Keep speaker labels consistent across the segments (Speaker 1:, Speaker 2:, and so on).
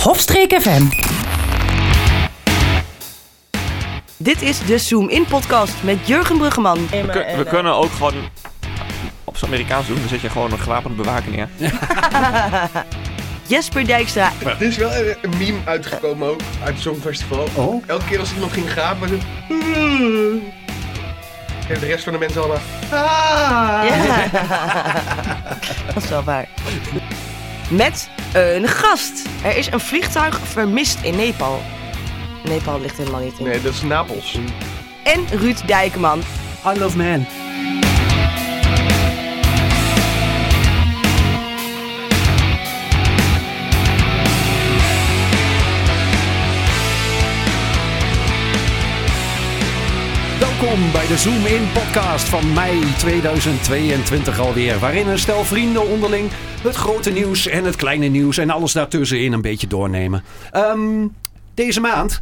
Speaker 1: Hofstreek FM.
Speaker 2: Dit is de Zoom In podcast met Jurgen Bruggeman.
Speaker 3: We, kun- we kunnen ook gewoon op zijn Amerikaans doen. Dan zet je gewoon een gewapende bewaking neer.
Speaker 2: Jesper Dijkstra
Speaker 4: Er is wel een een meme uitgekomen ook uit het Songfestival.
Speaker 5: Oh.
Speaker 4: Elke keer als iemand ging gapen, was het... En de rest van de mensen allemaal...
Speaker 2: Ja. Dat is wel waar. Met een gast. Er is een vliegtuig vermist in Nepal. Nepal ligt helemaal niet in.
Speaker 4: Nee, dat is Napels.
Speaker 2: En Ruud Dijkman.
Speaker 5: I love man. Welkom bij de Zoom In podcast van mei 2022 alweer. Waarin een stel vrienden onderling het grote nieuws en het kleine nieuws en alles daartussenin een beetje doornemen. Ehm, deze maand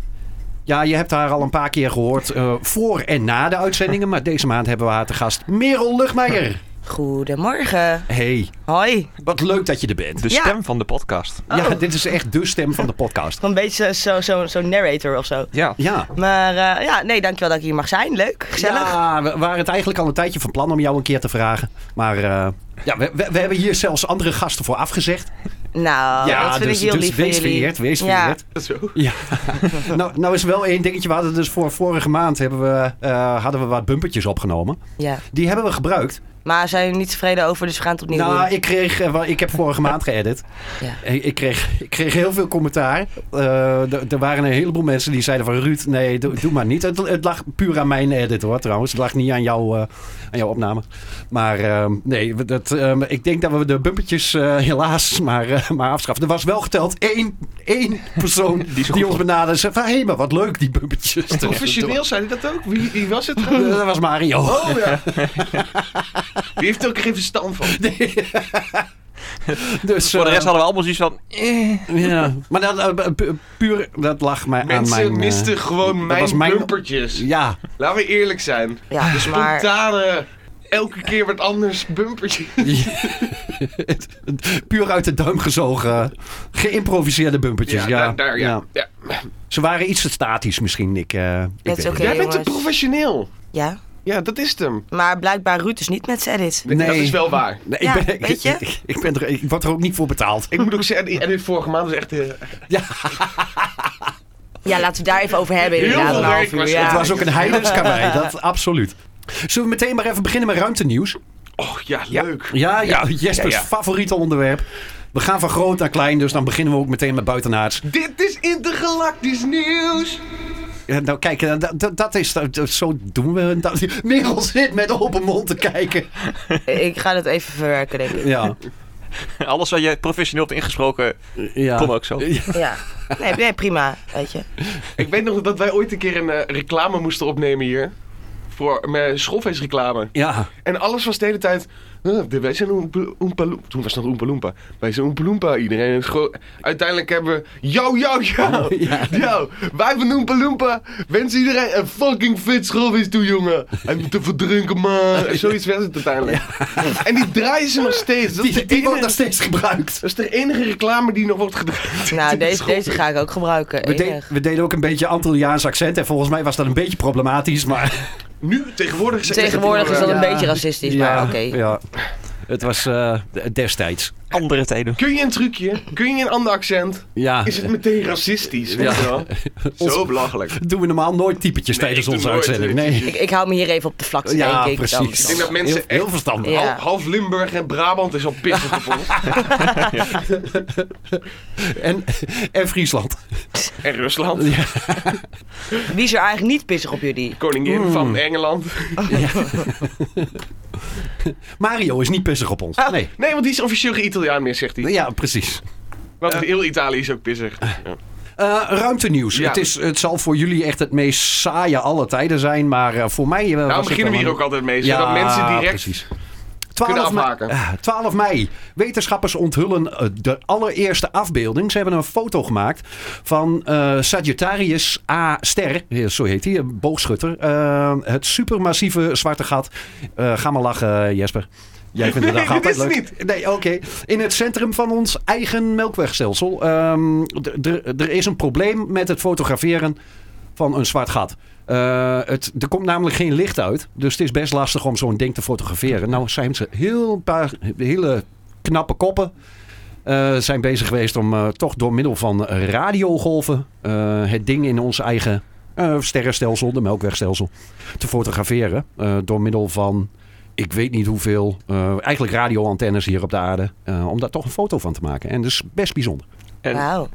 Speaker 5: ja, je hebt haar al een paar keer gehoord eh, voor en na de uitzendingen. Maar deze maand hebben we haar te gast Merel Lugmeijer.
Speaker 2: Goedemorgen.
Speaker 5: Hey,
Speaker 2: Hoi.
Speaker 5: wat leuk dat je er bent.
Speaker 3: De
Speaker 2: Ja.
Speaker 3: stem van de podcast.
Speaker 2: Oh.
Speaker 5: Ja, dit is echt de stem van de podcast.
Speaker 2: Een beetje zo'n zo, zo narrator of zo.
Speaker 3: Ja.
Speaker 5: Ja.
Speaker 2: Maar eh, ja, nee, dankjewel dat ik hier mag zijn. Leuk, gezellig.
Speaker 5: Ja, we waren het eigenlijk al een tijdje van plan om jou een keer te vragen. Maar eh, ja, we, we, we hebben hier zelfs andere gasten voor afgezegd.
Speaker 2: Nou,
Speaker 5: ja,
Speaker 2: dat vind
Speaker 5: dus,
Speaker 2: ik heel
Speaker 5: dus
Speaker 2: lief
Speaker 5: wees
Speaker 2: van jullie.
Speaker 5: vereerd, wees
Speaker 2: Ja.
Speaker 5: vereerd.
Speaker 4: Zo.
Speaker 5: Ja. nou, nou is wel één dingetje. We hadden dus voor vorige maand hebben we, eh, hadden we wat bumpertjes opgenomen.
Speaker 2: Ja.
Speaker 5: Die hebben we gebruikt.
Speaker 2: Maar zijn jullie niet tevreden over, dus we gaan het opnieuw doen.
Speaker 5: Nou, ik kreeg, eh, wel, ik heb vorige maand geëdit. Eh,
Speaker 2: Ja.
Speaker 5: Ik, ik kreeg, ik kreeg heel veel commentaar. Eh, d- er waren een heleboel mensen die zeiden van Ruud, nee, doe, doe maar niet. Het, het lag puur aan mijn edit hoor, trouwens. Het lag niet aan, jou, eh, aan jouw opname. Maar ehm, nee, we- dat, ehm, ik denk dat we de bumpetjes eh, helaas maar, eh, maar afschaffen. Er was wel geteld één, één persoon die,
Speaker 3: zo goed
Speaker 5: ons benaderde. en Zei van, hé, maar wat leuk die bumpetjes.
Speaker 4: Professioneel zei hij dat ook? Wie, wie was het?
Speaker 5: Dat was Mario.
Speaker 4: Oh ja. Die heeft er ook geen verstand van.
Speaker 5: Dus,
Speaker 3: Voor de
Speaker 5: eh,
Speaker 3: rest hadden we allemaal zoiets van...
Speaker 5: Ja, maar dat, eh, pu- puur, dat lag mij aan
Speaker 4: Mensen
Speaker 5: mijn... eh,
Speaker 4: misten gewoon
Speaker 5: was
Speaker 4: mijn,
Speaker 5: mijn-
Speaker 4: bumpertjes.
Speaker 5: Ja,
Speaker 4: Laten we eerlijk zijn.
Speaker 2: Ja, dus
Speaker 4: de
Speaker 2: maar-
Speaker 4: spontane, elke keer wat anders bumpertjes.
Speaker 5: puur uit de duim gezogen, geïmproviseerde bumpertjes. Dus Ja,
Speaker 4: daar, daar, ja.
Speaker 5: ja.
Speaker 4: ja.
Speaker 5: Ze waren iets te statisch misschien, ik, eh, ik
Speaker 2: Dat is
Speaker 5: weet
Speaker 2: oké.
Speaker 5: het
Speaker 4: Jij bent een
Speaker 2: jongens.
Speaker 4: professioneel.
Speaker 2: Ja,
Speaker 4: Ja, dat is het hem.
Speaker 2: maar blijkbaar Ruud dus niet met zijn edit.
Speaker 5: Nee.
Speaker 4: Dat is wel waar.
Speaker 5: niet. Nee,
Speaker 2: Ja,
Speaker 5: ik, ben,
Speaker 2: weet je?
Speaker 5: Ik, ik- ik ben er, ik word er ook niet voor betaald.
Speaker 4: Ik moet ook zeggen, die edit vorige maand was echt... eh,
Speaker 2: Ja, laten we daar even over hebben
Speaker 4: Heel
Speaker 2: inderdaad.
Speaker 4: veel
Speaker 2: Een half
Speaker 4: werk
Speaker 2: uur,
Speaker 4: was-
Speaker 2: ja.
Speaker 5: Het was ook een heidens karwei, dat absoluut. Zullen we meteen maar even beginnen met ruimtenieuws?
Speaker 4: oh ja, leuk.
Speaker 5: Ja, ja, Jespers
Speaker 4: ja, ja.
Speaker 5: favoriete onderwerp. We gaan van groot naar klein, dus dan beginnen we ook meteen met buitenaards.
Speaker 4: Dit is intergalactisch nieuws.
Speaker 5: Ja, nou kijk, eh, dat, dat- dat is, dat- zo doen we dat. Merel zit met open mond te kijken.
Speaker 2: Ik ga dat even verwerken, denk ik.
Speaker 5: Ja,
Speaker 3: Alles wat je professioneel hebt ingesproken,
Speaker 5: ja.
Speaker 3: kom ook zo.
Speaker 2: Ja. Nee, nee, prima, weet je.
Speaker 4: Ik weet nog dat wij ooit een keer een eh, reclame moesten opnemen hier. Voor mijn schoolfeestreclame.
Speaker 5: Ja,
Speaker 4: En alles was de hele tijd... eh, de- wij zijn Oompa Oompa Loompa. Toen was het nog Oompa Loompa. Wij zijn Oompa Loompa. Iedereen is gewoon... Uiteindelijk hebben we... Yo, yo, yo.
Speaker 5: Oh, Ja.
Speaker 4: Yo. Wij van Oompa Loompa wensen iedereen een fucking fit schoolfeest toe, jongen. Hij moet te verdrinken, man. En Zoiets werd het uiteindelijk. En die draaien ze nog steeds. Dat is,
Speaker 5: die,
Speaker 4: de
Speaker 5: die
Speaker 4: enige,
Speaker 5: wordt nog steeds gebruikt.
Speaker 4: dat is de enige reclame die nog wordt gedraaid.
Speaker 2: Nou,
Speaker 4: in de
Speaker 2: deze,
Speaker 4: school.
Speaker 2: deze ga ik ook gebruiken.
Speaker 5: We, de-
Speaker 2: Enig.
Speaker 5: we deden ook een beetje Antilliaans accent en volgens mij was dat een beetje problematisch, maar...
Speaker 4: Nu, tegenwoordig... zeggen ze
Speaker 2: Tegenwoordig is dat
Speaker 4: gewoon,
Speaker 2: een
Speaker 4: eh,
Speaker 2: beetje racistisch, maar oké.
Speaker 5: Ja. Het was eh, destijds.
Speaker 3: Andere tijden.
Speaker 4: Kun je een trucje? Kun je een ander accent?
Speaker 5: Ja,
Speaker 4: Is het meteen racistisch? Weet je wel? Zo belachelijk. Ik
Speaker 5: doen we normaal nooit typetjes
Speaker 4: Nee,
Speaker 5: tijdens
Speaker 4: ik doe
Speaker 5: onze
Speaker 4: nooit
Speaker 5: uitzending.
Speaker 4: typetjes.
Speaker 5: Nee.
Speaker 2: Ik, ik hou me hier even op de vlakte,
Speaker 5: Ja,
Speaker 2: denk ik. dan.
Speaker 5: precies.
Speaker 4: denk dat mensen
Speaker 5: heel,
Speaker 4: echt-
Speaker 5: heel verstandig.
Speaker 2: Ja.
Speaker 4: Hal- Half Limburg en Brabant is al pissig gevonden.
Speaker 5: En, en Friesland.
Speaker 4: en Rusland.
Speaker 2: Wie is er eigenlijk niet pissig op jullie?
Speaker 4: Koningin
Speaker 5: Mm.
Speaker 4: van Engeland.
Speaker 5: Mario is niet pissig op ons.
Speaker 2: Ah.
Speaker 5: Nee.
Speaker 4: Nee, want die is officieel geen Italiaan meer, zegt hij.
Speaker 5: Ja, precies.
Speaker 4: Want heel Italië is ook pissig. Ja.
Speaker 5: Eh ruimtenieuws.
Speaker 4: Ja.
Speaker 5: Het, is, het zal voor jullie echt het meest saaie alle tijden zijn, maar eh, voor mij... eh, was
Speaker 4: Daarom
Speaker 5: het
Speaker 4: Nou, beginnen we
Speaker 5: wel
Speaker 4: hier
Speaker 5: een-
Speaker 4: ook altijd mee,
Speaker 5: Ja,
Speaker 4: zodat mensen direct...
Speaker 5: precies.
Speaker 4: kunnen
Speaker 5: mei-
Speaker 4: afmaken.
Speaker 5: Ah, 12 mei. Wetenschappers onthullen eh, de allereerste afbeelding. Ze hebben een foto gemaakt van eh, Sagittarius A. Ster, eh, zo heet hij, een boogschutter. Eh, het supermassieve zwarte gat. Eh, ga maar lachen, Jesper. Jij vindt het
Speaker 4: Nee,
Speaker 5: dag altijd
Speaker 4: dit is
Speaker 5: leuk. Nee, oké. In het centrum van ons eigen melkwegstelsel. ehm, d- d- er is een probleem met het fotograferen van een zwart gat. Eh, het, er komt namelijk geen licht uit. Dus het is best lastig om zo'n ding te fotograferen. Nou zijn ze heel een paar hele knappe koppen. eh, zijn bezig geweest om eh, toch door middel van radiogolven eh, het ding in ons eigen eh, sterrenstelsel, de melkwegstelsel, te fotograferen. eh, door middel van ik weet niet hoeveel, eh, eigenlijk radioantennes hier op de aarde, eh, om daar toch een foto van te maken. En dat is best bijzonder.
Speaker 3: En,
Speaker 2: Wauw.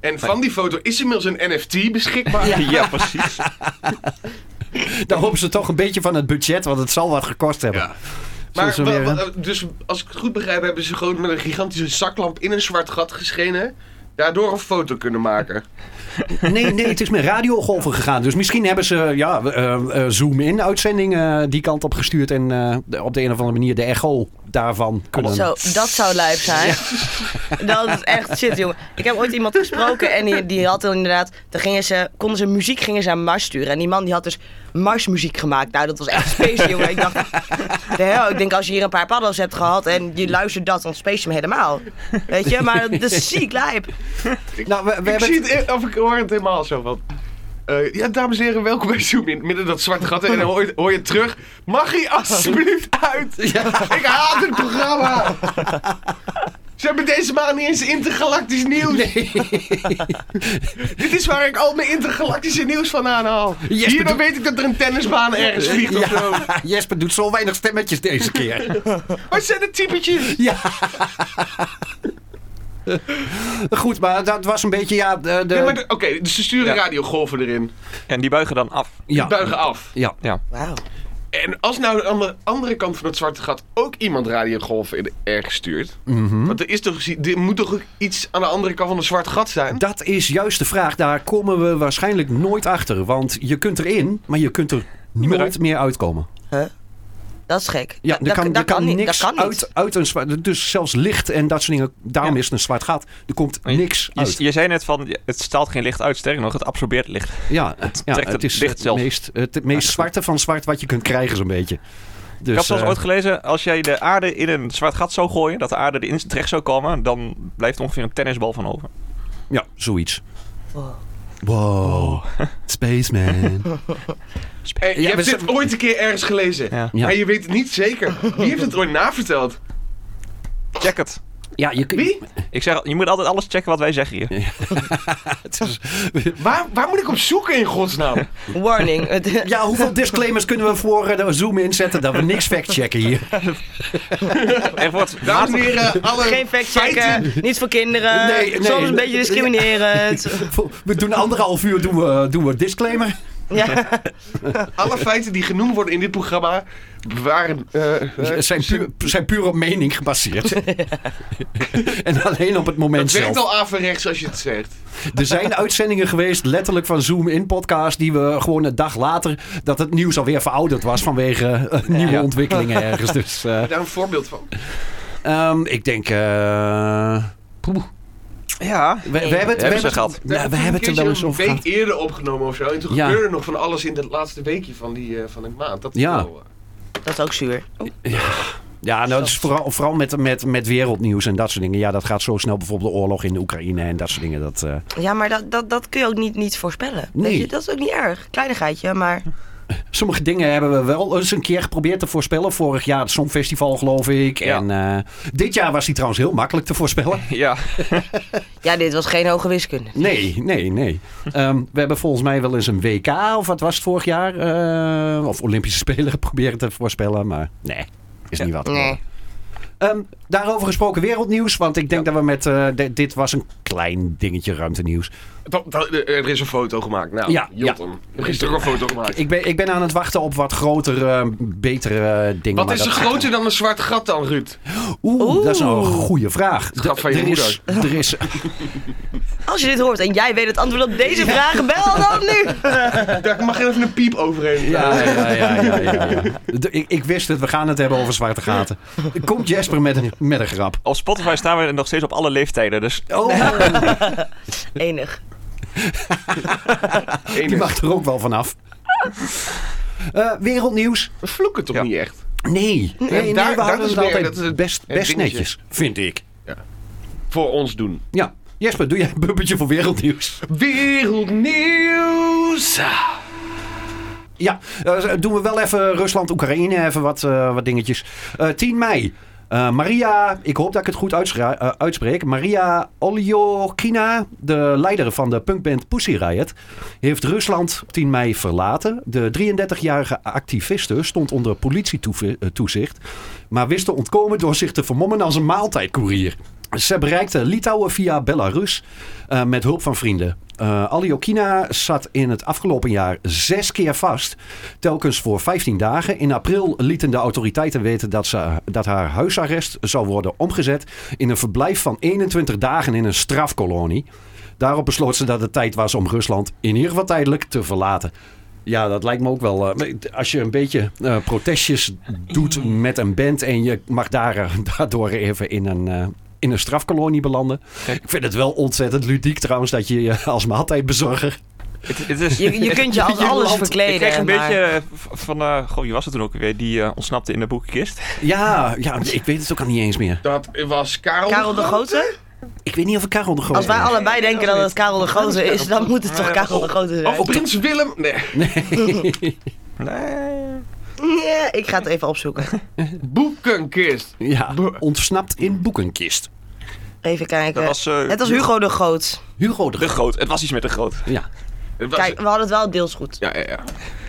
Speaker 4: En van die foto is inmiddels een NFT beschikbaar.
Speaker 3: ja. precies.
Speaker 5: Daar hopen ze toch een beetje van het budget, want het zal wat gekost hebben.
Speaker 4: Ja.
Speaker 5: Zullen
Speaker 4: Maar
Speaker 5: ze
Speaker 4: wa-
Speaker 5: weer,
Speaker 4: wa-
Speaker 5: hè?
Speaker 4: dus als ik het goed begrijp, hebben ze gewoon met een gigantische zaklamp in een zwart gat geschenen. Daardoor een foto kunnen maken.
Speaker 5: eh, Nee, nee, het is met radiogolven gegaan. Dus misschien hebben ze ja, eh, eh, Zoom-in-uitzendingen eh, die kant op gestuurd. En eh, de- op de een of andere manier de echo daarvan kunnen...
Speaker 2: Zo, dat zou lijp zijn. Dat is echt shit, jongen. Ik heb ooit iemand gesproken en die, die had dan inderdaad... Dan gingen ze, konden ze muziek gingen ze aan Mars sturen. En die man die had dus Marsmuziek gemaakt. Nou, dat was echt space, jongen. Ik dacht, de hel, ik denk als je hier een paar paddels hebt gehad... en je luistert dat, dan space je hem helemaal. Weet je, maar dat is ziek lijp.
Speaker 5: Nou, we, we
Speaker 4: ik
Speaker 5: hebben
Speaker 4: zie het, of ik hoor het helemaal zo van. eh, ja, dames en heren, welkom bij Zoom in. Midden in dat zwarte gat en dan hoor je, hoor je het terug. Mag hij alsjeblieft uit? Ik haat het programma! Ze hebben deze maand niet eens intergalactisch nieuws. Dit is waar ik al mijn intergalactische nieuws van aanhaal.
Speaker 5: Yes,
Speaker 4: Hier dan
Speaker 5: bedoel-
Speaker 4: weet ik dat er een tennisbaan ergens vliegt of zo.
Speaker 5: Ja, Jesper doet zo weinig stemmetjes deze keer.
Speaker 4: Wat zijn de typetjes?
Speaker 5: Ja. Goed, maar dat was een beetje ja, de, de-
Speaker 4: Ja, maar de- Oké, dus ze
Speaker 3: Ja.
Speaker 4: sturen radiogolven erin.
Speaker 3: En die buigen dan af.
Speaker 5: ja,
Speaker 4: Buigen af.
Speaker 5: ja.
Speaker 3: Ja.
Speaker 2: Wauw.
Speaker 4: En als nou aan de andere kant van het zwarte gat ook iemand radiogolven in ergens stuurt.
Speaker 5: Mhm.
Speaker 4: Want er, is toch, er moet toch ook iets aan de andere kant van het zwarte gat zijn?
Speaker 5: Ehm, Dat is juist de vraag. Daar komen we waarschijnlijk nooit achter. Want je kunt erin, maar je kunt er nooit
Speaker 3: uit.
Speaker 5: meer uitkomen.
Speaker 2: Dat is gek.
Speaker 5: Ja,
Speaker 2: Dat-
Speaker 5: er kan,
Speaker 2: dat,
Speaker 5: er
Speaker 2: dat
Speaker 5: kan
Speaker 2: niet,
Speaker 5: niks
Speaker 2: dat kan niet.
Speaker 5: uit, uit een zwart... Dus zelfs licht en dat soort dingen. Daarom
Speaker 3: Ja.
Speaker 5: is het een zwart gat. Er komt
Speaker 3: Maar je-
Speaker 5: niks
Speaker 3: Je,
Speaker 5: uit.
Speaker 3: je zei net van, het staalt geen licht uit. Sterker nog, het absorbeert licht.
Speaker 5: ja, ja,
Speaker 3: trekt
Speaker 5: het
Speaker 3: het
Speaker 5: is
Speaker 3: licht
Speaker 5: het
Speaker 3: zelf.
Speaker 5: meest, het meest zwarte van zwart wat je kunt krijgen zo'n beetje. Dus,
Speaker 3: ik heb zelfs
Speaker 5: eh,
Speaker 3: ooit gelezen, als jij de aarde in een zwart gat zou gooien, dat de aarde erin terecht zou komen, dan blijft ongeveer een tennisbal van over.
Speaker 5: Ja, zoiets.
Speaker 2: Wow.
Speaker 5: Wow. Spaceman.
Speaker 4: Eh, je
Speaker 5: Ja,
Speaker 4: hebt
Speaker 5: we
Speaker 4: dit
Speaker 5: zijn-
Speaker 4: ooit een keer ergens gelezen.
Speaker 3: Ja.
Speaker 5: Ja.
Speaker 4: Maar je weet het niet zeker. Wie heeft het ooit naverteld?
Speaker 3: Check het.
Speaker 5: Ja, je kunt...
Speaker 4: Wie?
Speaker 3: Ik zeg, al, je moet altijd alles checken wat wij zeggen hier.
Speaker 5: Het is-
Speaker 4: Waar, waar moet ik op zoeken in godsnaam?
Speaker 2: Warning. Het-
Speaker 5: Ja, hoeveel disclaimers kunnen we voor eh, de Zoom inzetten dat we niks factchecken hier?
Speaker 3: Er wordt
Speaker 4: Dames en
Speaker 3: matig-
Speaker 4: heren, alle
Speaker 2: Geen
Speaker 4: feiten.
Speaker 2: factchecken, niet voor kinderen,
Speaker 5: Nee, nee.
Speaker 2: soms een beetje discriminerend.
Speaker 5: We doen anderhalf uur doen we, eh, doen we disclaimer.
Speaker 2: Ja.
Speaker 4: Alle feiten die genoemd worden in dit programma waren... eh, eh,
Speaker 5: Ze zijn, puur, zijn puur op mening gebaseerd. en alleen op het moment
Speaker 4: het werkt
Speaker 5: zelf.
Speaker 4: al averechts als je het zegt.
Speaker 5: Er zijn uitzendingen geweest, letterlijk van Zoom in podcast, die we gewoon een dag later, dat het nieuws alweer verouderd was vanwege eh, nieuwe
Speaker 3: Ja.
Speaker 5: ontwikkelingen ergens. Dus, eh,
Speaker 4: Daar een voorbeeld van.
Speaker 5: ehm, ik denk... eh, poeh.
Speaker 3: Ja.
Speaker 5: we, we hebben het, we
Speaker 3: ze
Speaker 5: hebben het-
Speaker 3: gehad.
Speaker 5: Nou, we hebben het er wel eens over
Speaker 4: een
Speaker 5: gehad.
Speaker 4: week eerder opgenomen of zo. En toen
Speaker 5: Ja.
Speaker 4: gebeurde er nog van alles in dat laatste weekje van die, eh, van die maand. Dat is
Speaker 5: Ja.
Speaker 4: wel, eh,
Speaker 2: Dat is ook zuur.
Speaker 5: Ja, nou, het is vooral, vooral met, met, met wereldnieuws en dat soort dingen. Ja, dat gaat zo snel. Bijvoorbeeld de oorlog in de Oekraïne en dat soort dingen. Dat, eh,
Speaker 2: Ja, maar dat, dat, dat kun je ook niet, niet voorspellen.
Speaker 5: Nee.
Speaker 2: Weet je, dat is ook niet erg. Kleinigheidje, maar
Speaker 5: Sommige dingen hebben we wel eens een keer geprobeerd te voorspellen. Vorig jaar het Songfestival, geloof ik.
Speaker 3: Ja.
Speaker 5: En eh, dit jaar was die trouwens heel makkelijk te voorspellen.
Speaker 3: Ja.
Speaker 2: ja, dit was geen hoge wiskunde.
Speaker 5: Nee, nee, nee. Ehm, we hebben volgens mij wel eens een WK, of wat was het vorig jaar? eh, of Olympische Spelen geprobeerd te voorspellen. Maar nee, is niet wat.
Speaker 2: Nee.
Speaker 5: Ehm, daarover gesproken wereldnieuws. Want ik denk dat we met... eh, di- dit was een klein dingetje ruimtenieuws.
Speaker 4: dat- dat- eh, er is een foto gemaakt. Nou,
Speaker 5: Ja,
Speaker 4: Jotten. Er is toch een foto gemaakt.
Speaker 5: Ik ben, ik ben aan het wachten op wat grotere, betere dingen.
Speaker 4: Wat
Speaker 5: maar
Speaker 4: is
Speaker 5: dat-
Speaker 4: er groter dan een zwart gat dan, Ruud?
Speaker 5: Oeh,
Speaker 2: Oeh.
Speaker 5: dat is nou een goede vraag.
Speaker 4: gat
Speaker 5: D-
Speaker 4: van je
Speaker 5: er is- er is,
Speaker 2: Als je dit hoort en jij weet het antwoord op deze vragen, bel dan nu.
Speaker 4: Daar mag even een piep overheen.
Speaker 5: Ja, ja, ja, ja, ja, ja. D- Ik, ik wist het, we gaan het hebben over zwarte gaten. Komt Jesper met een, met een grap?
Speaker 3: Op Spotify staan we nog steeds op alle leeftijden, dus
Speaker 5: Oh,
Speaker 2: Enig.
Speaker 4: Enig.
Speaker 5: die mag er ook wel vanaf. Eh, wereldnieuws.
Speaker 4: We vloeken toch
Speaker 3: Ja.
Speaker 4: niet echt?
Speaker 5: Nee, Eh, nee, nee,
Speaker 4: daar-
Speaker 5: we
Speaker 4: dat
Speaker 5: houden
Speaker 4: is
Speaker 5: het
Speaker 4: weer-
Speaker 5: altijd
Speaker 4: dat is het-
Speaker 5: best,
Speaker 4: het
Speaker 5: best
Speaker 4: dingetje.
Speaker 5: netjes, vind ik.
Speaker 4: Voor ons doen.
Speaker 5: Ja, Jesper, doe jij een bubbeltje voor wereldnieuws?
Speaker 4: Wereldnieuws.
Speaker 5: Ja, eh, doen we wel even Rusland, Oekraïne, even wat, eh, wat dingetjes. Eh, 10 mei. Eh, Maria, ik hoop dat ik het goed uitschra- eh, uitspreek. Maria Oljokina, de leider van de punkband Pussy Riot, heeft Rusland op 10 mei verlaten. De 33-jarige activiste stond onder politietoezicht, maar wist te ontkomen door zich te vermommen als een maaltijdcourier. Ze bereikte Litouwen via Belarus eh, met hulp van vrienden. Eh Aliokina zat in het afgelopen jaar zes keer vast, telkens voor 15 dagen. In april lieten de autoriteiten weten dat, ze, dat haar huisarrest zou worden omgezet in een verblijf van 21 dagen in een strafkolonie. Daarop besloot ze dat het tijd was om Rusland in ieder geval tijdelijk te verlaten. Ja, dat lijkt me ook wel. eh, maar als je een beetje eh, protestjes doet met een band en je mag daar, eh, daardoor even in een, eh, in een strafkolonie belanden. Ik vind het wel ontzettend ludiek trouwens dat je je als maaltijdbezorger.
Speaker 3: Het, het is,
Speaker 2: Je, je kunt je als
Speaker 5: Je
Speaker 2: alles
Speaker 5: land-
Speaker 2: verkleden.
Speaker 3: ik kreeg een
Speaker 2: maar-
Speaker 3: beetje eh, v- van... eh, goh, wie was het toen ook weer? Die eh, ontsnapte in de boekenkist.
Speaker 5: Ja, ja, ik weet het ook al niet eens meer.
Speaker 4: Dat was Karel,
Speaker 2: Karel de Grote?
Speaker 5: Ik weet niet of ik Karel de Groot
Speaker 2: Als wij allebei denken dat het Karel de Grote is, dan moet het toch Karel de Grote zijn.
Speaker 4: Of Prins Willem. Nee.
Speaker 3: Nee.
Speaker 2: Ja, ik ga het even opzoeken.
Speaker 4: Boekenkist.
Speaker 5: Ja,
Speaker 4: Bo-
Speaker 5: ontsnapt in boekenkist.
Speaker 2: Even kijken.
Speaker 3: Dat was... eh,
Speaker 2: Het was Hugo de Groot.
Speaker 5: Hugo de
Speaker 3: De
Speaker 5: Groot.
Speaker 3: Groot. Het was iets met de Groot.
Speaker 5: Ja.
Speaker 4: Het was-
Speaker 2: Kijk, we hadden het wel deels goed.
Speaker 4: Ja, ja, ja.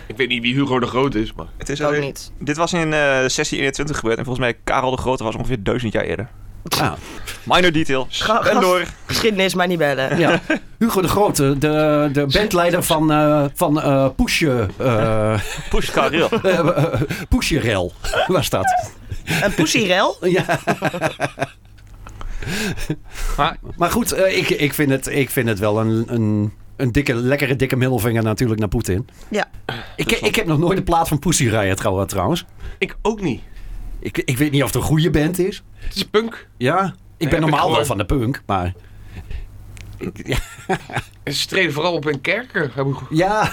Speaker 4: Ik weet niet wie Hugo de Groot is, maar...
Speaker 3: Het is
Speaker 2: Ook
Speaker 3: alweer-
Speaker 2: niet.
Speaker 3: Dit was in eh 1621 gebeurd en volgens mij Karel de Grote was ongeveer duizend jaar eerder.
Speaker 5: Ah,
Speaker 3: Minor detail.
Speaker 2: Ga-
Speaker 3: en
Speaker 2: gast-
Speaker 3: door.
Speaker 2: Geschiedenis, maar niet bellen.
Speaker 5: ja. Hugo de Groot, de, de de bandleider van, eh van eh Poesje. eh,
Speaker 3: Push Karel.
Speaker 5: Eh, eh, Poesjerel was dat.
Speaker 2: Een poesierel?
Speaker 5: Ja.
Speaker 3: Maar-
Speaker 5: Maar goed, eh, ik, ik, vind het, ik vind het wel een, een, een dikke, lekkere dikke middelvinger natuurlijk naar Poetin.
Speaker 2: Ja.
Speaker 5: Ik, ik heb nog nooit de plaat van Pussy Riot trouw- trouwens.
Speaker 4: Ik ook niet.
Speaker 5: Ik, ik weet niet of het een goede band is.
Speaker 4: Het is punk.
Speaker 5: Ja, ik ben
Speaker 4: heb ik
Speaker 5: normaal wel
Speaker 4: gehoord.
Speaker 5: van de punk, maar...
Speaker 4: En ze treden vooral op in kerken. heb ik-
Speaker 5: Ja,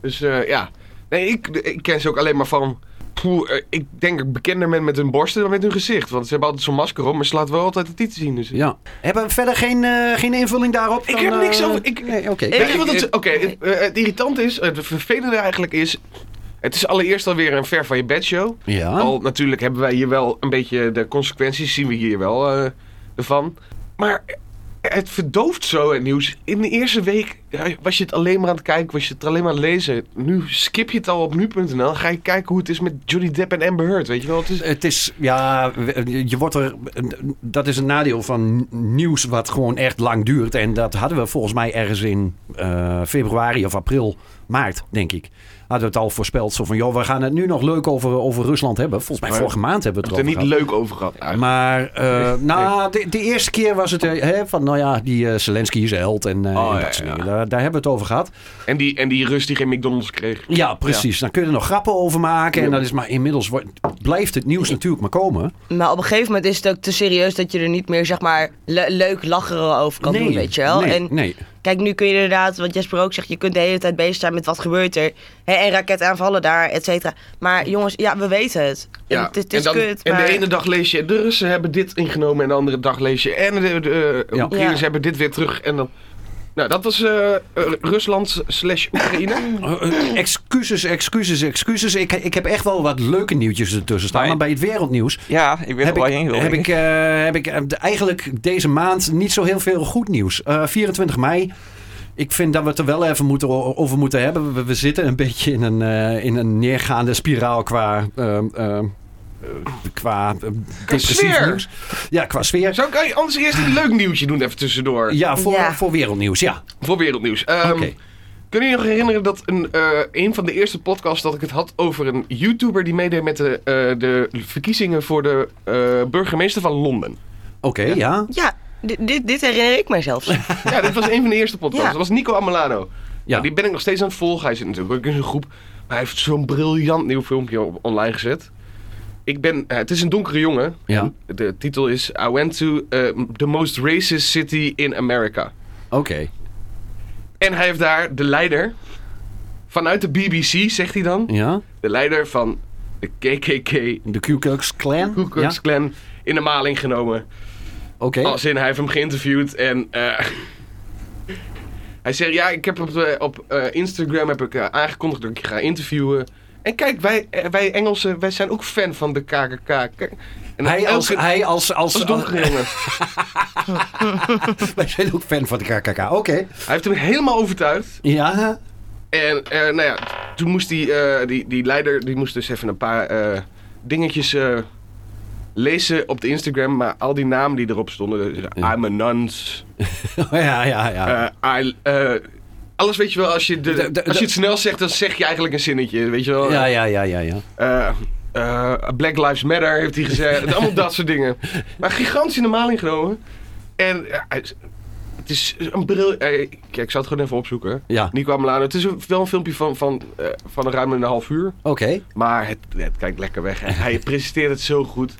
Speaker 4: Dus eh, ja. Nee, ik, ik ken ze ook alleen maar van... Poeh, eh, ik denk dat ik bekender ben met hun borsten dan met hun gezicht. Want ze hebben altijd zo'n masker op, maar ze laten wel altijd de titel zien. Dus...
Speaker 5: ja. Hebben we verder geen, eh, geen invulling daarop?
Speaker 4: Ik
Speaker 5: Dan,
Speaker 4: heb niks
Speaker 5: eh,
Speaker 4: over- ik-
Speaker 5: nee, oké.
Speaker 4: Weet
Speaker 2: Ik-
Speaker 4: je wat het,
Speaker 2: ik-
Speaker 4: oké, het, eh, het irritant is, het vervelende eigenlijk is... Het is allereerst alweer een ver van je bed show.
Speaker 5: Ja.
Speaker 4: Al natuurlijk hebben wij hier wel een beetje de consequenties, zien we hier wel eh, ervan. Maar het verdooft zo het nieuws. In de eerste week ja, was je het alleen maar aan het kijken, was je het alleen maar aan het lezen. Nu skip je het al op nu.nl, ga je kijken hoe het is met Johnny Depp en Amber Heard, weet je wel. Het is,
Speaker 5: Het is, ja, je wordt er, dat is een nadeel van nieuws wat gewoon echt lang duurt. En dat hadden we volgens mij ergens in eh, februari of april, maart, denk ik. Hadden we het al voorspeld. Zo van, joh, we gaan het nu nog leuk over, over Rusland hebben. Volgens mij
Speaker 4: Maar-
Speaker 5: vorige maand hebben we
Speaker 4: het
Speaker 5: het
Speaker 4: er
Speaker 5: erover
Speaker 4: niet
Speaker 5: gehad.
Speaker 4: leuk over gehad. Ja,
Speaker 5: Maar, eh, nou, de, de eerste keer was het eh, hè, van, nou ja, die eh, Zelensky is een held en, eh, en
Speaker 4: Oh,
Speaker 5: dat
Speaker 4: ja,
Speaker 5: soort
Speaker 4: ja.
Speaker 5: dingen. Daar, daar hebben we het over gehad.
Speaker 4: en, die, en die rust die geen McDonald's kreeg.
Speaker 5: Ja, precies. Dan kun je er nog grappen over maken. En dat is maar inmiddels wordt- blijft het nieuws natuurlijk maar komen.
Speaker 2: Maar op een gegeven moment is het ook te serieus dat je er niet meer, zeg maar, le- leuk lacheren over kan doen, weet je wel.
Speaker 5: Nee,
Speaker 2: en
Speaker 5: nee.
Speaker 2: kijk, nu kun je inderdaad, wat Jesper ook zegt, je kunt de hele tijd bezig zijn met wat gebeurt er. Hè, en raketaanvallen daar, et cetera. Maar jongens, ja, we weten het. En het, is- het is
Speaker 4: en, dan-
Speaker 2: kut,
Speaker 4: en
Speaker 2: maar...
Speaker 4: de ene dag lees je, de Russen hebben dit ingenomen en de andere dag lees je, en de, de, de eh,
Speaker 5: Ja.
Speaker 4: Oekraïners
Speaker 2: Ja.
Speaker 4: hebben dit weer terug. En dan, nou, dat was eh, eh, Rusland slash Oekraïne.
Speaker 5: Eh, eh, excuses, excuses, excuses. Ik, ik heb echt wel wat leuke nieuwtjes ertussen staan.
Speaker 3: Maar-
Speaker 5: Maar bij het wereldnieuws
Speaker 3: Ja, ik
Speaker 5: heb
Speaker 3: weet wel
Speaker 5: ik,
Speaker 3: waar je heen wil.
Speaker 5: heb
Speaker 3: denk
Speaker 5: ik, eh, heb ik eh, de- eigenlijk deze maand niet zo heel veel goed nieuws. Eh, 24 mei. Ik vind dat we het er wel even moeten, o- over moeten hebben. We, we zitten een beetje in een, eh, in een neergaande spiraal qua... ehm, ehm, eh, qua eh, depressief
Speaker 4: sfeer.
Speaker 5: nieuws. Ja, qua sfeer.
Speaker 4: Zou ik anders eerst een leuk nieuwtje doen even tussendoor?
Speaker 5: Ja, voor,
Speaker 2: Ja.
Speaker 5: voor wereldnieuws, ja.
Speaker 4: Voor wereldnieuws. Ehm,
Speaker 5: Oké.
Speaker 4: Kunnen jullie nog herinneren dat een, eh, een van de eerste podcasts dat ik het had over een YouTuber die meedeed met de, eh, de verkiezingen voor de eh, burgemeester van Londen?
Speaker 5: Oké, ja.
Speaker 2: Ja, dit, dit, dit herinner ik mij zelfs.
Speaker 4: Ja, dit was een van de eerste podcasts.
Speaker 2: Ja.
Speaker 4: Dat was Nico Amelano. Nou,
Speaker 5: Ja.
Speaker 4: Die ben ik nog steeds aan het volgen. Hij zit natuurlijk ook in zijn groep. Maar hij heeft zo'n briljant nieuw filmpje op- online gezet. Ik ben, eh, het is een donkere jongen.
Speaker 5: Ja.
Speaker 4: De titel is I went to eh, the most racist city in America.
Speaker 5: Oké.
Speaker 4: En hij heeft daar de leider vanuit de BBC, zegt hij dan.
Speaker 5: Ja.
Speaker 4: De leider van de KKK,
Speaker 5: De Ku Klux Klan?
Speaker 4: Ku Klux
Speaker 5: Ja?
Speaker 4: Klan, in de maling genomen.
Speaker 5: Oké.
Speaker 4: Als in, hij heeft hem geïnterviewd en... eh, hij zegt, ja, ik heb op, de- op eh, Instagram heb ik, eh, aangekondigd dat ik je ga interviewen. En kijk, wij, eh, wij Engelsen, wij zijn ook fan van de KKK. Kijk, En
Speaker 5: Hij als,
Speaker 4: elke-
Speaker 5: hij als, als,
Speaker 4: als donkere jongen.
Speaker 5: wij zijn ook fan van de KKK. Oké.
Speaker 4: Hij heeft hem helemaal overtuigd.
Speaker 5: Ja.
Speaker 4: En eh, nou ja, toen moest die, eh, die, die leider die moest dus even een paar eh, dingetjes eh, lezen op de Instagram. Maar al die namen die erop stonden. Dus,
Speaker 5: Ja.
Speaker 4: I'm a nuns.
Speaker 5: ja, ja, ja.
Speaker 4: eh, I- eh, alles weet je wel, als je, de,
Speaker 5: Ah. De- de-
Speaker 4: als je
Speaker 5: de-
Speaker 4: het snel zegt, dan zeg je eigenlijk een zinnetje. Weet je wel?
Speaker 5: ja, ja, ja, ja, ja.
Speaker 4: Eh, eh, Black Lives Matter heeft hij gezegd. Allemaal dat soort dingen. Maar gigantisch in de maling genomen. En ja, hij is- het is een bril. eh, Kijk, ik zal het gewoon even opzoeken.
Speaker 5: Ja.
Speaker 4: Nico Amelano. Het is een- wel een filmpje van, van, eh, van een ruim een half uur.
Speaker 5: Oké.
Speaker 4: Maar het, het kijkt lekker weg. En hij presenteert het zo goed.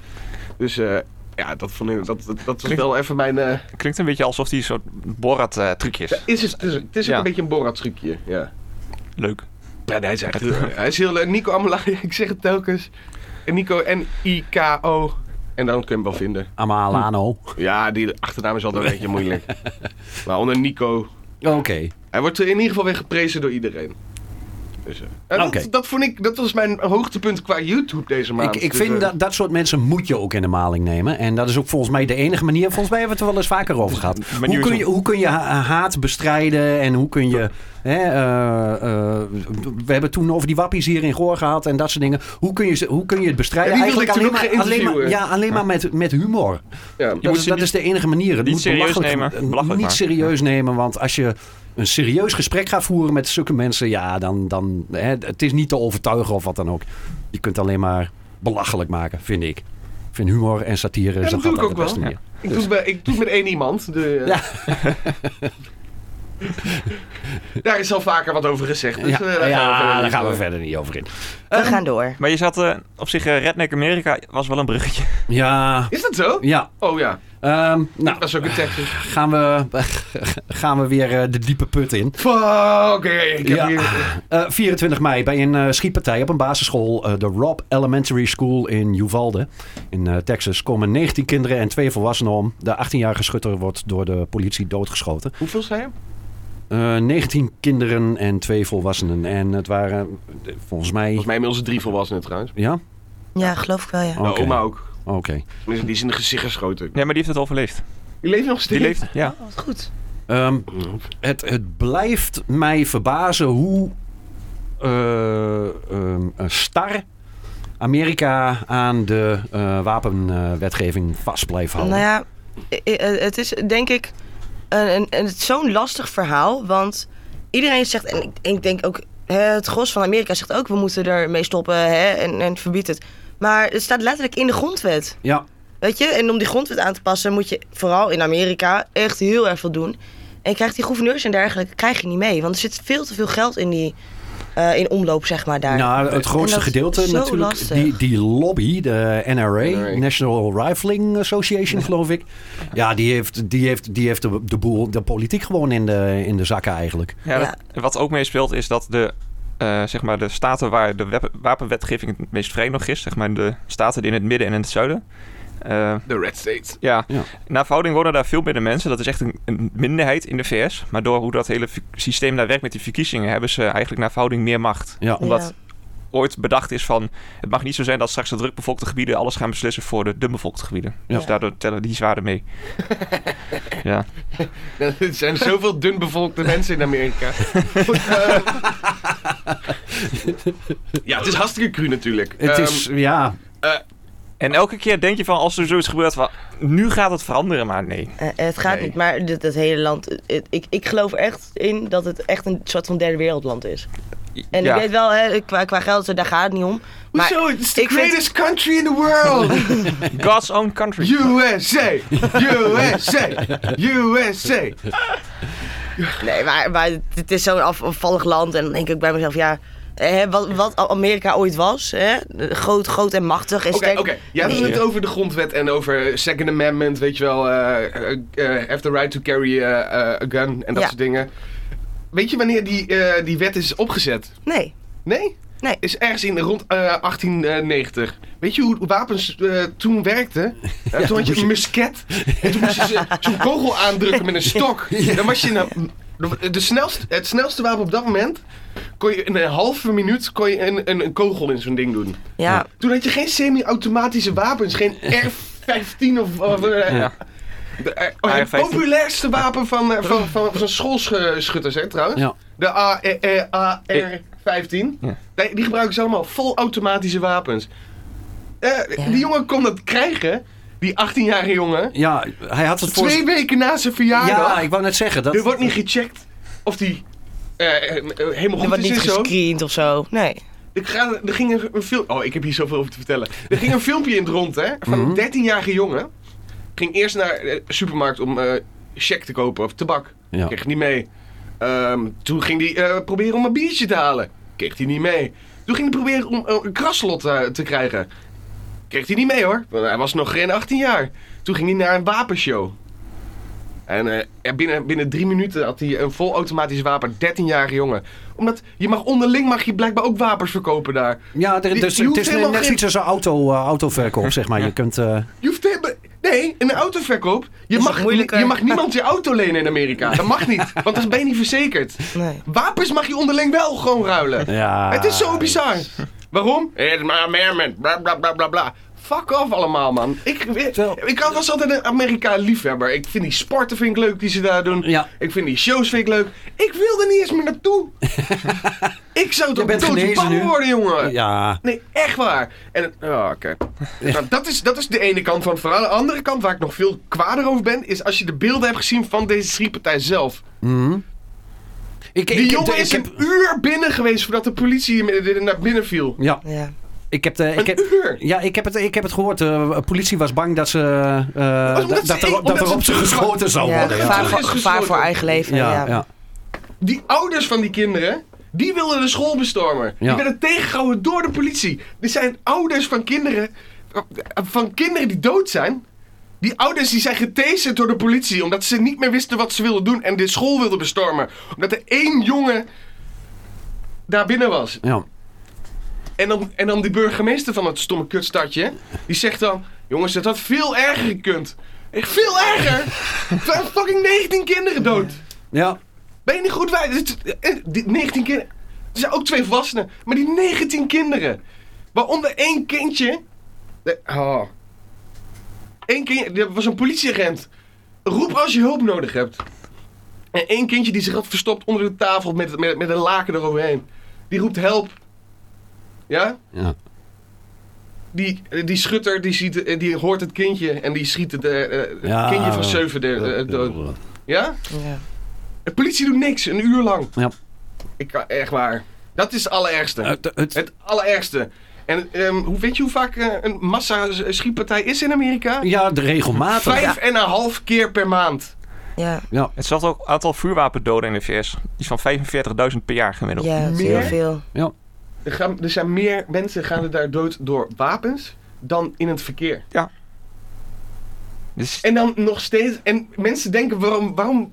Speaker 4: Dus eh, ja, dat, vond ik, dat, dat, dat was
Speaker 3: Klinkt-
Speaker 4: wel even mijn... eh,
Speaker 3: Klinkt een beetje alsof die een soort Borat-trucje is.
Speaker 4: is het, het is, het is ook
Speaker 3: Ja.
Speaker 4: een beetje een Borat-trucje. Ja.
Speaker 3: Leuk.
Speaker 4: Ja, nee, hij is echt...
Speaker 5: eh,
Speaker 4: hij is heel... leuk. Nico Amelano, ik zeg het telkens. Nico, N-I-K-O. En dan kun je hem wel vinden.
Speaker 5: Amalano.
Speaker 4: Ja, die achternaam is altijd een beetje moeilijk. Maar onder Nico.
Speaker 5: Oké.
Speaker 4: Hij wordt in ieder geval weer geprezen door iedereen. Dus, eh, en dat-
Speaker 5: Oké.
Speaker 4: dat, vond ik, dat was mijn hoogtepunt qua YouTube deze maand.
Speaker 5: Ik, ik
Speaker 4: Dus,
Speaker 5: vind
Speaker 4: eh,
Speaker 5: dat dat soort mensen moet je ook in de maling nemen. En dat is ook volgens mij de enige manier. Volgens mij hebben we het er wel eens vaker
Speaker 4: Dus
Speaker 5: over gehad.
Speaker 3: manier
Speaker 5: Hoe
Speaker 3: is
Speaker 5: kun
Speaker 3: om-
Speaker 5: je, hoe kun je ha- eh, haat bestrijden en hoe kun je. Hè, eh, eh, we hebben het toen over die wappies hier in Goor gehad en dat soort dingen. Hoe kun je, ze- hoe kun je het bestrijden?
Speaker 4: Ja, die wilde
Speaker 5: alleen,
Speaker 4: ik toen
Speaker 5: maar,
Speaker 4: ook gaan
Speaker 5: alleen, maar, ja,
Speaker 4: interviewen.
Speaker 5: alleen maar met, met humor.
Speaker 4: Ja.
Speaker 5: Dat,
Speaker 3: moet
Speaker 5: is,
Speaker 3: ze
Speaker 5: dat
Speaker 3: niet-
Speaker 5: is de enige manier. Het
Speaker 3: niet
Speaker 5: moet
Speaker 3: serieus
Speaker 5: belachelijk-
Speaker 3: nemen,
Speaker 5: eh,
Speaker 3: belachelijk
Speaker 5: niet
Speaker 3: maken.
Speaker 5: serieus nemen, want als je een serieus gesprek gaat voeren met zulke mensen, ja, dan, dan hè, het is niet te overtuigen of wat dan ook. Je kunt alleen maar belachelijk maken, vind ik. Ik vind humor en satire is
Speaker 4: dat
Speaker 5: dat
Speaker 4: doe ik
Speaker 5: altijd
Speaker 4: ook
Speaker 5: de beste
Speaker 4: wel.
Speaker 5: manier.
Speaker 4: Ik, doe het bij- ik doe het met één iemand. De, eh, Daar is al vaker wat over gezegd. Dus,
Speaker 5: Ja,
Speaker 4: eh, daar
Speaker 5: ja,
Speaker 4: verder
Speaker 5: daar
Speaker 4: niet
Speaker 5: gaan we
Speaker 4: over. eh,
Speaker 5: verder niet over in.
Speaker 2: We gaan door.
Speaker 3: Maar je zat eh, op zich, eh, Redneck America was wel een bruggetje.
Speaker 5: Ja,
Speaker 4: Is dat zo?
Speaker 5: ja.
Speaker 4: Oh ja,
Speaker 5: Ehm, nou,
Speaker 4: dat is ook een Texas.
Speaker 5: gaan we, gaan we weer eh, de diepe put in.
Speaker 4: Fuck, oké. ik heb
Speaker 5: Ja.
Speaker 4: hier...
Speaker 5: Eh, 24 mei bij een eh, schietpartij op een basisschool, eh, de Rob Elementary School in Uvalde, in eh, Texas, komen 19 kinderen en twee volwassenen om. De 18-jarige schutter wordt door de politie doodgeschoten.
Speaker 4: Hoeveel zijn er?
Speaker 5: Eh, 19 kinderen en twee volwassenen. En het waren eh, volgens mij.
Speaker 4: Volgens mij inmiddels drie volwassenen trouwens.
Speaker 5: Ja?
Speaker 2: Ja, geloof ik wel, ja.
Speaker 5: Oké.
Speaker 4: Nou, oma ook.
Speaker 5: Oké.
Speaker 4: Tenminste, Die is in de gezicht geschoten.
Speaker 3: Nee, maar die heeft het overleefd.
Speaker 4: Die leeft nog
Speaker 3: Die
Speaker 4: steeds.
Speaker 3: leeft, ja.
Speaker 2: Oh, wat goed.
Speaker 5: Ehm, het, het blijft mij verbazen hoe eh, ehm, eh, star Amerika aan de eh, wapenwetgeving vast blijft houden.
Speaker 2: Nou ja, i- i- eh, het is denk ik een, een, een- het is zo'n lastig verhaal. Want iedereen zegt, en ik, ik denk ook, hè, het gros van Amerika zegt ook... we moeten ermee stoppen hè, en, en verbiedt het. Maar het staat letterlijk in de grondwet.
Speaker 5: ja.
Speaker 2: Weet je, en om die grondwet aan te passen moet je vooral in Amerika echt heel erg veel doen. En je krijgt die gouverneurs en dergelijke krijg je niet mee. Want er zit veel te veel geld in die eh, in omloop, zeg maar, daar.
Speaker 5: Nou, het
Speaker 2: En
Speaker 5: grootste
Speaker 2: dat is
Speaker 5: gedeelte
Speaker 2: zo
Speaker 5: natuurlijk.
Speaker 2: lastig.
Speaker 5: Die, die lobby, de NRA,
Speaker 4: NRA.
Speaker 5: National Rifling Association, geloof ik. Ja, die heeft, die heeft, die heeft de, de boel, de politiek gewoon in de, in de zakken eigenlijk.
Speaker 3: Ja,
Speaker 2: Ja.
Speaker 3: dat- wat ook meespeelt is dat de, eh, zeg maar de staten waar de wep- wapenwetgeving het meest vrij nog is, zeg maar de staten die in het midden en in het zuiden. eh,
Speaker 4: De Red States.
Speaker 3: ja,
Speaker 5: Ja.
Speaker 3: naar verhouding wonen daar veel minder mensen. Dat is echt een, een minderheid in de VS. Maar door hoe dat hele v- systeem daar werkt met die verkiezingen, hebben ze eigenlijk naar verhouding meer macht.
Speaker 5: Ja.
Speaker 3: Omdat ooit bedacht is van, het mag niet zo zijn dat straks de drukbevolkte gebieden alles gaan beslissen voor de dunbevolkte gebieden.
Speaker 5: Ja.
Speaker 3: Dus daardoor tellen die zwaarder mee. ja.
Speaker 4: Er zijn zoveel dunbevolkte mensen in Amerika. ja, het is hartstikke cru natuurlijk.
Speaker 5: Het
Speaker 4: Ehm,
Speaker 5: is, ja,
Speaker 3: En elke keer denk je van, als er zoiets gebeurt, van, nu gaat het veranderen, maar nee.
Speaker 2: Eh, het gaat
Speaker 3: Nee.
Speaker 2: niet, maar dit, het hele land. het- ik, ik geloof echt in dat het echt een soort van derde wereldland is. En
Speaker 3: Ja.
Speaker 2: ik weet wel, hè, qua, qua geld, zo, daar gaat het niet om. Maar
Speaker 4: Hoezo? It's the
Speaker 2: ik vind-
Speaker 4: greatest country in the world!
Speaker 3: God's own country.
Speaker 4: USA! USA! USA!
Speaker 2: Nee, maar, maar het is zo'n af- afvallig land. En dan denk ik bij mezelf, ja. eh, Hè, wat, wat Amerika ooit was, hè? Groot, groot en machtig en
Speaker 4: Oké,
Speaker 2: sterk.
Speaker 4: oké. Jij had het net over de grondwet en over Second Amendment, weet je wel. eh, eh, eh, have the right to carry eh, eh, a gun en dat
Speaker 2: Ja.
Speaker 4: soort dingen. Weet je wanneer die, eh, die wet is opgezet?
Speaker 2: Nee.
Speaker 4: Nee?
Speaker 2: Nee.
Speaker 4: Is ergens in rond eh, 1890. Weet je hoe wapens eh, toen werkten? Eh, toen had je een musket. En toen moest je ze- zo'n kogel aandrukken met een stok. Dan was je een, de, de snelste, het snelste wapen op dat moment. Kon je in een halve minuut kon je een, een, een kogel in zo'n ding doen.
Speaker 2: Ja,
Speaker 4: Toen had je geen semi-automatische wapens. Geen R15 of... of eh,
Speaker 3: Ja.
Speaker 4: de- eh, oh, het
Speaker 3: AR-15.
Speaker 4: populairste wapen van, eh, van, van, van schoolschutters, hè, trouwens.
Speaker 5: Ja.
Speaker 4: De E, AR-15.
Speaker 3: Ja.
Speaker 4: Die, die gebruiken ze allemaal volautomatische wapens. Eh,
Speaker 2: Ja.
Speaker 4: Die jongen kon dat krijgen, die 18-jarige jongen.
Speaker 5: Ja, hij had het voor...
Speaker 4: Twee weken na zijn verjaardag.
Speaker 5: Ja, ik wou net zeggen. Dat...
Speaker 4: Er wordt niet gecheckt of die eh, eh, helemaal
Speaker 2: er
Speaker 4: goed
Speaker 2: wordt
Speaker 4: is
Speaker 2: niet
Speaker 4: en zo.
Speaker 2: gescreend of zo. Nee.
Speaker 4: Ik ga, er ging een, een film. Oh, ik heb hier zoveel over te vertellen. Er ging een filmpje in het rond, hè? Van
Speaker 5: Mhm.
Speaker 4: een 13-jarige jongen. Ging eerst naar de supermarkt om eh check te kopen of tabak.
Speaker 5: Ja.
Speaker 4: Kreeg niet mee. Ehm, toen ging hij eh, proberen om een biertje te halen. Kreeg hij niet mee. Toen ging hij proberen om eh, een kraslot eh, te krijgen. Kreeg hij niet mee hoor. Want hij was nog geen 18 jaar. Toen ging hij naar een wapenshow. En eh, ja, binnen, binnen drie minuten had hij een volautomatisch wapen, 13-jarige jongen. Omdat je mag onderling mag je blijkbaar ook wapens verkopen daar.
Speaker 5: Ja, er,
Speaker 4: Die-
Speaker 5: dus,
Speaker 4: die
Speaker 5: het
Speaker 4: hoeft
Speaker 5: is net
Speaker 4: helemaal
Speaker 5: net
Speaker 4: geen-
Speaker 5: iets als een auto, eh, autoverkoop, zeg maar. Je kunt... eh,
Speaker 4: Je hoeft helemaal... Nee, in een autoverkoop. Je
Speaker 2: Is
Speaker 4: mag,
Speaker 2: het moeilijker?
Speaker 4: je mag niemand je auto lenen in Amerika. Dat mag niet, want dan ben je niet verzekerd.
Speaker 2: nee.
Speaker 4: Wapens mag je onderling wel gewoon ruilen.
Speaker 5: ja.
Speaker 4: Het is zo bizar. Waarom? Het maar Merman, bla bla bla bla bla. Fuck off allemaal, man. Ik, ik,
Speaker 5: Terwijl-
Speaker 4: ik was altijd een Amerika-liefhebber. Ik vind die sporten vind ik leuk die ze daar doen.
Speaker 5: Ja.
Speaker 4: Ik vind die shows vind ik leuk. Ik wil er niet eens meer naartoe. ik zou toch
Speaker 5: bent genezen
Speaker 4: doodsbang
Speaker 5: nu.
Speaker 4: worden, jongen.
Speaker 5: Ja.
Speaker 4: Nee, echt waar. En, het- oh, oké. Nou, dat, is, dat is de ene kant van het verhaal. De andere kant waar ik nog veel kwader over ben, is als je de beelden hebt gezien van deze schietpartij zelf.
Speaker 5: Mhm. Ik,
Speaker 4: Die
Speaker 5: ik-
Speaker 4: jongen
Speaker 5: ik-
Speaker 4: is
Speaker 5: ik
Speaker 4: een uur binnen geweest voordat de politie hem- naar binnen viel.
Speaker 5: Ja,
Speaker 2: Ja.
Speaker 5: ik heb, de, ik
Speaker 4: Een
Speaker 5: heb,
Speaker 4: uur!
Speaker 5: ja, ik heb, het, ik heb het gehoord. De politie was bang dat, ze, eh,
Speaker 4: omdat
Speaker 5: dat,
Speaker 4: ze-
Speaker 5: dat er,
Speaker 4: omdat
Speaker 5: dat er
Speaker 4: ze
Speaker 5: op ze
Speaker 4: terug-
Speaker 5: geschoten zou
Speaker 2: ja.
Speaker 5: worden. Ja.
Speaker 2: Gevaar, voor,
Speaker 4: Terug is
Speaker 2: gevaar voor
Speaker 4: gesloten.
Speaker 2: eigen leven. Ja,
Speaker 5: Ja, ja.
Speaker 4: Die ouders van die kinderen, die wilden de school bestormen.
Speaker 5: Ja.
Speaker 4: Die werden tegengehouden door de politie. Er zijn ouders van kinderen, van kinderen die dood zijn. Die ouders die zijn getaserd door de politie omdat ze niet meer wisten wat ze wilden doen en de school wilden bestormen. Omdat er één jongen daar binnen was.
Speaker 5: Ja.
Speaker 4: En dan, en dan die burgemeester van het stomme kutstadje, die zegt dan: Jongens, dat had veel erger gekund. Echt veel erger! Er zijn fucking 19 kinderen dood.
Speaker 5: Ja.
Speaker 4: Ben je niet goed wij? dit- eh, Die 19 kinderen. Er zijn ook twee volwassenen, maar die 19 kinderen. Waaronder één kindje. Eh, Oh. Eén kindje, er was een politieagent. Roep als je hulp nodig hebt. En één kindje die zich had verstopt onder de tafel met, met, met een laken eroverheen. Die roept help. Ja?
Speaker 5: Ja.
Speaker 4: Die, eh, die schutter die, ziet, eh, die hoort het kindje en die schiet het eh, eh, het
Speaker 5: Ja,
Speaker 4: kindje van
Speaker 5: eh,
Speaker 4: zeven de- eh, dood. Ja?
Speaker 2: Ja.
Speaker 4: De politie doet niks, een uur lang.
Speaker 5: Ja.
Speaker 4: Ik kan, echt waar. Dat is het allerergste.
Speaker 5: Eh, de- het-
Speaker 4: het allerergste. En ehm, hoe, weet je hoe vaak eh, een massa-schietpartij is in Amerika?
Speaker 5: ja, de regelmatig.
Speaker 4: Vijf en een half keer per maand.
Speaker 2: Ja.
Speaker 3: Het zat ook een aantal vuurwapendoden in de VS. Iets van 45.000 per jaar gemiddeld.
Speaker 2: Ja, dat is
Speaker 4: Meer?
Speaker 2: heel veel.
Speaker 4: Er, gaan, er zijn meer mensen gaan er daar dood door wapens dan in het verkeer.
Speaker 3: Dus
Speaker 4: En dan nog steeds... En mensen denken, waarom... waarom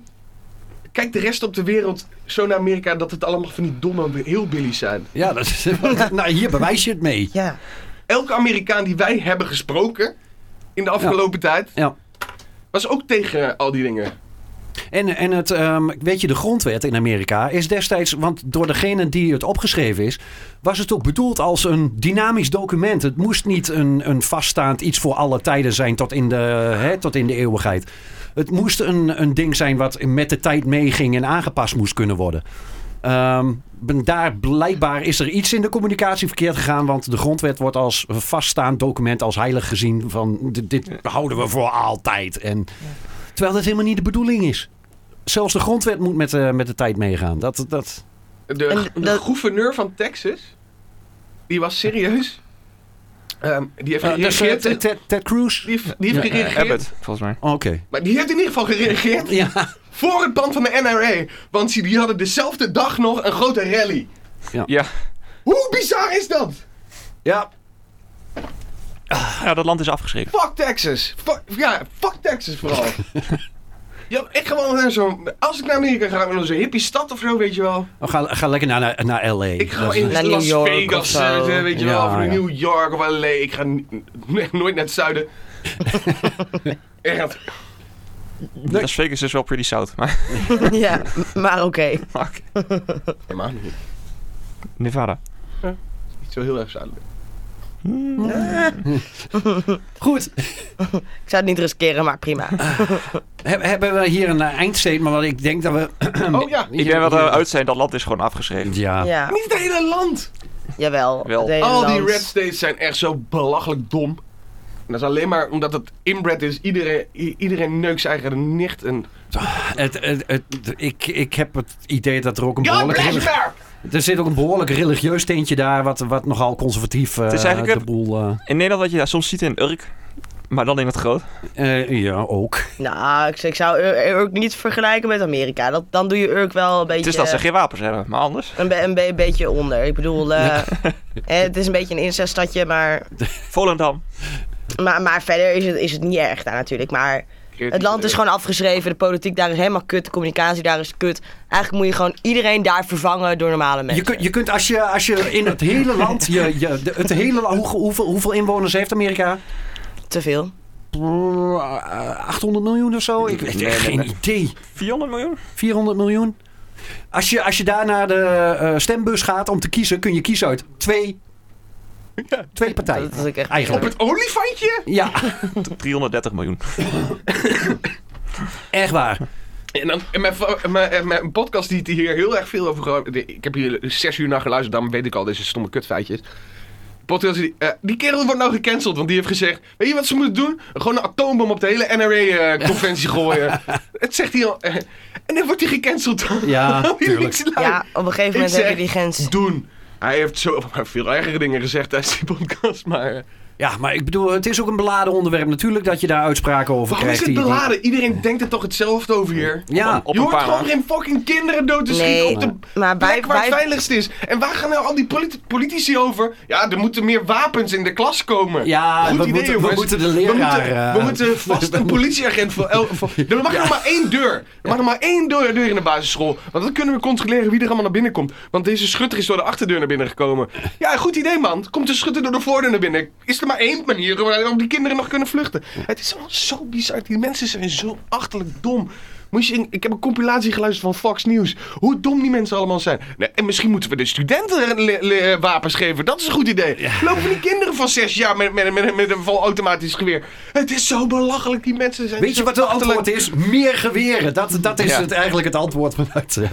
Speaker 4: Kijk de rest op de wereld zo naar Amerika dat het allemaal van die domme hillbillies zijn.
Speaker 5: Ja, dat is, nou, hier bewijs je het mee.
Speaker 2: Ja.
Speaker 4: Elke Amerikaan die wij hebben gesproken in de afgelopen tijd...
Speaker 5: Ja.
Speaker 4: was ook tegen eh, al die dingen.
Speaker 5: En, en het, ehm, weet je, de grondwet in Amerika is destijds, want door degene die het opgeschreven is, was het ook bedoeld als een dynamisch document. Het moest niet een, een vaststaand iets voor alle tijden zijn tot in de, hè, tot in de eeuwigheid. Het moest een, een ding zijn wat met de tijd meeging en aangepast moest kunnen worden. Ehm, ben- daar blijkbaar is er iets in de communicatie verkeerd gegaan, want de grondwet wordt als een vaststaand document, als heilig gezien van dit, dit houden we voor altijd. En, terwijl dat helemaal niet de bedoeling is. Zelfs de grondwet moet met, eh, met de tijd meegaan. Dat, dat,
Speaker 4: De,
Speaker 2: En
Speaker 4: de,
Speaker 2: dat-
Speaker 4: gouverneur van Texas, die was serieus. Ehm, die heeft
Speaker 5: Eh, dus, eh,
Speaker 4: gereageerd.
Speaker 5: Ted, Ted, Ted Cruz? Oh,
Speaker 4: die heeft, die heeft
Speaker 3: eh,
Speaker 4: gereageerd.
Speaker 3: Abbott, volgens mij.
Speaker 5: Oké.
Speaker 4: Maar die heeft in ieder geval gereageerd
Speaker 5: Ja.
Speaker 4: voor het pand van de NRA. Want die- die hadden dezelfde dag nog een grote rally.
Speaker 3: Ja.
Speaker 4: Hoe bizar is dat?
Speaker 5: ja.
Speaker 3: ja, dat land is afgeschreven.
Speaker 4: Fuck Texas. Fuck, ja, fuck Texas vooral. Ja, ik ga wel naar zo'n... Als ik naar Amerika ga, naar zo'n hippie stad of zo, weet je wel.
Speaker 5: Oh, Ga, ga lekker naar, naar, naar L.A.
Speaker 4: Ik ga
Speaker 5: Dat
Speaker 4: in
Speaker 5: is-
Speaker 2: Naar
Speaker 4: Las
Speaker 2: New York
Speaker 4: Vegas
Speaker 2: of zo.
Speaker 4: zitten, weet je
Speaker 5: Ja,
Speaker 4: wel. Of
Speaker 5: ja.
Speaker 4: New York of L.A. Ik ga n- nee, nooit naar het zuiden. Echt.
Speaker 3: Las Vegas is wel pretty zout, maar
Speaker 2: ja, maar oké.
Speaker 3: fuck.
Speaker 4: Helemaal niet.
Speaker 3: Nevada.
Speaker 4: Niet zo heel erg zuidelijk.
Speaker 5: Goed,
Speaker 2: Ik zou het niet riskeren, maar prima.
Speaker 5: Heb- hebben we hier een eh, eindstatement? Want ik denk dat we...
Speaker 4: Oh ja.
Speaker 3: Ik ben wel eruit zijn, dat land is gewoon afgeschreven.
Speaker 5: Ja.
Speaker 2: Ja,
Speaker 4: Niet het hele land.
Speaker 2: jawel.
Speaker 3: Wel.
Speaker 2: het hele
Speaker 4: Al die
Speaker 2: land.
Speaker 4: red states zijn echt zo belachelijk dom. En dat is alleen maar omdat het inbred is. Iedereen, i- iedereen neukt zijn eigen nicht. En...
Speaker 5: Het, het, het- ik, ik heb het idee dat er ook een
Speaker 4: God
Speaker 5: behoorlijk...
Speaker 4: bless
Speaker 5: relig-
Speaker 4: America!
Speaker 5: Er zit ook een behoorlijk religieus teentje daar, wat, wat nogal conservatief eh,
Speaker 3: is eigenlijk
Speaker 5: de boel... eh,
Speaker 3: In Nederland wat je daar soms ziet in Urk, maar dan in het groot.
Speaker 5: eh, ja, ook.
Speaker 2: Nou, ik, ik zou Ur- Urk niet vergelijken met Amerika. Dat, dan doe je Urk wel een beetje...
Speaker 3: Het is dat ze geen wapens hebben, maar anders.
Speaker 2: Een, be- een be- beetje onder. Ik bedoel, eh, eh, het is een beetje een inceststadje, maar,
Speaker 3: Volendam.
Speaker 2: maar, maar verder is het, is het niet erg daar natuurlijk. Maar het land is gewoon afgeschreven, de politiek daar is helemaal kut, de communicatie daar is kut. Eigenlijk moet je gewoon iedereen daar vervangen door normale
Speaker 5: Je
Speaker 2: mensen.
Speaker 5: kunt, je kunt als, je, als je in het hele land... Je, je, de- het hele, la- hoe, hoeveel, hoeveel inwoners heeft Amerika?
Speaker 2: Te veel.
Speaker 5: Brrr, eh, 800 miljoen of zo? Ik weet
Speaker 3: Nee,
Speaker 5: echt
Speaker 3: nee,
Speaker 5: geen
Speaker 3: nee.
Speaker 5: idee.
Speaker 3: 400 miljoen?
Speaker 5: 400 miljoen? Als je, als je daar naar de eh, stembus gaat om te kiezen, kun je kiezen uit twee, twee partijen.
Speaker 2: Dat is ook echt
Speaker 4: Op
Speaker 5: Eigenlijk.
Speaker 4: het olifantje?
Speaker 5: Ja,
Speaker 3: 330 miljoen.
Speaker 5: echt waar.
Speaker 4: En, dan, en, mijn, va- en mijn, en mijn podcast die het hier heel erg veel over gehad. Ik heb hier zes uur naar geluisterd, daarom weet ik al deze stomme kutfeitjes. Podcast, die, eh, die kerel wordt nou gecanceld, want die heeft gezegd: Weet je wat ze moeten doen? Gewoon een atoombom op de hele NRA-conferentie eh, gooien. Het zegt hij al. eh, en dan wordt hij gecanceld.
Speaker 5: Ja,
Speaker 4: Al die
Speaker 5: tuurlijk.
Speaker 4: linkslui.
Speaker 2: Ja, op een gegeven moment heb
Speaker 4: Ik
Speaker 2: je
Speaker 4: zeg-
Speaker 2: die grens.
Speaker 4: Doen. Hij heeft zo maar veel ergere dingen gezegd tijdens die podcast, maar. eh,
Speaker 5: Ja, maar ik bedoel, het is ook een beladen onderwerp. Natuurlijk dat je daar uitspraken over
Speaker 4: Waarom is
Speaker 5: krijgt.
Speaker 4: het
Speaker 5: die- die-
Speaker 4: beladen? Iedereen denkt er toch hetzelfde over hier?
Speaker 5: Ja,
Speaker 3: Op
Speaker 4: je
Speaker 3: een
Speaker 4: hoort
Speaker 3: paar
Speaker 4: gewoon
Speaker 3: na.
Speaker 4: geen fucking kinderen dood te schieten
Speaker 2: Nee,
Speaker 4: dus op de
Speaker 2: maar
Speaker 4: plek
Speaker 2: wij-
Speaker 4: waar het
Speaker 2: wij-
Speaker 4: veiligst is. En waar gaan nou al die polit- politici over? Ja, er moeten meer wapens in de klas komen.
Speaker 5: Ja, we moeten- we
Speaker 4: jongens.
Speaker 5: moeten de
Speaker 4: We
Speaker 5: leraar,
Speaker 4: moeten,
Speaker 5: eh,
Speaker 4: we moeten vast een politieagent voor elke... Voor, er mag nog maar één deur. Er mag nog maar één deur, deur in de basisschool. Want dan kunnen we controleren wie er allemaal naar binnen komt. Want deze schutter is door de achterdeur naar binnen gekomen. Ja, goed idee man. Komt de schutter door de voordeur naar binnen. Is er maar één manier waarop die kinderen nog kunnen vluchten. Het is allemaal zo bizar. Die mensen zijn zo achterlijk dom. Moest je in- ik heb een compilatie geluisterd van Fox News. Hoe dom die mensen allemaal zijn. Nee, en misschien moeten we de studenten le- le- wapens geven. Dat is een goed idee. Lopen die kinderen van zes jaar met, met, met, met een volautomatisch geweer. Het is zo belachelijk. Die mensen zijn
Speaker 5: Weet
Speaker 4: zo
Speaker 5: je wat het
Speaker 4: achterlijk.
Speaker 5: antwoord is? Meer geweren. Dat, dat is
Speaker 3: Ja.
Speaker 5: het, eigenlijk het antwoord. vanuit, eh,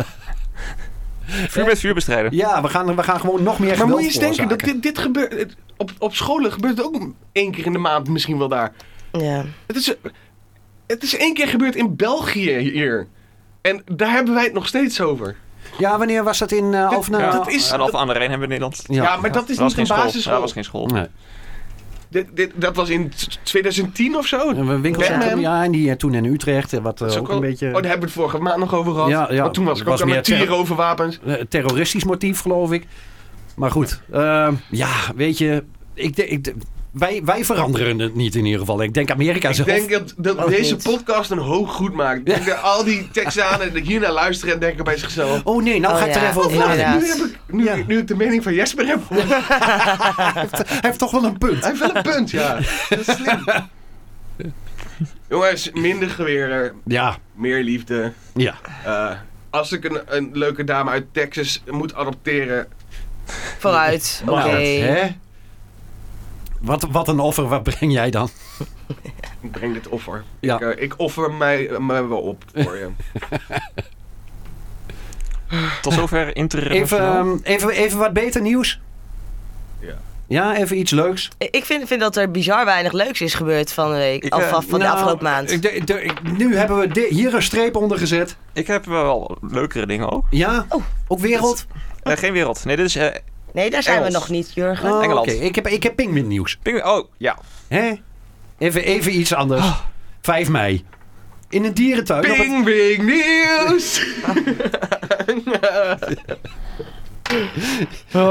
Speaker 3: Vuur met vuur bestrijden.
Speaker 5: Ja, we gaan, we gaan gewoon nog meer
Speaker 4: Maar
Speaker 5: geweld
Speaker 4: moet je eens denken dat
Speaker 5: veroorzaken.
Speaker 4: dit, dit gebeurt. het- Op, op scholen gebeurt het ook één keer in de maand misschien wel daar.
Speaker 2: Ja.
Speaker 4: Het is, het is één keer gebeurd in België hier. En daar hebben wij het nog steeds over.
Speaker 5: Ja, wanneer was dat in eh Alphen?
Speaker 4: Ja.
Speaker 5: eh,
Speaker 4: Dat is-
Speaker 3: En Alphen aan de Rijn hebben we in Nederland.
Speaker 5: Ja.
Speaker 4: Ja, maar dat
Speaker 3: Dat
Speaker 4: is
Speaker 3: was
Speaker 4: niet
Speaker 3: geen
Speaker 4: een
Speaker 3: school. Ja,
Speaker 4: basisschool.
Speaker 3: dat was geen school.
Speaker 5: Nee.
Speaker 4: Dit, dit, dat was in t- 2010 of zo.
Speaker 5: Een winkelcentrum,
Speaker 4: Batman.
Speaker 5: ja, en die eh, toen in Utrecht, eh, wat eh,
Speaker 4: Dat is
Speaker 5: ook een beetje
Speaker 4: Oh, daar hebben we het vorige maand nog over gehad.
Speaker 5: Ja, ja.
Speaker 4: Want toen was ik
Speaker 5: Was
Speaker 4: ook aan
Speaker 5: meer
Speaker 4: met
Speaker 5: terror-
Speaker 4: tieren over wapens.
Speaker 5: eh, terroristisch motief, geloof ik. Maar goed, ehm, ja, weet je, ik, de- ik, de- wij, wij veranderen het niet in ieder geval. Ik denk Amerika
Speaker 4: Ik
Speaker 5: zelf.
Speaker 4: denk dat, dat
Speaker 5: Oh,
Speaker 2: Ook
Speaker 4: deze
Speaker 2: niet.
Speaker 4: podcast een hoog goed maakt. Ik denk dat al die Texanen die hiernaar luisteren en denken bij zichzelf...
Speaker 5: Oh nee, nou
Speaker 2: Oh
Speaker 5: ga ik er
Speaker 2: ja,
Speaker 5: even over
Speaker 2: inderdaad.
Speaker 5: nadenken.
Speaker 4: Nu, heb ik, nu,
Speaker 5: Ja.
Speaker 4: nu ik de mening van Jesper heb, gehoord,
Speaker 5: Hij heeft toch wel een punt.
Speaker 4: hij heeft wel een punt, ja. Dat is slim. Jongens, minder geweren,
Speaker 5: Ja,
Speaker 4: meer liefde.
Speaker 5: ja.
Speaker 4: Eh, als ik een, een leuke dame uit Texas moet adopteren,
Speaker 2: Vooruit. Oké.
Speaker 5: Maar, Nou, hè? Wat, wat een offer, wat breng jij dan?
Speaker 4: ik breng dit offer.
Speaker 5: Ja.
Speaker 4: Ik, eh, ik offer mij, mij wel op voor je.
Speaker 3: Tot zover
Speaker 5: Even,
Speaker 3: internationaal.
Speaker 5: ehm, even, even wat beter nieuws.
Speaker 4: Ja.
Speaker 5: Ja, even iets leuks.
Speaker 2: Ik vind, vind dat er bizar weinig leuks is gebeurd van de week.
Speaker 3: Ik,
Speaker 2: Of
Speaker 3: eh,
Speaker 2: van, van de
Speaker 5: Nou,
Speaker 2: afgelopen maand.
Speaker 5: ik denk- de- ik- nu hebben we di- hier een streep onder gezet.
Speaker 3: Ik heb wel leukere dingen ook.
Speaker 5: Ja,
Speaker 2: Oh.
Speaker 5: ook wereld.
Speaker 3: Eh, geen wereld. Nee, dit is... eh,
Speaker 2: nee, daar zijn
Speaker 3: Engels.
Speaker 2: we nog niet, Jurgen.
Speaker 5: Oh,
Speaker 3: Engeland.
Speaker 5: oké. Ik heb, ik heb Pingmin nieuws.
Speaker 3: pingwin- oh, ja.
Speaker 5: Hè? Even, even iets anders. 5 mei. In een dierentuin. op het-
Speaker 4: Ping, ping, nieuws! Oh,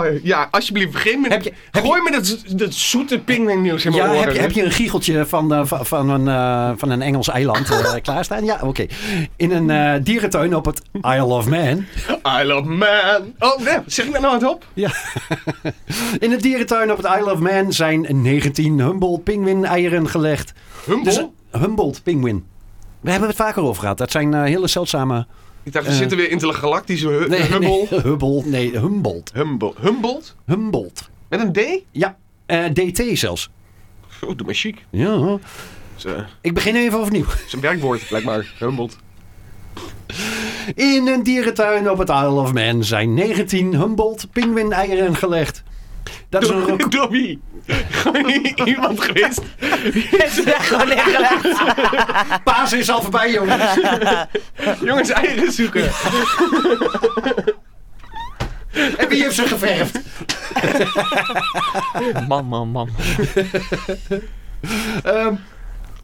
Speaker 4: oh, ja, alsjeblieft, begin met...
Speaker 5: Heb je- heb
Speaker 4: gooi me dat, z- dat zoete pingwingnieuws in mijn
Speaker 5: Ja,
Speaker 4: oren.
Speaker 5: heb je, heb je een giecheltje van, eh, van, van een, eh, van een Engels eiland eh, klaarstaan? Ja, oké. In een eh, dierentuin op het Isle of Man.
Speaker 4: I love man. Oh, nee, zeg ik dat nou hardop?
Speaker 5: Ja. In een dierentuin op het Isle of Man zijn 19 Humboldt pinguïn eieren gelegd.
Speaker 4: Humble?
Speaker 5: Dus, Humboldt pinguïn. We hebben het vaker over gehad. Dat zijn eh, hele zeldzame...
Speaker 4: ik dacht, we
Speaker 5: eh,
Speaker 4: zitten weer in de galactische hu Hubble.
Speaker 5: nee, Hubble. Nee, Humboldt.
Speaker 4: Humble. Humboldt?
Speaker 5: Humboldt.
Speaker 4: Met een D?
Speaker 5: Ja, eh, DT zelfs.
Speaker 4: Oh, doe maar chic. eh,
Speaker 5: Ja.
Speaker 4: Zijn
Speaker 5: Ik begin even opnieuw.
Speaker 4: werkwoord, blijkbaar. Humboldt.
Speaker 5: In een dierentuin op het Isle of Man zijn 19 Humboldt pinguïn-eieren gelegd. Dat is een record.
Speaker 4: Dobby. Gewoon iemand geweest.
Speaker 2: Gewoon neergelegd. Oh,
Speaker 5: Paas is al voorbij, jongens.
Speaker 4: Jongens, eieren zoeken.
Speaker 5: En wie heeft ze geverfd?
Speaker 3: Man, man, man.
Speaker 5: Ehm,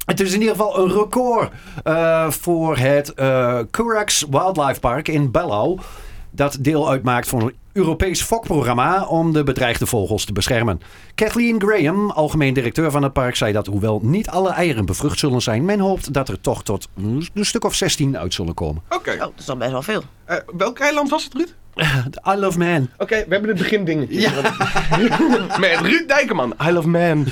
Speaker 5: het is in ieder geval een record eh, voor het eh Curax Wildlife Park in Bellau. Dat deel uitmaakt van een Europees fokprogramma om de bedreigde vogels te beschermen. Kathleen Graham, algemeen directeur van het park, zei dat hoewel niet alle eieren bevrucht zullen zijn, men hoopt dat er toch tot een stuk of 16 uit zullen komen.
Speaker 4: Oké.
Speaker 2: Oh, dat is al best wel veel.
Speaker 4: Eh, welk eiland was het, Ruud?
Speaker 5: I love man.
Speaker 4: Oké, we hebben het begindingetje. Met Ruud Dijkerman. I love man.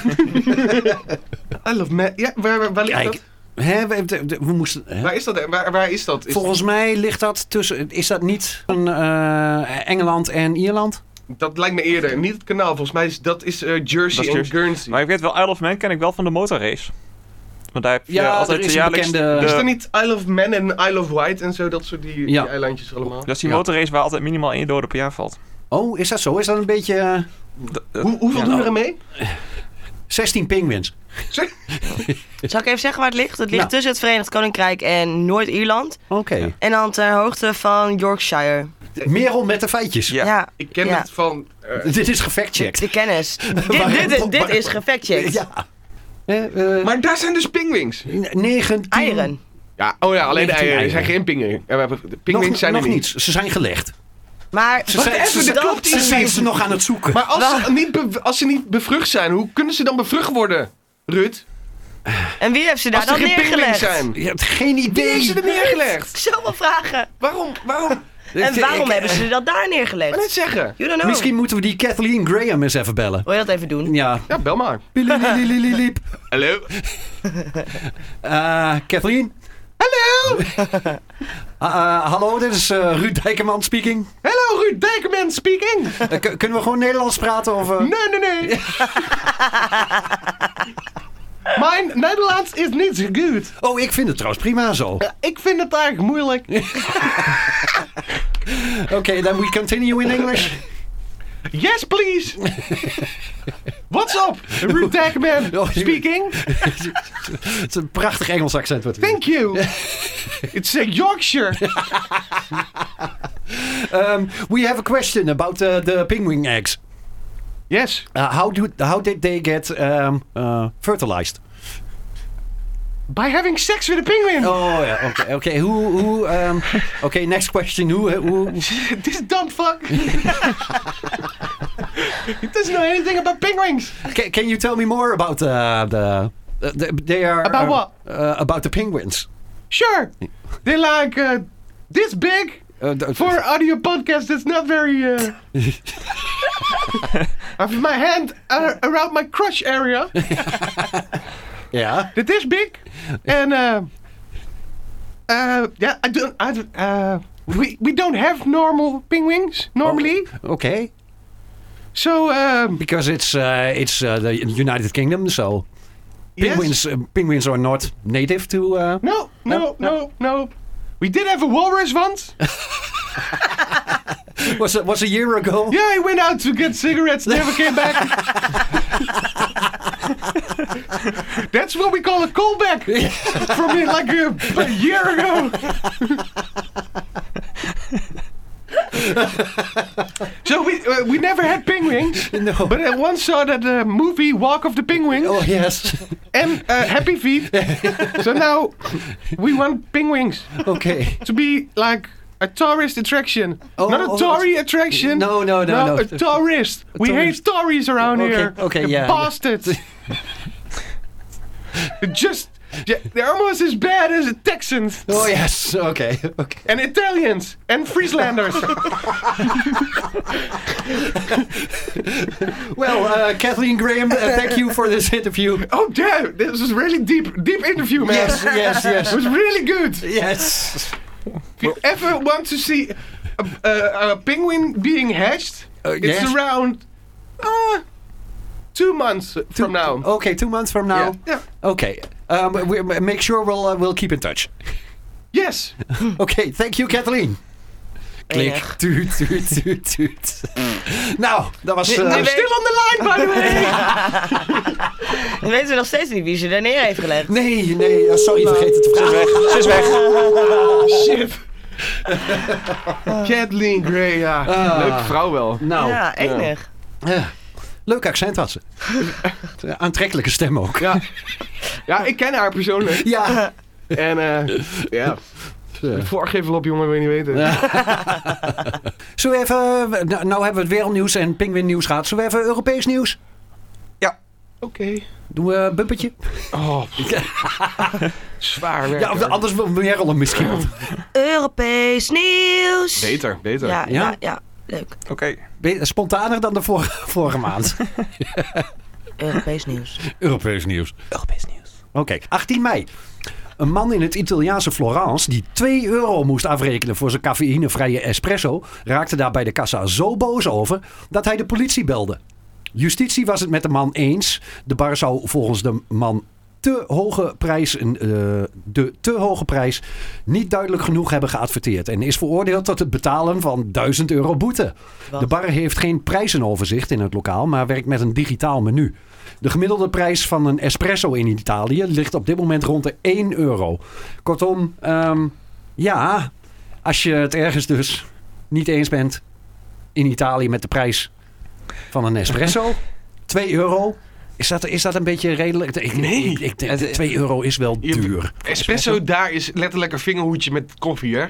Speaker 4: I love man. Ja, waar, waar, waar ligt
Speaker 5: Kijk,
Speaker 4: dat?
Speaker 5: hè, we, de- de- we moesten. hè?
Speaker 4: Waar is dat? en Waar, waar is dat? Is
Speaker 5: Volgens mij ligt dat tussen. Is dat niet een, eh, Engeland en Ierland?
Speaker 4: Dat lijkt me eerder. Niet het kanaal. Volgens mij is dat is, eh, Jersey
Speaker 3: Dat is
Speaker 4: en
Speaker 3: Jersey.
Speaker 4: Guernsey.
Speaker 3: Maar ik weet wel, Isle of Man ken ik wel van de motorrace. Want daar heb je
Speaker 5: Ja,
Speaker 3: altijd
Speaker 5: er is een
Speaker 3: jaarlijks
Speaker 5: bekende-
Speaker 3: de-
Speaker 4: is dat niet I love man en I love white en zo? Dat soort die,
Speaker 5: Ja.
Speaker 4: die eilandjes allemaal.
Speaker 3: dat is die
Speaker 5: Ja.
Speaker 3: motorrace waar altijd minimaal één dode per jaar valt.
Speaker 5: Oh, is dat zo? Is dat een beetje. eh,
Speaker 3: Dat- dat-
Speaker 4: Hoe, hoeveel
Speaker 3: ja,
Speaker 4: doen we
Speaker 3: nou,
Speaker 4: er mee?
Speaker 5: 16 pinguïns.
Speaker 2: Zal ik even zeggen waar het ligt? Het ligt
Speaker 5: Ja.
Speaker 2: tussen het Verenigd Koninkrijk en Noord-Ierland.
Speaker 5: Oké.
Speaker 2: En dan ter hoogte van Yorkshire.
Speaker 5: Merel met de feitjes.
Speaker 3: Ja.
Speaker 2: Ja,
Speaker 4: Ik ken
Speaker 2: Ja.
Speaker 4: het van... eh,
Speaker 5: Dit is gefactcheckt.
Speaker 2: de kennis. dit, dit, dit, dit is gefactcheckt.
Speaker 5: Ja. Eh, eh,
Speaker 4: maar daar zijn dus pingwings.
Speaker 5: n- 19
Speaker 2: Eieren.
Speaker 4: Ja, oh ja, alleen de
Speaker 5: 19
Speaker 4: eieren. Er
Speaker 5: eieren.
Speaker 4: zijn geen pingwings. Ja, we hebben- de
Speaker 5: Nog,
Speaker 4: pingwings zijn
Speaker 5: nog
Speaker 4: er niet.
Speaker 5: niet. Ze zijn gelegd.
Speaker 2: Maar
Speaker 5: Ze zijn,
Speaker 4: even,
Speaker 5: ze,
Speaker 4: de
Speaker 5: zijn-
Speaker 4: klok
Speaker 5: ze
Speaker 4: die-
Speaker 5: zijn ze nog aan het zoeken.
Speaker 4: Maar als ze, niet be- als ze niet bevrucht zijn, hoe kunnen ze dan bevrucht worden, Ruud?
Speaker 2: en wie heeft ze daar
Speaker 4: Als er
Speaker 2: dan
Speaker 4: geen pingwings
Speaker 2: neergelegd?
Speaker 4: zijn.
Speaker 5: je hebt geen
Speaker 4: Wie heeft
Speaker 5: idee.
Speaker 4: ze er neergelegd?
Speaker 2: Zoveel vragen.
Speaker 4: Waarom? Waarom?
Speaker 2: En waarom hebben ze dat daar
Speaker 4: Maar net
Speaker 2: neergelegd?
Speaker 4: zeggen.
Speaker 2: You don't know.
Speaker 5: Misschien moeten we die Kathleen Graham eens even bellen.
Speaker 2: Wil je dat even doen?
Speaker 5: Ja.
Speaker 4: Ja, bel maar.
Speaker 5: Pililililililiep.
Speaker 4: Hallo?
Speaker 5: Eh, Kathleen? Hallo! hallo, dit is eh, Ruud Dijkerman speaking.
Speaker 4: Hallo, Ruud Dijkman speaking.
Speaker 5: Eh, k- kunnen we gewoon Nederlands praten? Of, eh?
Speaker 4: Nee, nee, nee. Mijn Nederlands is niet zo goed.
Speaker 5: Oh, ik vind het trouwens prima zo. Oké,
Speaker 4: Ik vind het eigenlijk moeilijk.
Speaker 5: then we continue in English.
Speaker 4: Yes, please. What's up? Ruud
Speaker 2: Oh,
Speaker 4: Dijkman speaking.
Speaker 5: Het is een prachtig Engels accent. Wat we doen.
Speaker 4: Thank you. It's a Yorkshire.
Speaker 5: Um, we have a question about uh, the penguin eggs.
Speaker 4: Yes.
Speaker 5: Uh, how do how did they get um, uh, fertilized?
Speaker 4: By having sex with a penguin.
Speaker 5: Oh yeah, okay, okay. Who who? Um, okay, next question. Who who?
Speaker 4: This dumb fuck. He doesn't know anything about penguins.
Speaker 5: Can, can you tell me more about uh, the? Uh, the- they are
Speaker 4: About
Speaker 5: uh,
Speaker 4: what?
Speaker 5: Uh, about the penguins.
Speaker 4: Sure. They're like uh, this big.
Speaker 5: Uh, the-
Speaker 4: For an audio podcast, it's not very. Uh... I have my hand uh, around my crush area.
Speaker 5: yeah.
Speaker 4: They're this big. And, uh. Uh, yeah, I don't. I, don't- uh, we, we don't have normal penguins normally.
Speaker 5: Oh. Okay.
Speaker 4: So, um.
Speaker 5: Because it's uh, it's uh, the United Kingdom, so
Speaker 4: yes.
Speaker 5: penguins uh, penguins are not native to. Uh,
Speaker 4: No, no, no, no. We did have a walrus once.
Speaker 5: was it was a year ago?
Speaker 4: Yeah, he went out to get cigarettes, never came back. That's what we call a callback from it like uh, a, a year ago. so we uh, we never had penguins,
Speaker 5: No.
Speaker 4: but I once saw that uh, movie Walk of the Penguins
Speaker 5: Oh yes.
Speaker 4: and uh, Happy Feet. so now we want penguins
Speaker 5: okay.
Speaker 4: to be like a tourist attraction.
Speaker 5: Oh,
Speaker 4: Not a
Speaker 5: oh,
Speaker 4: Tory attraction.
Speaker 5: No, no, no, no.
Speaker 4: a tourist. We
Speaker 5: tourist.
Speaker 4: hate Tories around
Speaker 5: Okay,
Speaker 4: here.
Speaker 5: okay,
Speaker 4: You
Speaker 5: yeah.
Speaker 4: Bastards. Just, yeah, they're almost as bad as the Texans
Speaker 5: Oh yes, oké. oké.
Speaker 4: and Italians and Frieslanders.
Speaker 5: Well, uh, Kathleen Graham, uh, thank you for this interview.
Speaker 4: oh damn, this is really deep, deep interview, man.
Speaker 5: Yes, yes, yes.
Speaker 4: It was really good.
Speaker 5: Yes.
Speaker 4: If you ever want to see a, a, a penguin being hatched,
Speaker 5: Uh,
Speaker 4: it's
Speaker 5: yes.
Speaker 4: around uh, two months from now.
Speaker 5: Okay, two oh. months from now.
Speaker 4: Yeah.
Speaker 5: Okay. Um, we, we- make sure we'll uh, we'll keep in touch.
Speaker 4: Yes.
Speaker 3: Hmm.
Speaker 5: Okay, thank you Kathleen. Klik.
Speaker 2: Enig.
Speaker 5: Tuut, tuut, tuut, tuut.
Speaker 3: Hmm.
Speaker 5: Nou, dat was... eh,
Speaker 4: I'm still on the line, by the way.
Speaker 2: Dan weten we nog steeds niet wie ze daar neer heeft gelegd.
Speaker 5: nee, nee, eh, sorry, vergeet het te
Speaker 3: Ze is
Speaker 5: vertellen.
Speaker 3: weg. Ze is
Speaker 5: Ah,
Speaker 3: weg.
Speaker 4: Shit. Kathleen Gray, ja.
Speaker 5: Ah.
Speaker 4: Leuke vrouw wel.
Speaker 5: Nou,
Speaker 2: ja, enig.
Speaker 5: eh, leuk accent was ze. Eh, Aantrekkelijke stem ook.
Speaker 4: Ja. ja, ik ken haar persoonlijk.
Speaker 5: Ja.
Speaker 4: En eh ja, voorgevel op jongen, wil je niet weten.
Speaker 5: Zullen we even... Nou, nou hebben we het wereldnieuws en pinguïnnieuws gehad. Zullen we even Europees nieuws?
Speaker 4: Oké.
Speaker 5: Doen we een bumpertje?
Speaker 4: Oh, zwaar werk.
Speaker 5: Ja, of anders wil Merel hem misschien. wel.
Speaker 2: Europees nieuws.
Speaker 4: Beter, beter.
Speaker 2: Ja, ja,
Speaker 5: Ja?
Speaker 2: ja, Leuk.
Speaker 3: Oké.
Speaker 5: Ben je Spontaner dan de vorige, vorige maand.
Speaker 2: Europees nieuws.
Speaker 5: Europees nieuws.
Speaker 3: Europees nieuws.
Speaker 5: Oké, 18 mei. Een man in het Italiaanse Florence die 2 euro moest afrekenen voor zijn cafeïnevrije espresso, raakte daar bij de kassa zo boos over dat hij de politie belde. Justitie was het met de man eens. De bar zou volgens de man te hoge prijs, een, eh, de te hoge prijs niet duidelijk genoeg hebben geadverteerd. En is veroordeeld tot het betalen van 1000 euro boete.
Speaker 2: Wat?
Speaker 5: De bar heeft geen prijzenoverzicht in het lokaal, maar werkt met een digitaal menu. De gemiddelde prijs van een espresso in Italië ligt op dit moment rond de 1 euro. Kortom, ehm, ja, als je het ergens dus niet eens bent in Italië met de prijs van een espresso, 2 euro. Is dat, is dat een beetje redelijk? Ik, nee. Ik, ik denk, 2 euro is wel
Speaker 4: Je-
Speaker 5: duur.
Speaker 4: Espresso daar is letterlijk een vingerhoedje met koffie, hè?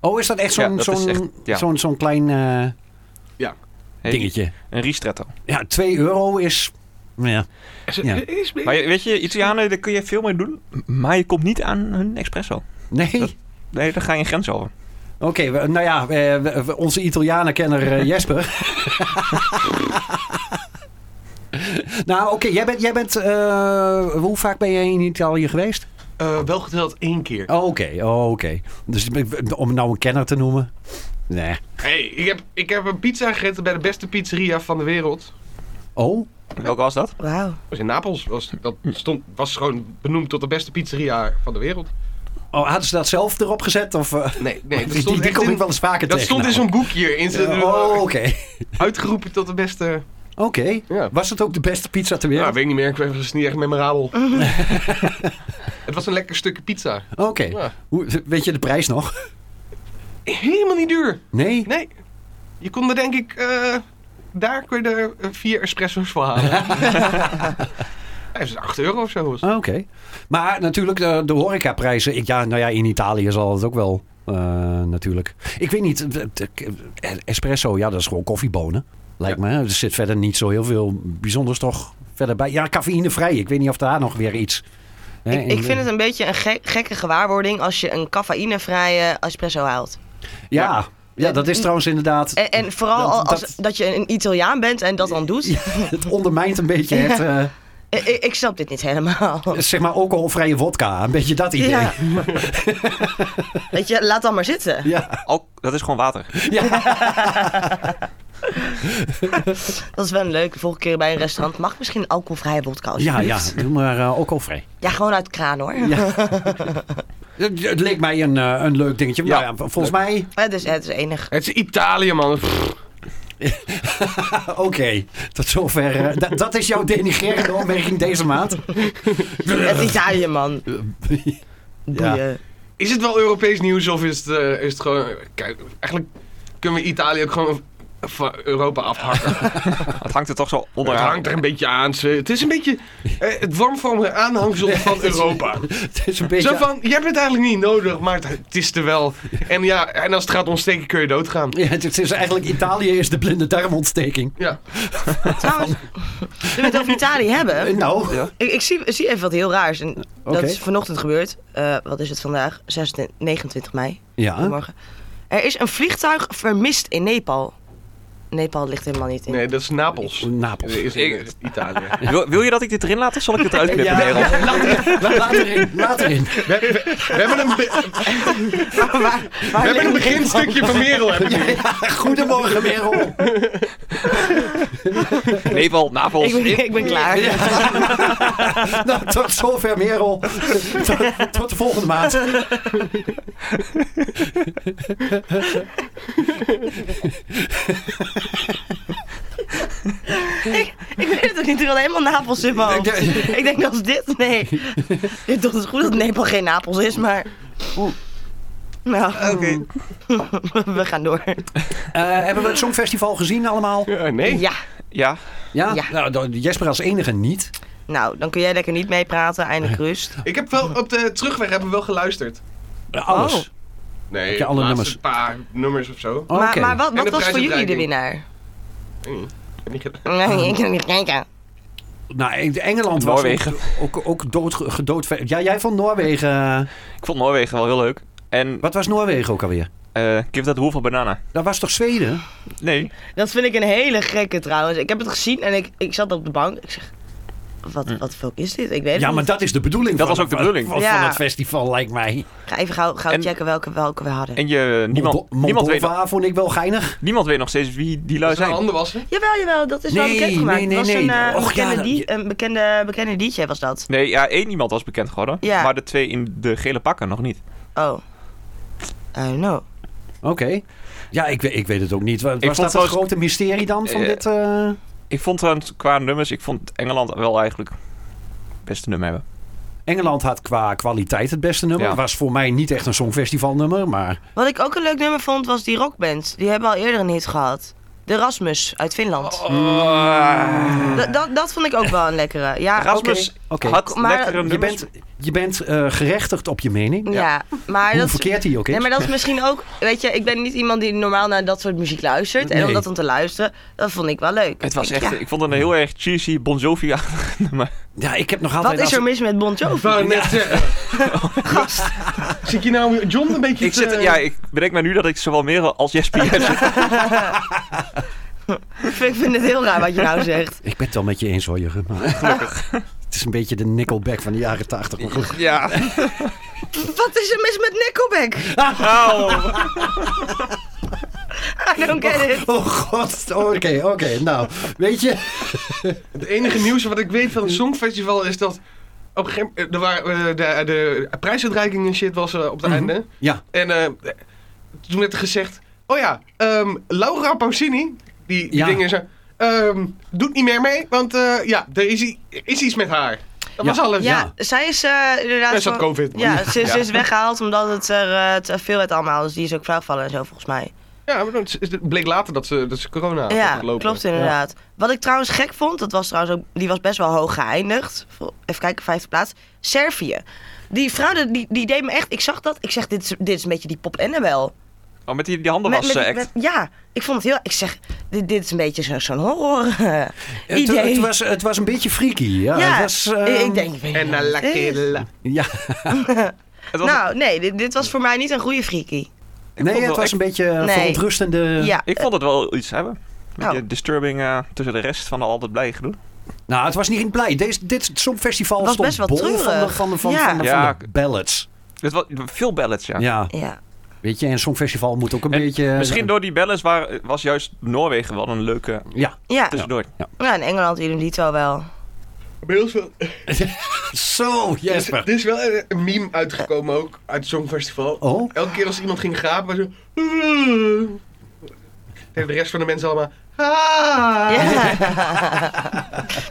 Speaker 5: Oh, is dat echt
Speaker 3: Ja,
Speaker 5: zo'n
Speaker 3: dat is
Speaker 5: zo'n-
Speaker 3: echt- ja.
Speaker 5: zo'n- zo'n klein eh,
Speaker 3: Hey,
Speaker 5: dingetje?
Speaker 3: Een ristretto.
Speaker 5: Ja, 2 euro is... Ja. Ja.
Speaker 4: Is-
Speaker 3: Maar je- weet je, Italianen, daar kun je veel mee doen. Maar je komt niet aan hun espresso.
Speaker 5: Nee.
Speaker 3: Dat- Nee, daar ga je een grens over.
Speaker 5: Oké, we- nou ja, we- we- we- onze Italianenkenner eh, Jesper. nou, oké, jij bent, jij bent eh, hoe vaak ben jij in Italië geweest?
Speaker 4: Eh, wel geteld één keer.
Speaker 5: Oh, oké, oh, oké. Dus om nou een kenner te noemen? Nee.
Speaker 4: Hey, ik, heb, ik heb een pizza gegeten bij de beste pizzeria van de wereld.
Speaker 5: Oh,
Speaker 3: Welke was dat?
Speaker 2: Wauw.
Speaker 4: was in Napels. Was, dat stond, was gewoon benoemd tot de beste pizzeria van de wereld.
Speaker 5: oh hadden ze dat zelf erop gezet? Of, eh,
Speaker 4: Nee, nee. Dat
Speaker 5: die
Speaker 4: stond,
Speaker 5: die
Speaker 4: echt
Speaker 5: kom
Speaker 4: in-
Speaker 5: ik wel eens vaker
Speaker 4: dat
Speaker 5: tegen.
Speaker 4: stond in zo'n boekje. In zijn,
Speaker 5: nou. Oh, oké.
Speaker 4: Uitgeroepen tot de beste...
Speaker 5: Oké.
Speaker 4: Ja.
Speaker 5: Was het ook de beste pizza ter
Speaker 4: Ja,
Speaker 5: wereld?
Speaker 4: weet ik niet meer. Ik weet- was niet echt memorabel. het was een lekker stukje pizza.
Speaker 5: Oké.
Speaker 4: Ja.
Speaker 5: Hoe- Weet je de prijs nog?
Speaker 4: Helemaal niet duur.
Speaker 5: Nee?
Speaker 4: Nee. Je kon er denk ik... eh, daar kun je er eh, vier espresso's voor halen. Hij is 8 euro of zo. was het.
Speaker 5: Ah, Oké. Maar natuurlijk, de, de horecaprijzen. Ik, ja, nou ja, in Italië zal het ook wel. eh, natuurlijk. Ik weet niet. de- de- eh, Espresso, ja, dat is gewoon koffiebonen. Lijkt me. Er zit verder niet zo heel veel bijzonders toch verder bij. Ja, cafeïnevrij. Ik weet niet of daar nog weer iets. hè,
Speaker 2: Ik, ik
Speaker 5: in-
Speaker 2: vind het een beetje een gek- gekke gewaarwording als je een cafeïnevrije espresso haalt.
Speaker 5: Ja, ja, dat is trouwens inderdaad.
Speaker 2: En, en vooral
Speaker 5: Dat-
Speaker 2: als
Speaker 5: dat-
Speaker 2: dat, je een Italiaan bent en dat dan doet.
Speaker 5: Ja, het ondermijnt een beetje het. eh,
Speaker 2: Ik, ik ik snap dit niet helemaal.
Speaker 5: zeg maar alcoholvrije vodka. Een beetje dat idee.
Speaker 2: Ja. Weet je, laat dan maar zitten.
Speaker 5: ja.
Speaker 3: Al, dat is gewoon water.
Speaker 5: ja.
Speaker 2: Dat is wel een leuke. Volgende keer bij een restaurant mag misschien alcoholvrije vodka.
Speaker 5: Ja, ja,
Speaker 2: alsjeblieft.
Speaker 5: doe maar eh, alcoholvrij.
Speaker 2: Ja, gewoon uit de kraan hoor.
Speaker 5: Ja. Het, het leek mij een, eh, een leuk dingetje. Maar
Speaker 3: Ja.
Speaker 5: ja, volgens mij.
Speaker 2: Het, is, dus, het is enig.
Speaker 4: Het is Italië, man. Pff.
Speaker 5: Oké, tot zover. eh, da- dat is jouw denigrerende opmerking deze maand.
Speaker 2: Het is Italië, man. Boeien.
Speaker 4: Is het wel Europees nieuws of is het, eh, is het gewoon... Kijk, eigenlijk kunnen we Italië ook gewoon van Europa afhakken.
Speaker 3: Het hangt er toch zo
Speaker 4: Het
Speaker 3: onderaan.
Speaker 4: hangt er een beetje aan. Ze- Het is een beetje eh, het warmvormige aanhangsel van Europa.
Speaker 5: Het is een
Speaker 4: Zo
Speaker 5: beetje...
Speaker 4: van, je hebt het eigenlijk niet nodig, maar het, het is er wel. En ja, en als het gaat ontsteken kun je doodgaan.
Speaker 5: Ja, het is eigenlijk Italië is de blinde darmontsteking.
Speaker 4: Ja.
Speaker 2: Trouwens, nu we het over Italië hebben.
Speaker 5: Eh, Nou,
Speaker 2: Ik, ik zie, zie even wat heel raars. En
Speaker 5: Oké.
Speaker 2: Dat is vanochtend gebeurd. Eh, wat is het vandaag? 26, 29 mei.
Speaker 5: ja.
Speaker 2: Morgen. Er is een vliegtuig vermist in Nepal. Nepal ligt helemaal niet in.
Speaker 4: Nee, dat is Napels.
Speaker 5: Napels.
Speaker 4: Is in eh, Italië.
Speaker 3: Wil, wil je dat ik dit erin laat of zal ik het eruit knippen, Merel?
Speaker 5: Later in, later in.
Speaker 4: We, we- we hebben een, be-
Speaker 2: Waar- waar
Speaker 4: we hebben een
Speaker 2: ligt-
Speaker 4: beginstukje van Merel. hebben we.
Speaker 5: Goedemorgen, Merel.
Speaker 3: Nepal, Napels.
Speaker 2: Ik ben,
Speaker 3: in-
Speaker 2: ik ben klaar.
Speaker 5: Nou, tot zover, Merel. Tot, tot de volgende maand.
Speaker 2: Ik, ik weet het ook niet. Ik wil helemaal Napels in mijn hoofd.
Speaker 5: Ja.
Speaker 2: Ik denk als dit. Nee. Ik dacht het is goed dat Nepal geen Napels is, maar. Nou,
Speaker 4: Oké.
Speaker 2: we gaan door.
Speaker 5: Eh, hebben we het Songfestival gezien allemaal?
Speaker 4: Ja, nee.
Speaker 2: Ja.
Speaker 3: Ja,
Speaker 2: Ja.
Speaker 5: Nou, dan- Jesper als enige niet.
Speaker 2: Nou, dan kun jij lekker niet meepraten. Eindelijk rust.
Speaker 4: Ik heb wel op de terugweg hebben we wel geluisterd.
Speaker 5: Eh, Alles.
Speaker 2: Oh.
Speaker 4: Nee,
Speaker 5: Heb je alle
Speaker 4: de laatste
Speaker 5: nummers?
Speaker 4: paar nummers of zo.
Speaker 5: Oké.
Speaker 2: Maar, maar wat,
Speaker 4: En
Speaker 2: wat
Speaker 4: de
Speaker 2: was voor jullie de
Speaker 4: prijsuitreiking.
Speaker 2: winnaar?
Speaker 4: Heb niet gedaan.
Speaker 5: Oh.
Speaker 2: Nee, ik kan niet kijken.
Speaker 5: Nou, Eng- Engeland was
Speaker 3: Noorwegen.
Speaker 5: ook, ook, ook dood, gedood. Ja, jij vond Noorwegen... eh,
Speaker 3: ik vond Noorwegen wel heel leuk. En
Speaker 5: Wat was Noorwegen ook alweer?
Speaker 3: eh give dat hoeveel banana?
Speaker 5: Dat was toch Zweden?
Speaker 3: Nee.
Speaker 2: Dat vind ik een hele gekke trouwens. Ik heb het gezien en ik, ik zat op de bank. Ik zeg, wat, wat de fuck is dit? Ik weet het
Speaker 5: Hm. Ja,
Speaker 2: niet.
Speaker 5: maar dat is de bedoeling.
Speaker 3: Dat
Speaker 5: van-
Speaker 3: was ook de bedoeling.
Speaker 5: Van, van
Speaker 2: Ja.
Speaker 5: het festival, lijkt mij.
Speaker 2: Ga even gauw, gauw
Speaker 3: En-
Speaker 2: checken welke, welke we hadden.
Speaker 3: En je, niemand,
Speaker 5: Moldo-
Speaker 3: niemand, weet,
Speaker 5: Moldova vond ik wel geinig.
Speaker 3: niemand weet nog steeds wie die lui
Speaker 4: Zijn
Speaker 3: zijn.
Speaker 4: handen wassen.
Speaker 2: Jawel, jawel, dat is wel
Speaker 5: Nee,
Speaker 2: bekendgemaakt.
Speaker 5: nee, nee,
Speaker 2: Het was
Speaker 5: nee.
Speaker 2: een, eh,
Speaker 5: Och, ja,
Speaker 2: bekende,
Speaker 5: dat-
Speaker 2: die- een bekende, bekende DJ was dat.
Speaker 3: Nee, ja, één iemand was bekend geworden.
Speaker 2: Ja.
Speaker 3: Maar de twee in de gele pakken nog niet.
Speaker 2: Oh. I don't know.
Speaker 5: Oké. Ja, ik, weet- ik weet het ook niet. Wa- Was
Speaker 3: vond
Speaker 5: dat het
Speaker 3: trouwens-
Speaker 5: grote mysterie dan van
Speaker 3: Eh,
Speaker 5: dit... eh,
Speaker 3: Ik vond trouwens qua nummers, ik vond Engeland wel eigenlijk het beste nummer hebben.
Speaker 5: Engeland had qua kwaliteit het beste nummer.
Speaker 3: Ja.
Speaker 5: Was voor mij niet echt een songfestivalnummer, maar...
Speaker 2: Wat ik ook een leuk nummer vond was die rockband. Die hebben al eerder een hit gehad. De Rasmus uit Finland. Dat- dat- dat vond ik ook wel een lekkere. Ja,
Speaker 3: Rasmus
Speaker 5: Oké.
Speaker 3: had
Speaker 2: Ah, Maar
Speaker 3: lekkere
Speaker 5: Je
Speaker 3: nummers.
Speaker 5: bent, je bent eh, gerechtigd op je mening.
Speaker 2: oké. ja. maar
Speaker 5: Hoe
Speaker 2: dat is-
Speaker 5: verkeerd hij ook is.
Speaker 2: Nee, maar dat is misschien ook... Weet je, ik ben niet iemand die normaal naar dat soort muziek luistert. En
Speaker 5: Nee.
Speaker 2: om dat dan te luisteren, dat vond ik wel leuk.
Speaker 3: Het was
Speaker 2: Ik-
Speaker 3: echt,
Speaker 2: ja,
Speaker 3: ik vond het een heel erg cheesy Bon Jovi.
Speaker 5: Ja, ik heb nog altijd...
Speaker 2: Wat is
Speaker 5: als-
Speaker 2: er mis met Bon Jovi?
Speaker 4: Ik wou net zeggen. Gast. Zit je nou John een beetje
Speaker 3: Ik
Speaker 4: te-
Speaker 3: zit, ja, ik bedenk me nu dat ik zowel meer als Jesper heb.
Speaker 2: Ik vind het heel raar wat je nou zegt.
Speaker 5: Ik ben het wel met je eens hoor, Jurgen. maar- het is een beetje de Nickelback van de jaren tachtig. Maar goed.
Speaker 3: Ja.
Speaker 2: Wat is er mis met Nickelback?
Speaker 3: Nou.
Speaker 2: I don't get it.
Speaker 5: Oh god, oké, oké. Nou, weet je...
Speaker 4: Het enige nieuws wat ik weet van het Songfestival is dat... Op een gegeven moment, er waren, eh, de, de prijsuitreiking en shit was eh,
Speaker 5: Mhm.
Speaker 4: op het einde.
Speaker 5: Ja,
Speaker 4: En eh, toen werd er gezegd... Oh ja, ehm, Laura Pausini, die, die
Speaker 5: Ja.
Speaker 4: dingen zo... ehm, doet niet meer mee, want eh, ja, er is, i- is iets met haar.
Speaker 5: Ja.
Speaker 4: Dat was alles.
Speaker 2: Ja, zij is eh, inderdaad...
Speaker 4: Ja, ze had
Speaker 2: van-
Speaker 4: COVID, man.
Speaker 2: Ja, ze, ze
Speaker 3: Ja.
Speaker 2: is weggehaald omdat het er eh, te veel werd allemaal. Dus die is ook vrijgevallen en zo, volgens mij.
Speaker 4: Ja, maar het is- het bleek later dat ze, dat ze corona had
Speaker 2: ja,
Speaker 4: opgelopen.
Speaker 2: klopt inderdaad. Wat ik trouwens gek vond, dat was trouwens ook, die was best wel hoog geëindigd. Vol- Even kijken, vijfde plaats. Servië. Die fraude, die, die deed me echt... Ik zag dat, ik zeg, dit is, dit is een beetje die pop Annabel.
Speaker 3: Oh, met die, die handen was
Speaker 2: Met-
Speaker 3: eh,
Speaker 2: met-
Speaker 3: act.
Speaker 2: met- ja, ik vond het heel... Ik zeg, dit, dit is een beetje zo- zo'n horror eh,
Speaker 5: het,
Speaker 2: idee.
Speaker 5: het was, het was een beetje freaky. Ja,
Speaker 2: ja,
Speaker 5: het was, ehm,
Speaker 2: ik- ik denk... ik weet
Speaker 4: En eh,
Speaker 2: niet wat
Speaker 4: la la
Speaker 2: het is.
Speaker 4: killa.
Speaker 5: Ja,
Speaker 3: Het was-
Speaker 2: Nou, nee, dit, dit was voor mij niet een goede freaky.
Speaker 5: nee,
Speaker 3: vond
Speaker 5: het
Speaker 3: wel
Speaker 5: was
Speaker 3: echt-
Speaker 5: een beetje eh,
Speaker 2: Nee.
Speaker 5: verontrustende...
Speaker 2: ja,
Speaker 3: ik vond het wel iets hebben. Een
Speaker 2: Oh.
Speaker 3: beetje disturbing eh, tussen de rest van de altijd blij gedoe.
Speaker 5: Nou, het was niet blij. Deze, dit songfestival
Speaker 2: Was
Speaker 5: stond
Speaker 2: best wel
Speaker 5: bol van de, van, de,
Speaker 2: treurig.
Speaker 5: van, de, van,
Speaker 2: Ja.
Speaker 5: de,
Speaker 3: Ja.
Speaker 5: van de ballads.
Speaker 3: Het was veel ballads, ja.
Speaker 5: Ja.
Speaker 2: eh, ja.
Speaker 5: weet je, en songfestival moet ook een
Speaker 3: En
Speaker 5: beetje...
Speaker 3: Misschien door die ballads waar, was juist Noorwegen wel een leuke
Speaker 5: Ja,
Speaker 2: Ja,
Speaker 3: tussendoor.
Speaker 2: ja in Engeland doen die het wel wel.
Speaker 4: Bij ons wel-
Speaker 5: zo
Speaker 4: Er is, er
Speaker 5: Jesper.
Speaker 4: is wel een een meme uitgekomen ook uit het Songfestival.
Speaker 5: Oh,
Speaker 4: Elke keer als iemand ging gapen, was zo... hebben de rest van de mensen allemaal... "Ah."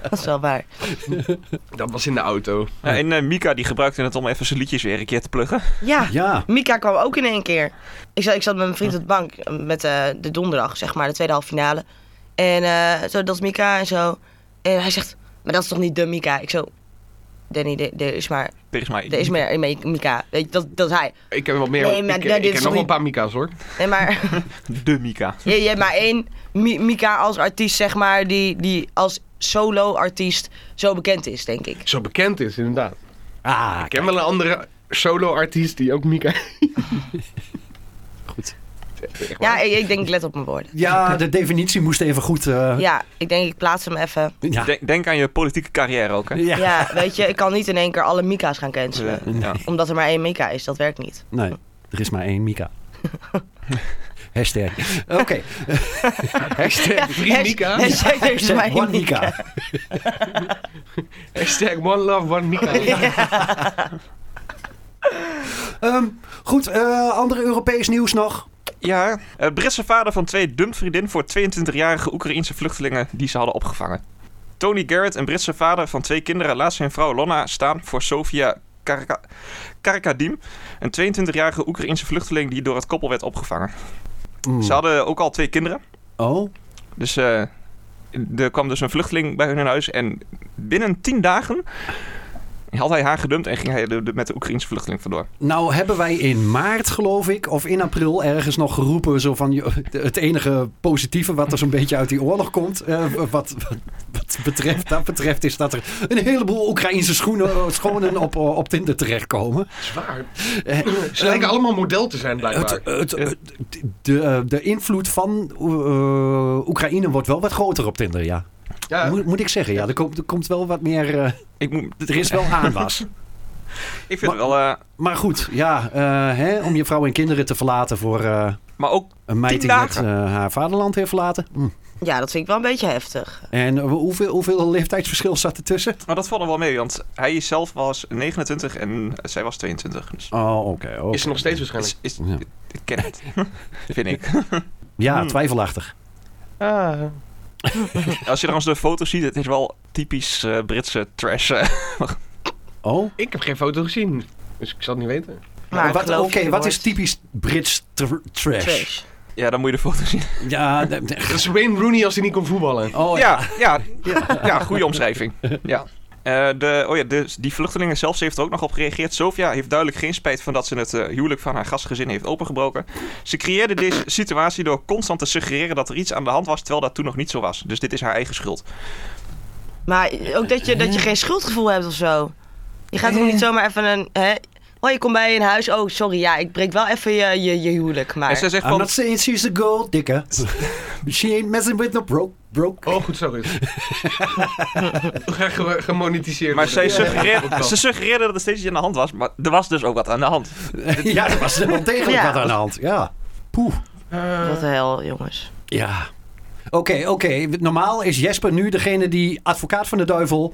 Speaker 2: dat is wel waar.
Speaker 4: Dat was in de auto.
Speaker 3: Ja, en eh, Mika die gebruikte het om even zijn liedjes weer een keer te pluggen.
Speaker 2: Ja.
Speaker 5: Ja.
Speaker 2: Mika kwam ook in één keer. Ik zat, ik zat met mijn vriend op de bank eh, met eh, de donderdag, zeg maar, de tweede halve finale. En eh, zo, dat is Mika en zo. En hij zegt, maar dat is toch niet de Mika? Ik zo, Danny, er- er is maar,
Speaker 3: Er is maar
Speaker 2: er is meer een Mika. Weet je, Dat, dat is hij.
Speaker 4: Ik heb wat meer...
Speaker 2: Nee, maar
Speaker 4: ik
Speaker 2: dit
Speaker 4: ik
Speaker 2: is
Speaker 4: ken
Speaker 2: toch
Speaker 4: nog wel een
Speaker 2: niet-
Speaker 4: paar Mika's hoor.
Speaker 2: Nee, maar...
Speaker 3: de Mika.
Speaker 2: Je, je hebt maar één Mi- Mika als artiest, zeg maar, die, die als solo-artiest zo bekend is, denk ik.
Speaker 4: Zo bekend is, inderdaad.
Speaker 5: Ah,
Speaker 4: Ik ken wel een andere solo-artiest die ook Mika...
Speaker 5: goed.
Speaker 2: Ja, ik, ik denk, ik let op mijn woorden.
Speaker 5: Ja, de definitie moest even goed. eh,
Speaker 2: Ja, ik denk, ik plaats hem even.
Speaker 5: ja.
Speaker 3: Denk, denk aan je politieke carrière ook, hè?
Speaker 5: Ja.
Speaker 2: Ja, weet je, ik kan niet in één keer alle Mika's gaan cancelen.
Speaker 3: Eh, ja.
Speaker 2: Omdat er maar één Mika is, dat werkt niet.
Speaker 5: Nee, er is maar één Mika. Hashtag. Oké,
Speaker 4: Hashtag Free
Speaker 2: Has-
Speaker 4: Mika.
Speaker 2: hashtag er is maar één
Speaker 5: one Mika.
Speaker 4: Hashtag One Love, One Mika.
Speaker 5: Ehm, goed, eh andere Europees nieuws nog.
Speaker 3: Ja, eh, Britse vader van twee dumpt vriendin voor 22-jarige Oekraïense vluchtelingen die ze hadden opgevangen. Tony Garrett, een Britse vader van twee kinderen, laat zijn vrouw Lonna staan voor Sofia Karka- Karkadim, een 22-jarige Oekraïense vluchteling die door het koppel werd opgevangen.
Speaker 5: Mm.
Speaker 3: Ze hadden ook al twee kinderen,
Speaker 5: Oh,
Speaker 3: dus eh, er kwam dus een vluchteling bij hun in huis en binnen 10 dagen had hij haar gedumpt en ging hij de- de- met de Oekraïense vluchteling vandoor.
Speaker 5: nou hebben wij in maart, geloof ik, of in april ergens nog geroepen. Zo van joh, het enige positieve wat er zo'n beetje uit die oorlog komt. eh, wat, wat, wat betreft, dat betreft, is dat er een heleboel Oekraïnse schoenen, schonen op, op Tinder terechtkomen.
Speaker 4: Zwaar.
Speaker 5: Eh,
Speaker 4: Ze lijken allemaal model te zijn, blijkbaar.
Speaker 5: Het, het, het- de, de invloed van eh, Oekraïne wordt wel wat groter op Tinder, ja.
Speaker 4: ja,
Speaker 5: Moet, moet ik zeggen, ja. Er komt, er komt wel wat meer... eh,
Speaker 3: Ik, moet-
Speaker 5: er is wel aanwas.
Speaker 3: ik vind het wel, eh,
Speaker 5: maar goed, ja. eh, hè, om je vrouw en kinderen te verlaten voor eh,
Speaker 3: maar ook
Speaker 5: een meid
Speaker 3: Tien
Speaker 5: die net,
Speaker 3: dagen.
Speaker 5: eh, haar vaderland heeft verlaten. Hm.
Speaker 2: Ja, dat vind ik wel een beetje heftig.
Speaker 5: En eh, hoeveel, hoeveel leeftijdsverschil zat ertussen?
Speaker 3: Maar dat valt er wel mee, want hij zelf was 29 en zij was 22. Dus
Speaker 5: Oh, oké. oké.
Speaker 4: is ze nog steeds waarschijnlijk.
Speaker 3: is, is,
Speaker 5: Ja.
Speaker 3: ik ken het, vind ik.
Speaker 5: Ja, Hm.
Speaker 3: Hmm.
Speaker 5: twijfelachtig.
Speaker 4: Ah.
Speaker 3: Als je trouwens de foto's ziet, het is wel typisch eh, Britse trash. eh.
Speaker 5: Oh,
Speaker 4: Ik heb geen foto gezien, dus ik zal het niet weten.
Speaker 2: Maar ik
Speaker 5: Wat- oké.
Speaker 2: geloof je
Speaker 5: wat
Speaker 2: woord.
Speaker 5: is typisch Brits tr- trash?
Speaker 2: Trash.
Speaker 3: ja, dan moet je de foto's zien.
Speaker 5: Ja, de- de-
Speaker 4: Dat is Wayne Rooney als hij niet kon voetballen.
Speaker 5: oh, ja.
Speaker 3: Ja, ja, ja, goede omschrijving. Ja. Eh, de, oh ja, de, die vluchtelingen zelfs heeft er ook nog op gereageerd. Sofia heeft duidelijk geen spijt van dat ze het eh, huwelijk van haar gastgezin heeft opengebroken. Ze creëerde deze situatie door constant te suggereren dat er iets aan de hand was, terwijl dat toen nog niet zo was. Dus dit is haar eigen schuld.
Speaker 2: Maar ook dat je, dat je geen schuldgevoel hebt of zo. Je gaat toch niet zomaar even een... Hè? Oh, je komt bij een huis. Oh, sorry, ja, ik breek wel even je, je, je huwelijk. Maar
Speaker 3: En zij zegt
Speaker 5: I'm
Speaker 3: van,
Speaker 5: not saying she's a gold digger. She ain't messing with no broke. broke.
Speaker 4: Oh, goed zo, goed. Ga ge- gemonetiseerd
Speaker 3: Maar zij
Speaker 4: worden.
Speaker 3: suggereerde, ze suggereerde dat er steeds iets aan de hand was, maar er was dus ook wat aan de hand.
Speaker 5: ja, er was wel degelijk
Speaker 2: Ja.
Speaker 5: wat aan de hand. Ja. Poeh.
Speaker 2: Wat de hel, jongens.
Speaker 5: Ja. Oké, oké. Normaal is Jesper nu degene die advocaat van de duivel.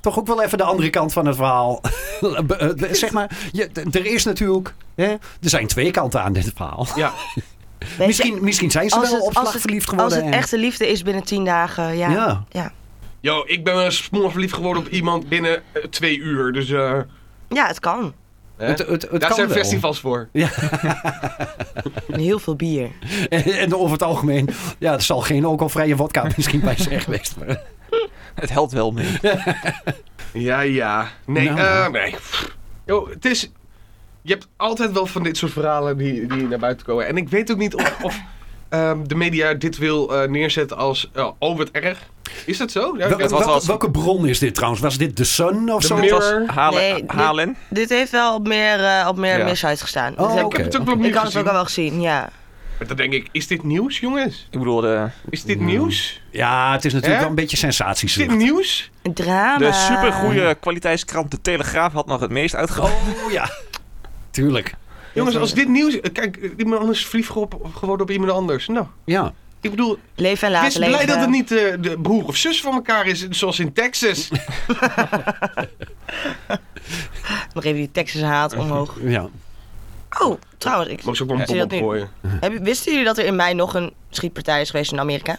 Speaker 5: Toch ook wel even de andere kant van het verhaal. Be- eh, be- zeg maar, je, d- er is natuurlijk. Hè, er zijn twee kanten aan dit verhaal.
Speaker 4: Ja,
Speaker 2: Weet je,
Speaker 5: Misschien, misschien zijn ze
Speaker 2: als
Speaker 5: wel
Speaker 2: het-
Speaker 5: op
Speaker 2: als
Speaker 5: slag
Speaker 2: het-
Speaker 5: verliefd
Speaker 2: Als
Speaker 5: geworden.
Speaker 2: het
Speaker 5: en-
Speaker 2: echte liefde is binnen tien dagen, ja.
Speaker 5: Ja.
Speaker 2: ja.
Speaker 4: Yo, ik ben wel smoor verliefd geworden op iemand binnen eh, twee uur, dus eh...
Speaker 2: Ja, het kan.
Speaker 4: hè?
Speaker 5: het, het, het
Speaker 4: Daar
Speaker 5: kan
Speaker 4: zijn
Speaker 5: wel.
Speaker 4: festivals voor.
Speaker 2: En heel veel bier.
Speaker 5: En, en over het algemeen, ja, er zal geen alcoholvrije vodka misschien bij zijn geweest. maar-
Speaker 3: Het helpt wel mee.
Speaker 4: Ja, ja. Nee,
Speaker 5: Nou,
Speaker 4: eh,
Speaker 5: nou.
Speaker 4: nee. Pff. Yo, het is... Je hebt altijd wel van dit soort verhalen die, die naar buiten komen. En ik weet ook niet of, of ehm, de media dit wil eh, neerzetten als... eh, oh, wat erg. Is dat zo? Ja,
Speaker 5: Wel-
Speaker 4: ik weet-
Speaker 3: was-
Speaker 5: welke- welke bron is dit trouwens? Was dit The Sun of
Speaker 4: De
Speaker 5: zo?
Speaker 4: Mirror.
Speaker 3: Het was halen,
Speaker 2: Nee, dit-
Speaker 3: halen.
Speaker 2: Dit heeft wel op meer, eh, op meer,
Speaker 3: Ja.
Speaker 2: meer sites gestaan.
Speaker 5: Oh,
Speaker 2: Dus heb-
Speaker 5: oké.
Speaker 4: Ik heb het ook nog
Speaker 2: Ik
Speaker 4: niet
Speaker 2: had het ook
Speaker 4: gezien.
Speaker 2: al wel gezien, ja.
Speaker 4: Maar dan denk ik, is dit nieuws, jongens?
Speaker 3: Ik bedoel, de,
Speaker 4: Is dit nieuws?
Speaker 5: Ja, het is natuurlijk
Speaker 4: Hè?
Speaker 5: wel een beetje
Speaker 4: Is dit
Speaker 5: sensatiezucht.
Speaker 4: nieuws?
Speaker 2: Een drama.
Speaker 3: de supergoeie kwaliteitskrant De Telegraaf had nog het meest uitgehaald.
Speaker 5: Oh ja, tuurlijk.
Speaker 4: Jongens, als dit nieuws... eh, Kijk, eh, iemand anders is verliefd gewo- geworden op iemand anders. Nou,
Speaker 5: Ja.
Speaker 4: ik bedoel...
Speaker 2: Leven en laten
Speaker 4: Wees blij
Speaker 2: leven.
Speaker 4: dat het niet eh, de broer of zus van elkaar is, zoals in Texas.
Speaker 3: Mhm.
Speaker 2: Nog even die Texas haat omhoog.
Speaker 5: Ja.
Speaker 2: Oh, trouwens, ik
Speaker 4: Mag ze ook wel een
Speaker 2: zie
Speaker 4: bom
Speaker 2: dat nu.
Speaker 4: opgooien?
Speaker 2: Heb je- wisten jullie dat er in mei nog een schietpartij is geweest in Amerika?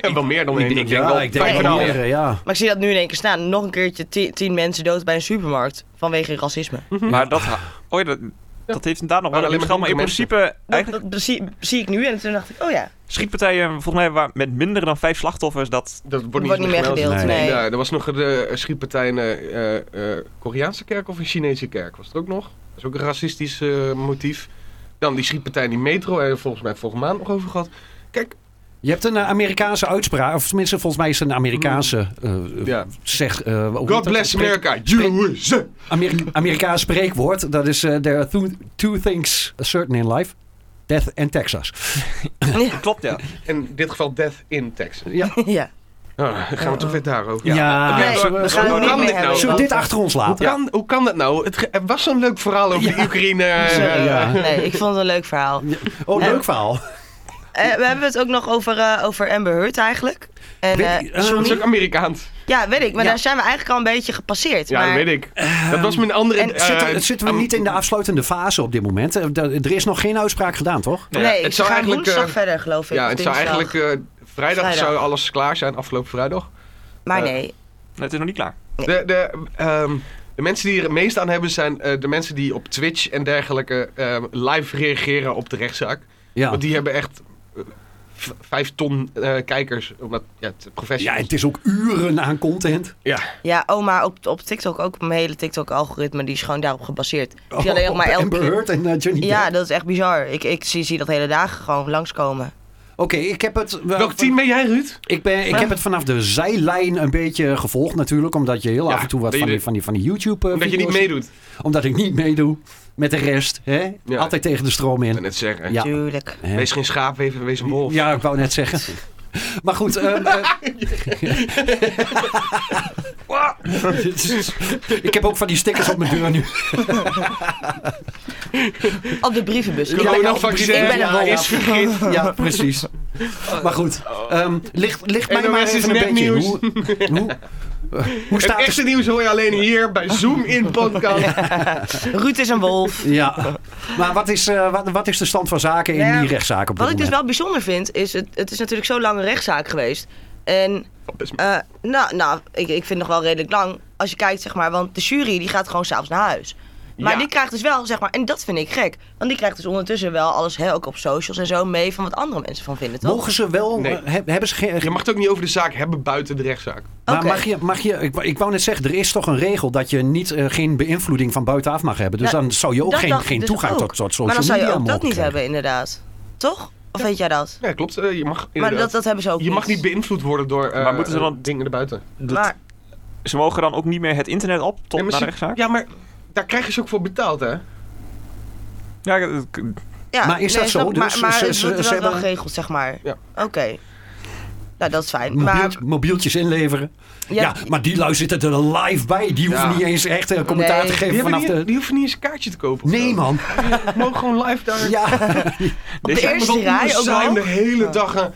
Speaker 4: En wel meer dan één. Ik denk wel
Speaker 5: Ja, ik denk
Speaker 4: vijf en
Speaker 5: wel
Speaker 4: een half.
Speaker 5: meerdere, ja.
Speaker 2: Maar ik zie dat nu in één keer staan. Nog een keertje ti- tien mensen dood bij een supermarkt vanwege racisme.
Speaker 3: Maar dat, oh ja, dat, dat heeft inderdaad nog wel
Speaker 4: Maar
Speaker 3: een
Speaker 4: alleen
Speaker 3: lichaam.
Speaker 4: maar
Speaker 3: Maar in
Speaker 4: mensen.
Speaker 3: principe,
Speaker 2: Dat,
Speaker 3: eigenlijk
Speaker 2: dat, zie, zie ik nu en toen dacht ik, oh ja.
Speaker 3: schietpartijen, volgens mij waar- met minder dan vijf slachtoffers, dat...
Speaker 4: Dat wordt
Speaker 2: Wordt niet meer gedeeld, nee.
Speaker 4: Ja, er was nog de eh, schietpartij in een eh, Koreaanse kerk of een Chinese kerk. Was er ook nog? Dat is ook een racistisch eh, motief. Dan die schietpartij in die metro. En volgens mij vorige maand nog over gehad. Kijk,
Speaker 5: Je hebt een eh, Amerikaanse uitspraak, of tenminste, volgens mij is het een Amerikaanse eh,
Speaker 4: Hmm. Ja.
Speaker 5: zeg. eh, hoe heet
Speaker 4: God
Speaker 5: dat?
Speaker 4: bless
Speaker 5: Spreek-
Speaker 4: America. USA.
Speaker 5: Amerika Amerikaans spreekwoord. Dat is: eh, There are two, two things certain in life: death and Texas.
Speaker 3: Klopt, ja.
Speaker 4: In dit geval Death in Texas.
Speaker 5: Ja,
Speaker 2: ja.
Speaker 4: Ah, dan gaan we toch weer daarover.
Speaker 5: ja.
Speaker 3: Ah,
Speaker 2: Nee,
Speaker 5: zullen
Speaker 2: we
Speaker 5: we,
Speaker 2: gaan het
Speaker 4: kan
Speaker 2: niet meer
Speaker 4: dit
Speaker 2: hebben.
Speaker 4: nou?
Speaker 5: zullen we dit achter ons
Speaker 4: Hoe
Speaker 5: laten?
Speaker 4: kan, hoe kan dat nou? Het, ge- er was zo'n leuk verhaal over die Oekraïne. eh,
Speaker 5: Ja.
Speaker 2: Nee, ik vond het een leuk verhaal.
Speaker 5: Oh, leuk verhaal.
Speaker 2: Eh, we hebben het ook nog over, eh, over Amber Heard eigenlijk. En,
Speaker 5: Weet
Speaker 2: eh,
Speaker 5: ik- eh,
Speaker 4: Dat
Speaker 5: sorry.
Speaker 4: is ook Amerikaans.
Speaker 2: ja, weet ik. Maar
Speaker 5: Ja.
Speaker 2: daar zijn we eigenlijk al een beetje gepasseerd.
Speaker 4: Ja,
Speaker 2: maar
Speaker 4: dat weet ik. Dat was mijn andere...
Speaker 2: en
Speaker 4: eh,
Speaker 5: ehm, Zitten, het zitten we
Speaker 4: am-
Speaker 5: niet in de afsluitende fase op dit moment? Eh, da- Er is nog geen uitspraak gedaan, toch?
Speaker 2: Nee,
Speaker 4: Ja,
Speaker 2: ik
Speaker 4: het zou
Speaker 2: ga
Speaker 4: eigenlijk,
Speaker 2: woensdag
Speaker 4: eh,
Speaker 2: verder, geloof ik.
Speaker 4: Ja,
Speaker 2: of
Speaker 4: het zou
Speaker 2: dinsdag.
Speaker 4: eigenlijk... eh, vrijdag
Speaker 2: Vrijdag.
Speaker 4: zou alles klaar zijn, afgelopen vrijdag.
Speaker 2: Maar
Speaker 4: eh,
Speaker 2: nee,
Speaker 3: Het is nog niet klaar.
Speaker 4: De, de, ehm, de mensen die er het meest aan hebben zijn eh, de mensen die op Twitch en dergelijke ehm, live reageren op de rechtszaak.
Speaker 5: Ja.
Speaker 4: Want die hebben echt eh, v- vijf ton eh, kijkers. Omdat, ja, het is
Speaker 5: ja,
Speaker 4: professionals.
Speaker 5: het is ook uren aan content.
Speaker 2: Ja, oh, maar op, op TikTok ook. Mijn hele TikTok-algoritme die is gewoon daarop gebaseerd. Ik zie
Speaker 4: Oh,
Speaker 2: alleen nog maar
Speaker 5: Op Oh, Amber
Speaker 2: elke...
Speaker 5: Heard en eh, Johnny
Speaker 2: Ja,
Speaker 5: Depp.
Speaker 2: dat is echt bizar. Ik, ik zie, zie dat hele dagen gewoon langskomen.
Speaker 5: Oké, ik heb het... wel-
Speaker 4: Welk team ben jij, Ruud?
Speaker 5: Ik, ben, ik heb het vanaf de zijlijn een beetje gevolgd natuurlijk. Omdat je heel
Speaker 4: Ja,
Speaker 5: af en toe wat
Speaker 4: dat
Speaker 5: van
Speaker 4: je
Speaker 5: die,
Speaker 4: dit-
Speaker 5: van die, van die YouTube... eh,
Speaker 4: Omdat je niet
Speaker 5: video's-
Speaker 4: meedoet.
Speaker 5: Omdat ik niet meedoe met de rest. Hè?
Speaker 4: Ja.
Speaker 5: Altijd tegen de stroom
Speaker 4: Ik ben
Speaker 5: in.
Speaker 4: net zeggen.
Speaker 5: Ja.
Speaker 2: Tuurlijk.
Speaker 5: Hè?
Speaker 4: Wees geen schaap, wees, wees een wolf.
Speaker 5: Ja, ik wou net zeggen. Maar goed, ehm, eh,
Speaker 4: Wah!
Speaker 5: ik heb ook van die stickers op mijn deur nu.
Speaker 2: Op de brievenbus. Ik
Speaker 4: Corona
Speaker 2: ben een- ik
Speaker 4: vaccin,
Speaker 2: ben een
Speaker 5: ja,
Speaker 2: wolf.
Speaker 5: is vergeten. Ja, precies. Maar goed, ehm, ligt, ligt mij
Speaker 4: NOS
Speaker 5: maar
Speaker 4: is
Speaker 5: even een
Speaker 4: net
Speaker 5: beetje in.
Speaker 4: nieuws.
Speaker 5: Hoe, hoe, eh, hoe
Speaker 4: Het
Speaker 5: staat
Speaker 4: echte
Speaker 5: het?
Speaker 4: nieuws hoor je alleen hier bij Zoom in podcast.
Speaker 2: Ruud is een wolf.
Speaker 5: Ja, maar wat is, eh, wat, wat is de stand van zaken in
Speaker 2: Nou ja,
Speaker 5: die rechtszaak op dit
Speaker 2: Wat ik dus
Speaker 5: moment?
Speaker 2: wel bijzonder vind, is het, het is natuurlijk zo'n lange rechtszaak geweest. En,
Speaker 4: best
Speaker 2: eh, nou, nou ik, ik vind nog wel redelijk lang. Als je kijkt, zeg maar, want de jury die gaat gewoon s'avonds naar huis. Maar
Speaker 4: Ja.
Speaker 2: die krijgt dus wel, zeg maar, en dat vind ik gek. Want die krijgt dus ondertussen wel alles, hè, ook op socials en zo, mee van wat andere mensen van vinden, toch?
Speaker 5: Mogen ze wel...
Speaker 4: Nee.
Speaker 5: eh, heb- hebben ze geen,
Speaker 4: Je mag het ook niet over de zaak hebben buiten de rechtszaak.
Speaker 5: Maar
Speaker 2: Oké.
Speaker 5: mag je, mag je ik, wou- ik wou net zeggen, er is toch een regel dat je niet, eh, geen beïnvloeding van buitenaf mag hebben. Dus
Speaker 2: Nou,
Speaker 5: dan zou je ook
Speaker 2: Dat
Speaker 5: geen,
Speaker 2: dacht ik
Speaker 5: geen
Speaker 2: dus
Speaker 5: toegang
Speaker 2: ook.
Speaker 5: tot, tot social
Speaker 2: Maar dan zou je
Speaker 5: media
Speaker 2: ook dat
Speaker 5: mogen
Speaker 2: niet
Speaker 5: krijgen.
Speaker 2: hebben, inderdaad. Toch? Of weet jij dat?
Speaker 4: Ja, klopt. eh, je mag,
Speaker 2: Maar
Speaker 4: inderdaad-
Speaker 2: dat, dat hebben ze ook
Speaker 4: je mag niet beïnvloed worden door eh,
Speaker 3: Maar moeten ze dan-
Speaker 4: dingen erbuiten.
Speaker 2: Maar,
Speaker 3: Ze mogen dan ook niet meer het internet op tot naar
Speaker 4: Nee, maar
Speaker 3: de
Speaker 4: ze-
Speaker 3: rechtszaak?
Speaker 4: Ja, maar daar krijgen ze ook voor betaald, hè?
Speaker 3: Ja, dat- k-
Speaker 2: ja,
Speaker 5: Maar is dat
Speaker 2: nee,
Speaker 5: zo?
Speaker 2: snap ik. Maar,
Speaker 5: Dus
Speaker 2: maar
Speaker 5: ze-
Speaker 2: het
Speaker 5: ze-
Speaker 2: wordt
Speaker 5: ze
Speaker 2: wel, wel
Speaker 5: hebben-
Speaker 2: geregeld, zeg maar.
Speaker 4: Ja.
Speaker 2: Oké. Nou, dat is fijn. Maar,
Speaker 5: Mobielt- mobieltjes inleveren. Ja, maar die lui zitten er live bij. Die hoeven
Speaker 4: Ja.
Speaker 5: niet eens echt eh, commentaar
Speaker 2: Nee.
Speaker 5: te geven
Speaker 4: Die, hebben
Speaker 5: vanaf
Speaker 4: niet,
Speaker 5: de...
Speaker 4: die hoeven niet eens een kaartje te kopen. of
Speaker 5: Nee
Speaker 4: zo.
Speaker 5: man.
Speaker 4: Die mogen gewoon live daar.
Speaker 5: Ja.
Speaker 2: op de
Speaker 3: Deze-
Speaker 2: eerste rij ook
Speaker 4: zijn de
Speaker 2: wel.
Speaker 4: hele dag aan.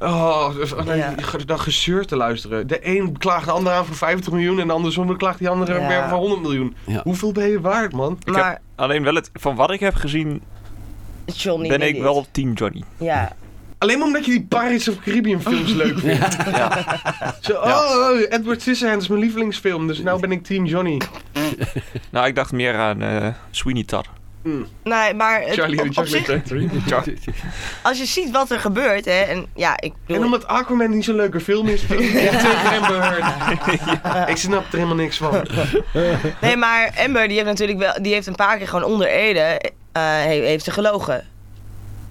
Speaker 4: Oh, dus- oh, nee,
Speaker 2: Ja.
Speaker 4: die ge- dat gezeur te luisteren. De een klaagt de ander aan voor 50 miljoen en andersom klaagt die andere
Speaker 2: Ja.
Speaker 4: weer voor 100 miljoen.
Speaker 5: Ja.
Speaker 4: Hoeveel ben je waard, man?
Speaker 3: Ik
Speaker 2: Maar
Speaker 3: heb alleen wel het... Van wat ik heb gezien,
Speaker 2: Johnny
Speaker 3: ben
Speaker 2: deed
Speaker 3: ik
Speaker 2: dit.
Speaker 3: wel team Johnny.
Speaker 2: Ja.
Speaker 4: Alleen maar omdat je die Pirates of Caribbean films leuk vindt.
Speaker 3: Ja.
Speaker 4: Zo, oh, oh, Edward Scissorhands is mijn lievelingsfilm, dus nou ben ik team Johnny.
Speaker 3: Nou, ik dacht meer aan eh, Sweeney Todd.
Speaker 2: Nee, maar het-
Speaker 4: Hm, Charlie
Speaker 2: op-
Speaker 4: en
Speaker 2: op
Speaker 4: de
Speaker 2: zich,
Speaker 4: Chocolate Factory.
Speaker 2: als je ziet wat er gebeurt, hè, en ja, ik
Speaker 4: En
Speaker 2: bedoel,
Speaker 4: omdat Aquaman niet zo'n leuke film is, vind ik het tegen Amber Heard. Ik snap er helemaal niks van.
Speaker 2: nee, maar Amber, die heeft natuurlijk wel, die heeft een paar keer gewoon onder Ede, eh, he- heeft ze gelogen.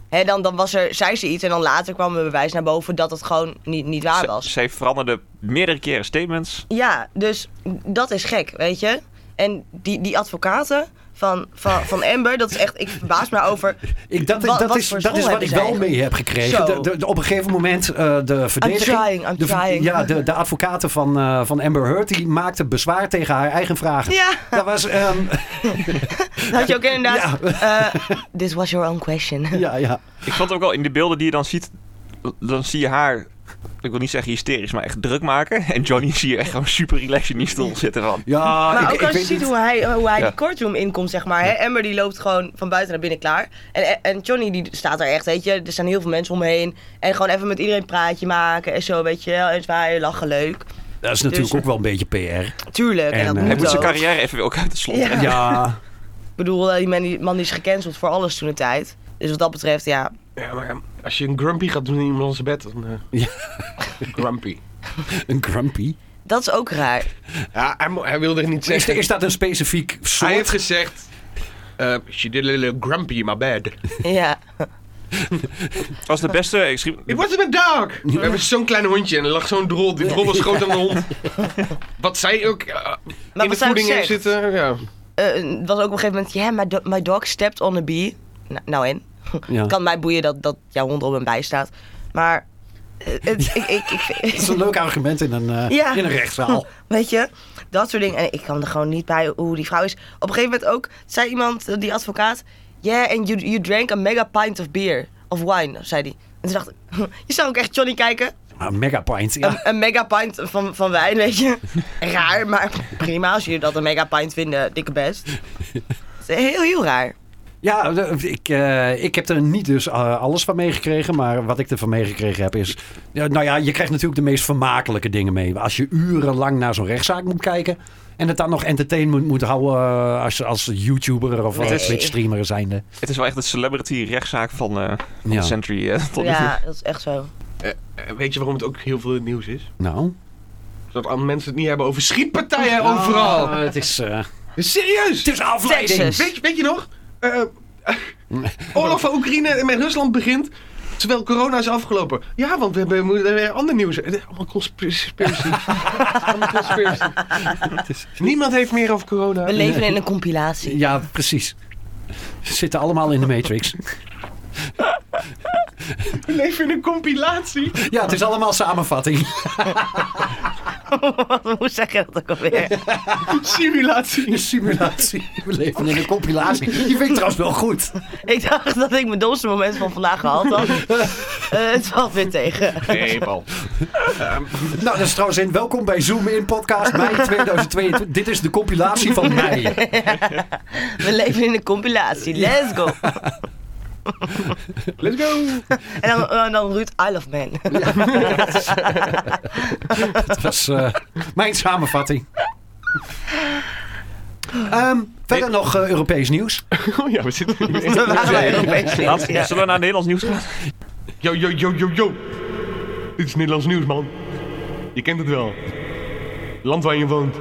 Speaker 2: Hè, dan, dan was er, zei ze iets en dan later kwam er bewijs naar boven dat het gewoon niet, niet waar
Speaker 3: Zij-
Speaker 2: was.
Speaker 3: Zij veranderde meerdere keren statements.
Speaker 2: Ja, dus dat is gek, weet je. En die, die advocaten van, van, van Amber, dat is echt, ik verbaas me over.
Speaker 5: Ik, dat,
Speaker 2: Wat-
Speaker 5: dat
Speaker 2: wat
Speaker 5: is,
Speaker 2: voor
Speaker 5: dat is
Speaker 2: school
Speaker 5: wat
Speaker 2: hebben
Speaker 5: ik
Speaker 2: ze
Speaker 5: wel
Speaker 2: eigenlijk?
Speaker 5: mee heb gekregen.
Speaker 2: Zo.
Speaker 5: De- de- op een gegeven moment eh, de verdediging...
Speaker 2: trying, I'm
Speaker 5: de,
Speaker 2: trying.
Speaker 5: Ja, de, de advocaten van, eh, van Amber Heard die maakte bezwaar tegen haar eigen vragen.
Speaker 2: Ja,
Speaker 5: Dat was... ehm,
Speaker 2: dat had je ook inderdaad.
Speaker 5: ja,
Speaker 2: eh, this was your own question.
Speaker 5: ja, ja.
Speaker 3: Ik vond ook wel in de beelden die je dan ziet, dan zie je haar ik wil niet zeggen hysterisch, maar echt druk maken. En Johnny zie je echt gewoon super relaxed in die stoel zitten van.
Speaker 5: Ja,
Speaker 2: Maar
Speaker 5: ik,
Speaker 2: ook
Speaker 5: ik
Speaker 2: als je
Speaker 5: weet
Speaker 2: ziet
Speaker 5: niet.
Speaker 2: hoe hij, hoe hij
Speaker 3: Ja.
Speaker 2: die courtroom inkomt, zeg maar. Hè? Amber die loopt gewoon van buiten naar binnen klaar. En, en Johnny die staat daar echt, weet je. Er staan heel veel mensen omheen. En gewoon even met iedereen een praatje maken en zo, weet je. wel. En zwaaien, lachen, leuk.
Speaker 5: Dat is natuurlijk
Speaker 2: Dus-
Speaker 5: ook wel een beetje PR.
Speaker 2: Tuurlijk, en,
Speaker 5: En,
Speaker 2: dat
Speaker 5: eh,
Speaker 2: moet
Speaker 3: Hij moet zijn
Speaker 2: ook.
Speaker 3: carrière even weer ook uit de slot.
Speaker 2: Ja.
Speaker 3: trekken.
Speaker 5: Ja,
Speaker 2: Ik bedoel, eh, die man, die man die is gecanceld voor alles toen de tijd. Dus wat dat betreft, ja.
Speaker 4: Ja, maar ja, als je een grumpy gaat doen in iemand zijn bed, dan... eh,
Speaker 5: Ja.
Speaker 4: Grumpy.
Speaker 5: een grumpy.
Speaker 2: Dat is ook raar.
Speaker 4: Ja, hij, mo- hij wilde er niet
Speaker 5: Is,
Speaker 4: zeggen.
Speaker 5: is dat een specifiek soort?
Speaker 4: hij heeft gezegd... eh she did a little grumpy in my bed.
Speaker 2: ja.
Speaker 3: Het was de beste. Ik schreef,
Speaker 4: It wasn't a dog! We hebben zo'n klein hondje en er lag zo'n drol. Die drol was groter dan de hond. Wat zij ook eh, in de
Speaker 2: wat zij ook
Speaker 4: voeding heeft
Speaker 2: zegt.
Speaker 4: zitten. Ja.
Speaker 2: Eh, het was ook op een gegeven moment, yeah, my, do- my dog stepped on a bee. Nou, nou en?
Speaker 5: Ja.
Speaker 2: Kan mij boeien dat, dat jouw hond op een bij staat. Maar, eh, het, ik, ik, ik,
Speaker 5: Dat is een leuk argument in een, eh,
Speaker 2: Ja.
Speaker 5: in een rechtszaal.
Speaker 2: Weet je, dat soort dingen. En ik kan er gewoon niet bij hoe die vrouw is. Op een gegeven moment ook, zei iemand, eh, die advocaat... Yeah, and you, you drank a mega pint of beer. Of wine, zei die. En toen dacht ik, je zou ook echt Johnny kijken.
Speaker 5: Maar megapint,
Speaker 2: Een,
Speaker 5: ja.
Speaker 2: een mega pint van, van wijn, weet je. Raar, maar prima als jullie dat een mega pint vinden. Dikke best. Het is Heel, heel raar.
Speaker 5: Ja, de- ik, eh, ik heb er niet dus eh, alles van meegekregen. Maar wat ik er van meegekregen heb is... ja, nou ja, je krijgt natuurlijk de meest vermakelijke dingen mee. Als je urenlang naar zo'n rechtszaak moet kijken... en het dan nog entertainment moet houden eh, als, als YouTuber of
Speaker 2: Nee.
Speaker 5: eh, Twitch-streamer zijnde.
Speaker 3: het is wel echt de celebrity rechtszaak van, eh, van
Speaker 5: Ja.
Speaker 3: de Century eh, tot nu toe.
Speaker 2: Ja, dat is echt zo.
Speaker 4: Eh, Weet je waarom het ook heel veel in het nieuws is?
Speaker 5: Nou...
Speaker 4: Zodat andere mensen het niet hebben over schietpartijen overal.
Speaker 5: Ah, het is... eh,
Speaker 4: Serieus!
Speaker 5: het is afleiding.
Speaker 2: Texas.
Speaker 4: Weet, je- weet je nog? Eh, oorlog van Oekraïne en met Rusland begint. Terwijl corona is afgelopen. Ja, want we hebben, we moeten weer ander nieuws. Eh, Allemaal conspiracy. Allemaal conspiracy. Niemand heeft meer over corona.
Speaker 2: We leven in een compilatie.
Speaker 5: Ja, precies. Ze zitten allemaal in de Matrix.
Speaker 4: We leven in een compilatie.
Speaker 5: Ja, het is allemaal samenvatting.
Speaker 2: Hoe zeg je dat ook alweer?
Speaker 4: Simulatie.
Speaker 5: Een simulatie. We leven in een compilatie. Die vind ik trouwens wel goed.
Speaker 2: Ik dacht dat ik mijn domste moment van vandaag gehad had. Eh, het valt weer tegen.
Speaker 4: Nee, Paul.
Speaker 5: Nou, dat is trouwens in. Welkom bij Zoom in podcast mei 2022. Dit is de compilatie van mei.
Speaker 2: We leven in een compilatie. Let's go.
Speaker 4: Let's go.
Speaker 2: En dan, en dan Ruud, I love men.
Speaker 5: Dat was eh, mijn samenvatting. Ehm, verder nog eh, Europees nieuws.
Speaker 4: Oh ja, we zitten hier.
Speaker 2: We waren bij Europees nieuws,
Speaker 3: Laat-
Speaker 2: ja.
Speaker 3: Zullen we naar Nederlands nieuws gaan?
Speaker 4: Yo, yo, yo, yo, yo. Dit is Nederlands nieuws, man. Je kent het wel. Land waar je woont.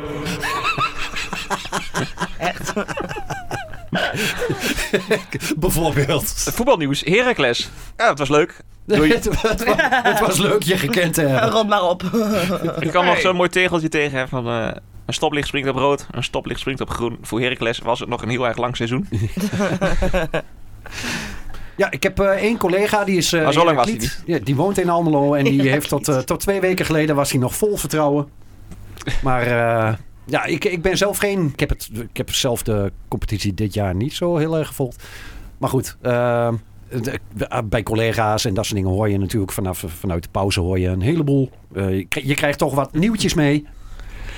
Speaker 2: Echt.
Speaker 5: Bijvoorbeeld.
Speaker 3: Eh, Voetbalnieuws. Heracles. Ja, het was leuk. Doei.
Speaker 5: het, was, het was leuk je gekend te hebben.
Speaker 2: Rond maar op.
Speaker 3: Ik kan nog zo'n mooi tegeltje tegen hebben van... eh, een stoplicht springt op rood, een stoplicht springt op groen. Voor Heracles was het nog een heel erg lang seizoen.
Speaker 5: Ja, ik heb eh, één collega die is. eh,
Speaker 3: Maar zo lang was hij
Speaker 5: Herakliet. Ja, die woont in Almelo en die heeft tot, eh, tot twee weken geleden was hij nog vol vertrouwen. Maar eh, ja, ik, ik ben zelf geen. Ik heb, het, ik heb zelf de competitie dit jaar niet zo heel erg gevolgd. Maar goed, eh, de- eh, bij collega's en dat soort dingen hoor je natuurlijk vanaf, vanuit de pauze hoor je een heleboel. Eh, je, kri- je krijgt toch wat nieuwtjes mee.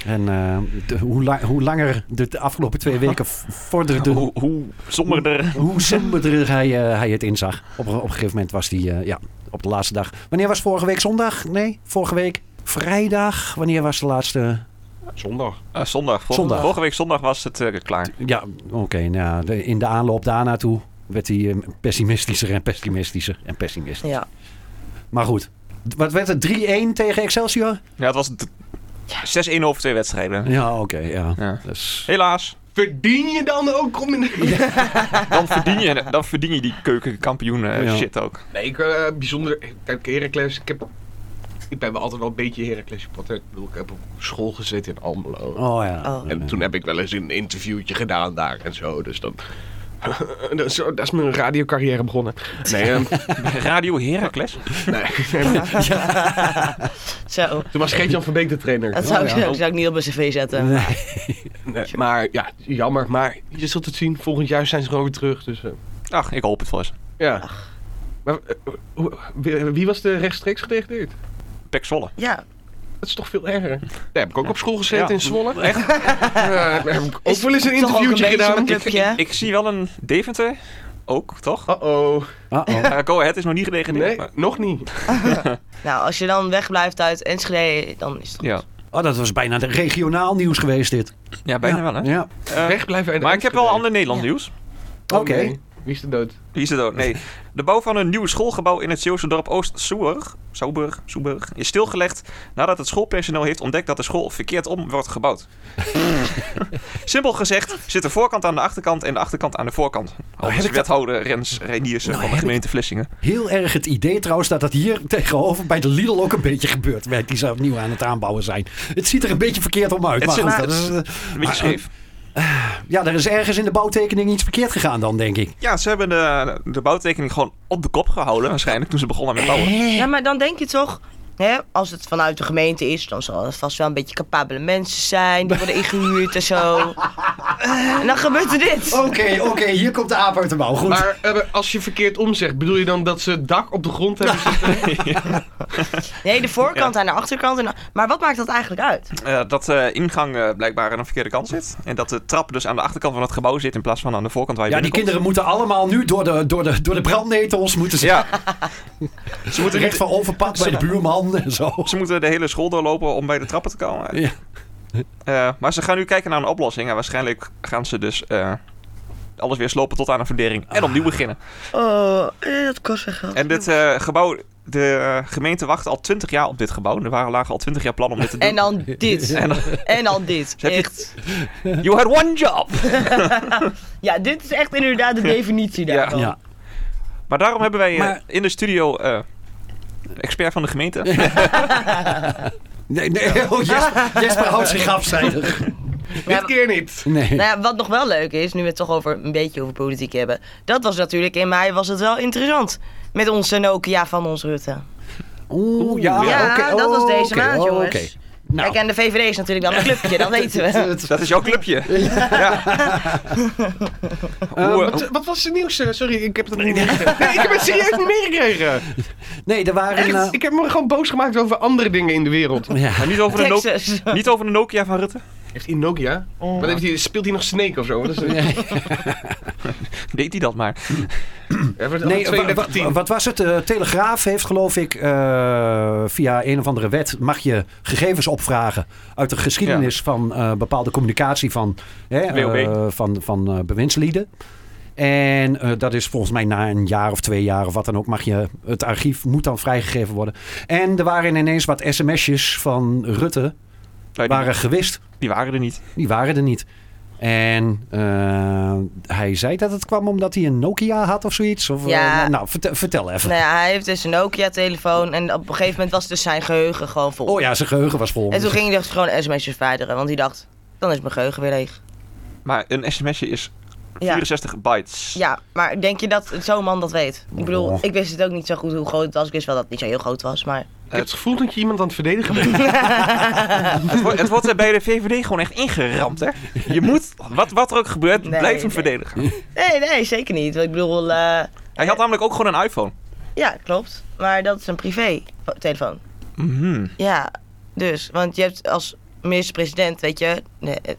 Speaker 5: En eh, de- hoe, la- hoe langer de, de afgelopen twee weken v- vorderde
Speaker 3: Hoe, hoe somberder.
Speaker 5: hoe somberder hij, eh, hij het inzag. Op, een- op een gegeven moment was hij eh, ja, op de laatste dag. Wanneer was vorige week zondag? Nee, vorige week vrijdag. Wanneer was de laatste?
Speaker 4: Zondag.
Speaker 3: Eh, zondag. Vol-
Speaker 5: Zondag.
Speaker 3: Vorige week zondag was het eh, klaar.
Speaker 5: Ja, oké. nou ja, de- in de aanloop daarna toe werd hij eh, pessimistischer en pessimistischer en pessimistischer.
Speaker 2: Ja.
Speaker 5: Maar goed. D- Wat werd het? 3-1 tegen Excelsior?
Speaker 3: Ja, het was d- 6-1 over twee wedstrijden.
Speaker 5: Ja, oké. ja.
Speaker 3: Ja.
Speaker 5: Dat is-
Speaker 3: Helaas.
Speaker 4: Verdien je dan ook om in
Speaker 3: Dan verdien je, dan verdien je die keukenkampioen eh,
Speaker 5: Ja.
Speaker 3: shit ook.
Speaker 4: Nee, ik eh bijzonder. Kijk, Heracles, ik heb. Ik ben wel altijd wel een beetje Heracles supporter. Ik bedoel, ik heb op school gezeten in Almelo.
Speaker 5: Oh ja.
Speaker 2: Oh.
Speaker 4: En toen heb ik wel eens een interviewtje gedaan daar en zo. Dus dan. Dat is, dat is mijn radiocarrière begonnen. Nee, ehm,
Speaker 3: Radio Heracles.
Speaker 4: nee, nee.
Speaker 2: Zo.
Speaker 4: Toen was Geert-Jan van Beek de trainer.
Speaker 2: Dat zou ik,
Speaker 5: Oh, ja.
Speaker 2: dat zou ik niet op mijn cv zetten.
Speaker 5: Nee.
Speaker 4: Nee, maar ja, jammer. Maar je zult het zien. Volgend jaar zijn ze gewoon weer terug. Dus eh,
Speaker 3: Ach, ik hoop het wel eens.
Speaker 4: ja. Maar, eh, hoe- wie, wie was de rechtstreeks gedegradeerd?
Speaker 3: Pek Zwolle.
Speaker 2: Ja.
Speaker 4: Dat is toch veel erger. Daar heb ik ook op school gezeten
Speaker 3: Ja.
Speaker 4: in Zwolle. Echt? Eh, daar heb ik ook wel eens
Speaker 2: Toch
Speaker 4: een
Speaker 2: ook een
Speaker 4: interviewtje
Speaker 2: beetje
Speaker 4: gedaan.
Speaker 2: een clubje. hè?
Speaker 3: Ik zie wel een Deventer. Ook, toch?
Speaker 5: Oh,
Speaker 4: Uh-oh.
Speaker 5: Uh-oh.
Speaker 3: Eh, Go Ahead is nog niet gedegradeerd.
Speaker 4: Nee,
Speaker 3: maar-
Speaker 4: nog niet.
Speaker 2: Nou, als je dan wegblijft uit Enschede, dan is het goed.
Speaker 3: Ja.
Speaker 5: Oh, dat was bijna de regionaal nieuws geweest dit.
Speaker 3: ja, bijna
Speaker 5: ja.
Speaker 3: wel, hè?
Speaker 5: Ja.
Speaker 3: Eh,
Speaker 4: Wegblijven uit
Speaker 3: maar ik heb wel
Speaker 4: Enschede.
Speaker 3: ander Nederlands
Speaker 2: Ja.
Speaker 3: nieuws.
Speaker 5: Oké.
Speaker 4: Oh, nee. Wie is de dood?
Speaker 3: Wie is het ook? Nee. De bouw van een nieuw schoolgebouw in het Zeeuwse dorp Oost-Soeburg Soeburg, Soeburg, is stilgelegd nadat het schoolpersoneel heeft ontdekt dat de school verkeerd om wordt gebouwd. Simpel gezegd zit de voorkant aan de achterkant en de achterkant aan de voorkant. Al
Speaker 5: Nou, heb
Speaker 3: is
Speaker 5: ik dat-
Speaker 3: wethouder Rens Reiniersen
Speaker 5: Nou,
Speaker 3: van
Speaker 5: heb
Speaker 3: de
Speaker 5: ik-
Speaker 3: gemeente Vlissingen.
Speaker 5: Heel erg het idee trouwens dat dat hier tegenover bij de Lidl ook een beetje gebeurt. Wij die ze opnieuw aan het aanbouwen zijn. Het ziet er een beetje verkeerd om uit.
Speaker 3: Het
Speaker 5: Maar
Speaker 3: zit-
Speaker 5: goed,
Speaker 3: maar-
Speaker 5: dat is, eh,
Speaker 3: Een
Speaker 5: Maar-
Speaker 3: beetje scheef.
Speaker 5: ja, er is ergens in de bouwtekening iets verkeerd gegaan dan, denk ik.
Speaker 3: Ja, ze hebben de, de bouwtekening gewoon op de kop gehouden waarschijnlijk toen ze begonnen met bouwen.
Speaker 2: Ja, maar dan denk je toch, hè, als het vanuit de gemeente is, dan zal het vast wel een beetje capabele mensen zijn. Die worden ingehuurd en zo. en dan gebeurt er dit.
Speaker 5: Oké, oké, hier komt de aap uit de mouw. Goed.
Speaker 4: Maar eh, als je verkeerd omzegt, bedoel je dan dat ze het dak op de grond hebben zitten?
Speaker 2: Nee, de voorkant aan de achterkant. En, dan- maar wat maakt dat eigenlijk uit?
Speaker 3: Eh, dat de ingang eh, blijkbaar aan de verkeerde kant zit. En dat de trap dus aan de achterkant van het gebouw zit in plaats van aan de voorkant waar je
Speaker 5: ja, die
Speaker 3: binnenkomt.
Speaker 5: kinderen moeten allemaal nu door de, door de, door de brandnetels. Moeten ze
Speaker 3: Ja. ze, moeten
Speaker 5: recht
Speaker 3: niet,
Speaker 5: van overpad bij de buurman en zo.
Speaker 3: ze moeten de hele school doorlopen om bij de trappen te komen.
Speaker 5: Ja.
Speaker 3: Eh, maar ze gaan nu kijken naar een oplossing. En waarschijnlijk gaan ze dus eh, alles weer slopen tot aan een fundering. En opnieuw
Speaker 5: Ah.
Speaker 3: beginnen.
Speaker 2: Oh, dat kost weer geld.
Speaker 3: En dit eh, gebouw... De eh, gemeente wacht al 20 jaar op dit gebouw. Er waren lagen al 20 jaar plannen om dit te doen.
Speaker 2: En dan dit.
Speaker 3: En dan-
Speaker 2: En dan dit.
Speaker 3: heb je-
Speaker 2: Echt.
Speaker 3: You had one job!
Speaker 2: Ja, dit is echt inderdaad de definitie
Speaker 3: Ja.
Speaker 2: daarvan.
Speaker 5: Ja.
Speaker 3: Maar daarom hebben wij eh,
Speaker 5: Maar-
Speaker 3: in de studio... eh, expert van de gemeente.
Speaker 5: Nee, nee, oh, Jesper, Jesper houdt zich afzijdig.
Speaker 4: Dit keer niet.
Speaker 5: Nee.
Speaker 2: Nou ja, wat nog wel leuk is, nu we het toch over een beetje over politiek hebben. Dat was natuurlijk in mei was het wel interessant. Met onze Nokia van ons Rutte.
Speaker 5: Oeh, ja,
Speaker 2: Ja,
Speaker 5: oké,
Speaker 2: dat was deze
Speaker 5: oké,
Speaker 2: maand, jongens.
Speaker 5: oké. Nou,
Speaker 2: Kijk, en de VVD is natuurlijk dan een clubje, dat weten we.
Speaker 5: het-
Speaker 3: Dat is jouw clubje. Ja. Hoe, eh,
Speaker 4: wat, wat was het nieuws? eh? Sorry, ik heb het niet meegekregen. Nee, ik heb het serieus niet meegekregen.
Speaker 5: nee, er waren...
Speaker 4: Echt,
Speaker 5: eh,
Speaker 4: ik heb me gewoon boos gemaakt over andere dingen in de wereld.
Speaker 5: ja.
Speaker 3: Maar niet over, de Nokia,
Speaker 2: Texas.
Speaker 3: niet over de Nokia van Rutte.
Speaker 4: Heeft hij een Nokia? Wat heeft hij, speelt hij nog Snake of zo? Dat is een,
Speaker 3: Deed hij dat maar.
Speaker 4: Hij wordt
Speaker 5: Nee, wa-
Speaker 4: 32.
Speaker 5: wa- wat was het? De Telegraaf heeft geloof ik eh, via een of andere wet mag je gegevens opvragen uit de geschiedenis van eh, bepaalde communicatie van, hè, eh,
Speaker 3: WOB.
Speaker 5: van, van eh, bewindslieden. En eh, dat is volgens mij na een jaar of twee jaar of wat dan ook mag je het archief moet dan vrijgegeven worden. En er waren ineens wat sms'jes van Rutte
Speaker 3: Nou, die,
Speaker 5: waren gewist.
Speaker 3: die waren er niet.
Speaker 5: Die waren er niet. En eh, hij zei dat het kwam omdat hij een Nokia had of zoiets. Of, eh,
Speaker 2: Ja.
Speaker 5: nou, vertel, vertel even.
Speaker 2: Nou ja, hij heeft dus een Nokia-telefoon en op een gegeven moment was dus zijn geheugen gewoon vol.
Speaker 5: Oh ja, zijn geheugen was vol.
Speaker 2: En toen ging hij dus gewoon sms'jes verwijderen, want hij dacht, dan is mijn geheugen weer leeg.
Speaker 3: Maar een sms'je is
Speaker 2: Ja.
Speaker 3: 64 bytes.
Speaker 2: Ja, maar denk je dat zo'n man dat weet? Ik bedoel,
Speaker 5: Oh.
Speaker 2: ik wist het ook niet zo goed hoe groot het was. Ik wist wel dat het niet zo heel groot was, maar...
Speaker 4: Ik heb het gevoel dat je iemand aan het verdedigen bent.
Speaker 3: Het, wordt, het wordt er bij de VVD gewoon echt ingeramd, hè? Je moet, wat, wat er ook gebeurt,
Speaker 2: Nee,
Speaker 3: blijf hem
Speaker 2: nee.
Speaker 3: verdedigen.
Speaker 2: Nee, nee, zeker niet. Want Ik bedoel, eh,
Speaker 3: Hij had namelijk ook gewoon een iPhone.
Speaker 2: ja, klopt. Maar dat is een privé-telefoon.
Speaker 3: Mhm.
Speaker 2: Ja, dus, want je hebt als minister-president, weet je... nee, eh, het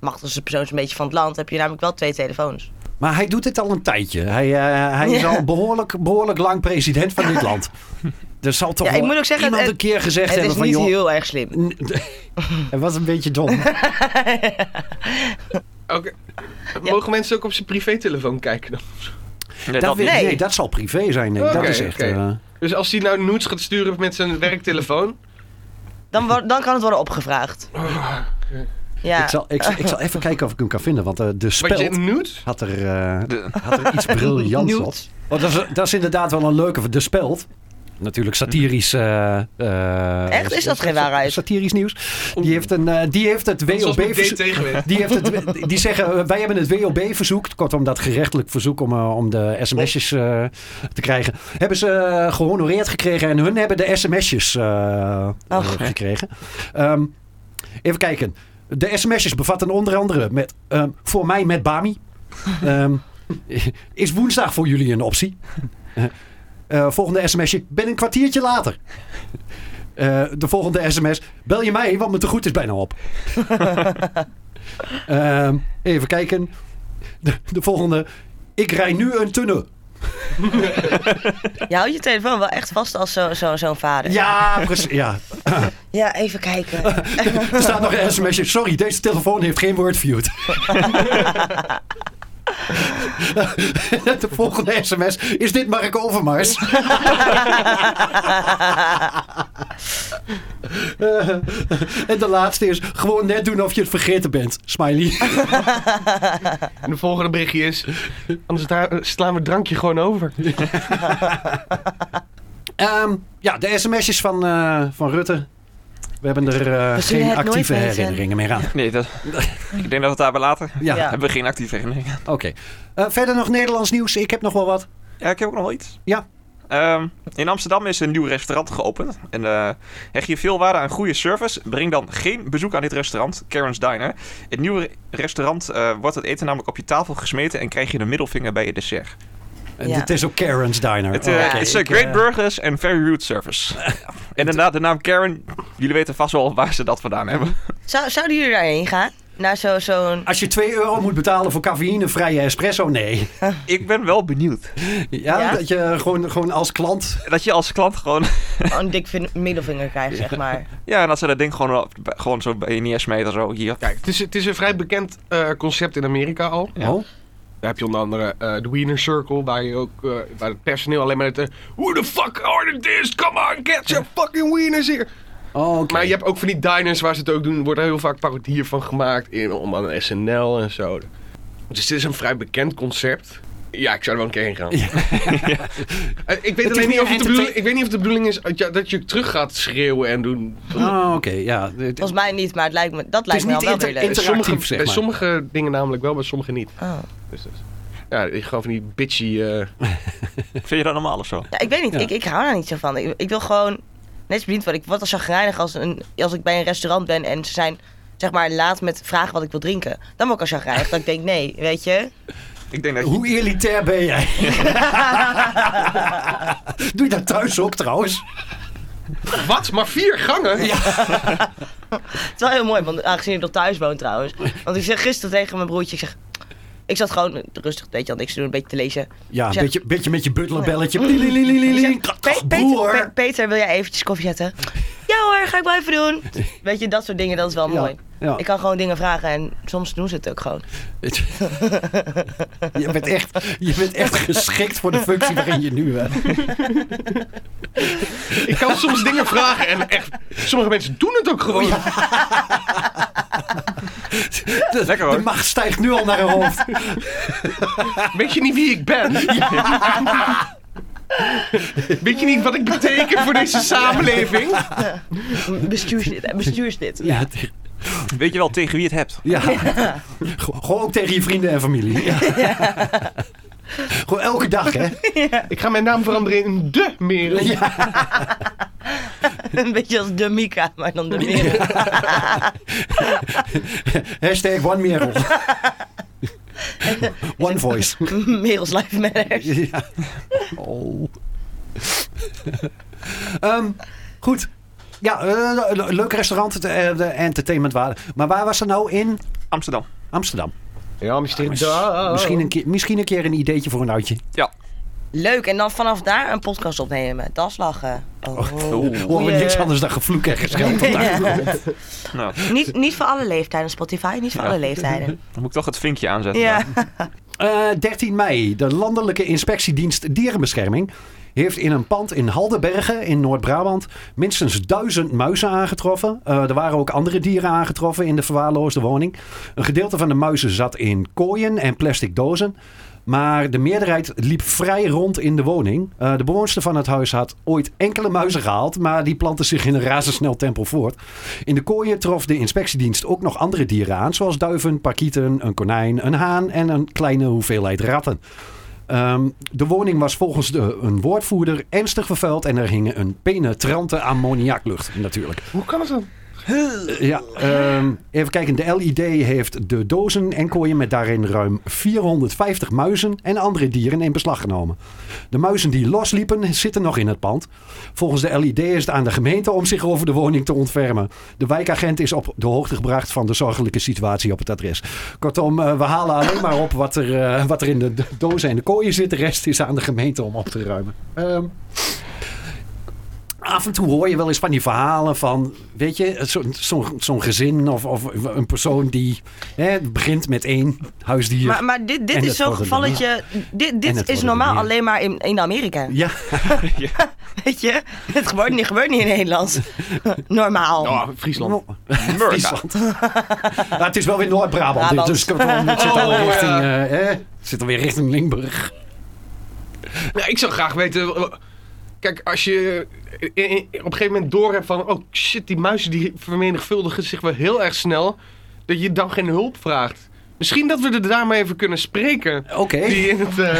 Speaker 2: machtigste persoon is een beetje van het land, heb je namelijk wel twee telefoons.
Speaker 5: Maar hij doet dit al een tijdje. Hij, eh, hij is al behoorlijk, behoorlijk lang president van dit land. Er zal toch
Speaker 2: Ja, ik
Speaker 5: wel
Speaker 2: moet ook zeggen,
Speaker 5: iemand
Speaker 2: het-
Speaker 5: een keer gezegd
Speaker 2: het
Speaker 5: hebben
Speaker 2: is
Speaker 5: van...
Speaker 2: niet
Speaker 5: joh,
Speaker 2: heel erg slim.
Speaker 5: Hij was een beetje dom.
Speaker 4: Oké. Mogen mensen ook op zijn privételefoon kijken dan?
Speaker 3: Nee,
Speaker 5: dat,
Speaker 3: dat
Speaker 5: weet-
Speaker 3: niet.
Speaker 5: nee.
Speaker 2: Nee.
Speaker 5: dat zal privé zijn. denk ik. dat
Speaker 4: Oké,
Speaker 5: is echt...
Speaker 4: oké.
Speaker 5: eh,
Speaker 4: Dus als hij nou nudes gaat sturen met zijn werktelefoon...
Speaker 2: Dan, wo- dan kan het worden opgevraagd. Ja.
Speaker 5: ik, zal, ik, zal- ik zal even kijken of ik hem kan vinden. Want eh, de
Speaker 4: Wat je
Speaker 5: speld
Speaker 4: nudes?
Speaker 5: had er, eh,
Speaker 3: De-
Speaker 5: had er iets briljants op.
Speaker 2: Nudes.
Speaker 5: Want dat, is, dat is inderdaad wel een leuke... De speld... Natuurlijk satirisch. eh, eh,
Speaker 2: Echt? Is dat geen waarheid?
Speaker 5: Satirisch nieuws. Die heeft, een, eh, die heeft het
Speaker 4: Dat is
Speaker 5: WOB.
Speaker 4: als mijn date
Speaker 5: verzo-
Speaker 4: tegenwerkt.
Speaker 5: Die, heeft het, die zeggen, eh, wij hebben het WOB-verzoek, kortom dat gerechtelijk verzoek om, eh, om de sms'jes eh, te krijgen, hebben ze eh, gehonoreerd gekregen en hun hebben de sms'jes eh, eh,
Speaker 2: Ach.
Speaker 5: gekregen. Ehm, even kijken. De sms'jes bevatten onder andere met, ehm, voor mij met Bami. Ehm, is woensdag voor jullie een optie? Eh, eh, volgende sms'je, ben een kwartiertje later. Eh, de volgende sms. Bel je mij, want mijn tegoed is bijna op. Ehm, even kijken. De, de volgende. Ik rij nu een tunnel.
Speaker 2: Je houdt je telefoon wel echt vast als zo- zo- zo'n vader.
Speaker 5: Ja, precies. Ja.
Speaker 2: Ja, even kijken.
Speaker 5: Er staat nog een sms'je. Sorry, deze telefoon heeft geen wordviewd. de volgende sms. Is dit Mark Overmars? Eh, en de laatste is. Gewoon net doen of je het vergeten bent. Smiley.
Speaker 4: En de volgende berichtje is... Anders daar- slaan we het drankje gewoon over.
Speaker 5: Ehm, ja, de sms'jes van, eh, van Rutte. We hebben er eh,
Speaker 2: We zullen
Speaker 5: geen
Speaker 2: het nooit
Speaker 5: actieve
Speaker 2: weten.
Speaker 5: herinneringen meer aan.
Speaker 3: Nee, dat, ik denk dat we het daarbij laten.
Speaker 5: Ja,
Speaker 2: Ja.
Speaker 3: Hebben we geen actieve herinneringen.
Speaker 5: oké. Eh, verder nog Nederlands nieuws. Ik heb nog wel wat.
Speaker 3: Ja, ik heb ook nog wel iets.
Speaker 5: Ja.
Speaker 3: Ehm, in Amsterdam is een nieuw restaurant geopend. En eh, hecht je veel waarde aan goede service? Breng dan geen bezoek aan dit restaurant, Karen's Diner. In het nieuwe re- restaurant eh, wordt het eten namelijk op je tafel gesmeten en krijg je de middelvinger bij je dessert.
Speaker 5: En
Speaker 2: Ja.
Speaker 5: dit is ook Karen's Diner.
Speaker 3: Het
Speaker 5: Oké,
Speaker 3: eh,
Speaker 2: Ja,
Speaker 3: is
Speaker 5: ik,
Speaker 3: eh, great
Speaker 5: eh,
Speaker 3: burgers and very rude service. en inderdaad, de naam Karen, jullie weten vast wel waar ze dat vandaan hebben.
Speaker 2: Zou, zouden jullie daarheen gaan? Naar zo- zo'n...
Speaker 5: Als je 2 euro moet betalen voor cafeïnevrije espresso, nee.
Speaker 3: ik ben wel benieuwd.
Speaker 5: Ja,
Speaker 2: Ja?
Speaker 5: dat je gewoon, gewoon als klant...
Speaker 3: Dat je als klant gewoon
Speaker 2: oh, een dik vin- middelvinger krijgt, zeg maar.
Speaker 3: Ja, en als ze dat ding gewoon, op- gewoon zo bij je neersmeten, zo hier.
Speaker 4: Kijk, het is, het is een vrij bekend eh, concept in Amerika al.
Speaker 3: Ja.
Speaker 5: Oh,
Speaker 4: Daar heb je onder andere eh, de Wiener Circle, waar, je ook, eh, waar het personeel alleen maar het... eh, Who the fuck are this? Come on, get your fucking wieners here!
Speaker 5: oh oké.
Speaker 4: Maar je hebt ook van die diners waar ze het ook doen. Wordt er heel vaak parodieën van gemaakt. In, om aan SNL en zo. Dus dit is een vrij bekend concept. Ja, ik zou er wel een keer heen gaan. Eh, Ik, weet
Speaker 5: is
Speaker 4: alleen niet
Speaker 5: meer
Speaker 4: of het de bedoeling,
Speaker 5: entertain-
Speaker 4: ik weet niet of de bedoeling is dat je- dat je terug gaat schreeuwen en doen. Eh,
Speaker 5: Oh, oké, ja. Het,
Speaker 2: Volgens mij niet, maar het lijkt me, dat lijkt me
Speaker 5: niet
Speaker 2: al wel
Speaker 5: inter-
Speaker 2: weer leuk.
Speaker 5: inter-
Speaker 4: Sommige,
Speaker 5: zeg
Speaker 4: bij
Speaker 5: maar.
Speaker 4: sommige dingen namelijk wel, bij sommige niet.
Speaker 2: Oh.
Speaker 4: Dus, dus. Ja, ik gewoon van die bitchy... eh,
Speaker 3: Vind je dat normaal of zo?
Speaker 2: Ja, ik weet niet.
Speaker 5: Ja.
Speaker 2: Ik, ik hou daar niet zo van. Ik, ik wil gewoon net als bediend worden. Ik word al chagrijnig als, een, als ik bij een restaurant ben en ze zijn zeg maar laat met vragen wat ik wil drinken. Dan word ik al chagrijnig. dat ik denk, nee, weet je.
Speaker 3: Ik denk dat je...
Speaker 5: Hoe elitair ben jij? Doe je dat thuis ook trouwens?
Speaker 4: Wat? Maar vier gangen?
Speaker 2: Het is wel heel mooi, want aangezien ik nog thuis woon trouwens. Want ik zeg gisteren tegen mijn broertje, ik zeg... Ik zat gewoon rustig, weet je, had niks te doen, een beetje te lezen.
Speaker 5: Ja, een
Speaker 2: Zeg-
Speaker 5: beetje, beetje met je butlerbelletje.
Speaker 2: Ik zeg,
Speaker 5: Lililililili.
Speaker 2: Oh "Pe- Peter, Pe-
Speaker 5: Boer.
Speaker 2: Peter, wil jij eventjes koffie zetten? Ja hoor, ga ik wel even doen. Weet je, dat soort dingen, dat is wel
Speaker 5: Ja,
Speaker 2: mooi.
Speaker 5: ja.
Speaker 2: Ik kan gewoon dingen vragen en soms doen ze het ook gewoon.
Speaker 5: je, bent echt, je bent echt geschikt voor de functie waarin je nu bent.
Speaker 4: Ik kan soms dingen vragen en echt... Sommige mensen doen het ook gewoon.
Speaker 5: Oh De,
Speaker 3: Lekker, hoor.
Speaker 5: de macht stijgt nu al naar haar hoofd.
Speaker 4: Weet je niet wie ik ben? Weet je niet wat ik beteken voor deze samenleving?
Speaker 2: Bestuurslid, bestuurslid.
Speaker 5: Ja, het-
Speaker 3: Weet je wel tegen wie je het hebt?
Speaker 5: Ja. Go- Gewoon ook tegen je vrienden en familie. Ja. Gewoon elke dag, hè?
Speaker 4: Ik ga mijn naam veranderen in de Merel.
Speaker 5: Ja.
Speaker 2: Een beetje als de Mika, maar dan de Merel.
Speaker 5: Hashtag One Merel. One voice.
Speaker 2: Merels Life Matter.
Speaker 5: Ja. Oh. Ehm, goed. Ja, eh, le- leuk restaurant, de, eh, de entertainmentwaarde. Maar waar was er nou in
Speaker 3: Amsterdam.
Speaker 5: Amsterdam?
Speaker 4: Ja, Amsterdam.
Speaker 5: Misschien, een keer, misschien een keer een ideetje voor een oudje.
Speaker 2: Leuk, en dan vanaf daar een podcast opnemen. Dat is lachen. Oh.
Speaker 5: Horen we
Speaker 2: Goeie-
Speaker 5: niks anders dan gevloek en gescheld.
Speaker 3: Nou,
Speaker 2: Niet, niet voor alle leeftijden, Spotify, niet voor
Speaker 3: Ja.
Speaker 2: alle leeftijden.
Speaker 3: dan moet ik toch het vinkje aanzetten.
Speaker 2: Ja.
Speaker 5: Eh, 13 mei. De Landelijke Inspectiedienst Dierenbescherming heeft in een pand in Haldenbergen in Noord-Brabant minstens duizend muizen aangetroffen. Eh, er waren ook andere dieren aangetroffen in de verwaarloosde woning. Een gedeelte van de muizen zat in kooien en plastic dozen. Maar de meerderheid liep vrij rond in de woning. Eh, de bewoonster van het huis had ooit enkele muizen gehaald, maar die planten zich in een razendsnel tempo voort. In de kooien trof de inspectiedienst ook nog andere dieren aan, zoals duiven, parkieten, een konijn, een haan en een kleine hoeveelheid ratten. Ehm, de woning was volgens de, een woordvoerder ernstig vervuild en er hing een penetrante ammoniaklucht natuurlijk.
Speaker 4: Hoe kan het dan?
Speaker 5: Ja, ehm, even kijken. De LID heeft de dozen en kooien met daarin ruim 450 muizen en andere dieren in beslag genomen. De muizen die losliepen zitten nog in het pand. Volgens de LID is het aan de gemeente om zich over de woning te ontfermen. De wijkagent is op de hoogte gebracht van de zorgelijke situatie op het adres. Kortom, eh, we halen alleen maar op wat er, eh, wat er in de d- dozen en de kooien zit. De rest is aan de gemeente om op te ruimen. Ehm, af en toe hoor je wel eens van die verhalen van, weet je, zo- zo'n zo'n gezin of, of een persoon die hè, begint met één huisdier.
Speaker 2: Maar, maar dit, dit
Speaker 5: En
Speaker 2: is
Speaker 5: het
Speaker 2: zo'n
Speaker 5: wordt er dan
Speaker 2: gevalletje. Dit,
Speaker 5: het
Speaker 2: dit
Speaker 5: wordt
Speaker 2: is
Speaker 5: er
Speaker 2: normaal
Speaker 5: meer.
Speaker 2: alleen maar in, in Amerika.
Speaker 5: Ja,
Speaker 2: Weet je? Het gebeurt niet, gebeurt niet in Nederland. normaal.
Speaker 4: Oh, Friesland.
Speaker 3: Murda.
Speaker 5: Nou, het is wel weer Noord-Brabant, dit,
Speaker 2: Brabant.
Speaker 5: dus kortom, het zit
Speaker 4: Oh,
Speaker 5: alweer
Speaker 4: ja.
Speaker 5: richting, eh, hè, het zit alweer richting Limburg.
Speaker 4: Nou, ik zou graag weten. w- w- Kijk, als je eh, eh, op een gegeven moment door hebt van. Oh shit, die muizen die vermenigvuldigen zich wel heel erg snel. Dat je dan geen hulp vraagt. Misschien dat we er daarmee even kunnen spreken.
Speaker 5: Oké.
Speaker 4: Die in het. eh,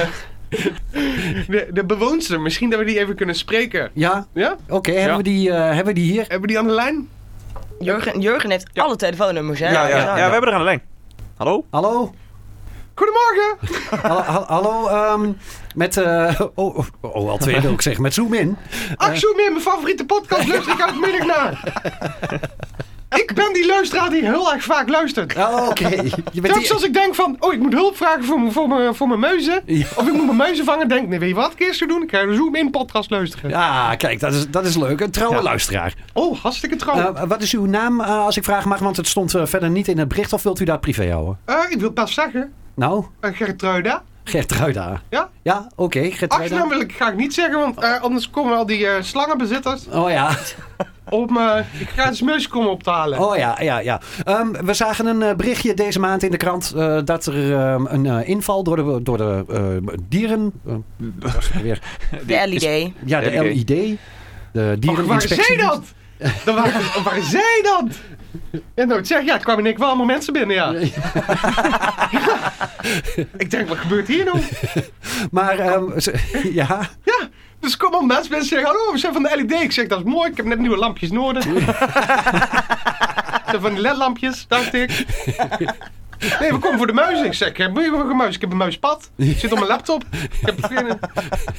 Speaker 4: de, de bewoonster, misschien dat we die even kunnen spreken.
Speaker 5: Ja,
Speaker 4: Ja?
Speaker 5: oké, hebben, we die, eh, hebben we die hier?
Speaker 4: Hebben we die aan de lijn?
Speaker 2: Jurgen, Jurgen heeft alle telefoonnummers, hè?
Speaker 3: Ja, ja, ja, we
Speaker 2: ja.
Speaker 3: hebben er aan de lijn. Hallo?
Speaker 5: Hallo?
Speaker 4: Goedemorgen!
Speaker 5: Hallo, ha- hallo ehm, met, eh, oh, oh, oh, al twee wil ik zeggen, met Zoom in.
Speaker 4: Axel meer mijn favoriete podcast luister ik uitmiddag naar. Ik ben die luisteraar die heel erg vaak luistert.
Speaker 5: Oh, oké. Je bent
Speaker 4: Telkens als ik denk van, oh, ik moet hulp vragen voor, mijn- voor, mijn- voor mijn muizen.
Speaker 5: Ja.
Speaker 4: Of ik moet mijn muizen vangen. Denk, nee, weet je wat ik eerst zou doen? Ik ga een Zoom-in podcast luisteren.
Speaker 5: Ja, Ah, kijk, dat is, dat is leuk. Een trouwe
Speaker 4: Ja.
Speaker 5: luisteraar.
Speaker 4: Oh, hartstikke trouw.
Speaker 5: Eh, wat is uw naam, eh, als ik vragen mag? Want het stond eh, verder niet in het bericht. Of wilt u dat privé houden?
Speaker 4: Eh, ik wil pas zeggen,
Speaker 5: Nou,
Speaker 4: eh, Gertruida.
Speaker 5: Gertruida.
Speaker 4: Ja?
Speaker 5: Ja, oké,
Speaker 4: Achternaam
Speaker 5: Gertruida.
Speaker 4: wil ik, ga ik niet zeggen, want eh, anders komen al die eh, slangenbezitters
Speaker 5: Oh ja,
Speaker 4: om... eh, ik ga een smeusje komen op te halen.
Speaker 5: oh ja, ja, ja. Ehm, we zagen een eh, berichtje deze maand in de krant eh, dat er ehm, een eh, inval door de, door de eh, dieren... eh, wat was het weer?
Speaker 2: De LID.
Speaker 5: Ja, de LID.
Speaker 3: LID.
Speaker 5: De
Speaker 4: Och, waar
Speaker 5: diereninspectie.
Speaker 4: zij dat? Dan waren, waar zij dat? En nooit zeg, ja, er kwamen in één keer wel allemaal mensen binnen, ja. ik denk, wat gebeurt hier nou?
Speaker 5: Maar, ehm, ze- ja,
Speaker 4: Ja, dus kom op mensen. Mensen zeggen, hallo, we zijn van de LED. Ik zeg, dat is mooi. Ik heb net nieuwe lampjes nodig. Zijn van die ledlampjes, dacht ik. Nee, we komen voor de muizen. Ik zeg, heb je nog een muis? Ik heb een muispad. Ik zit op mijn laptop. Ik heb geen,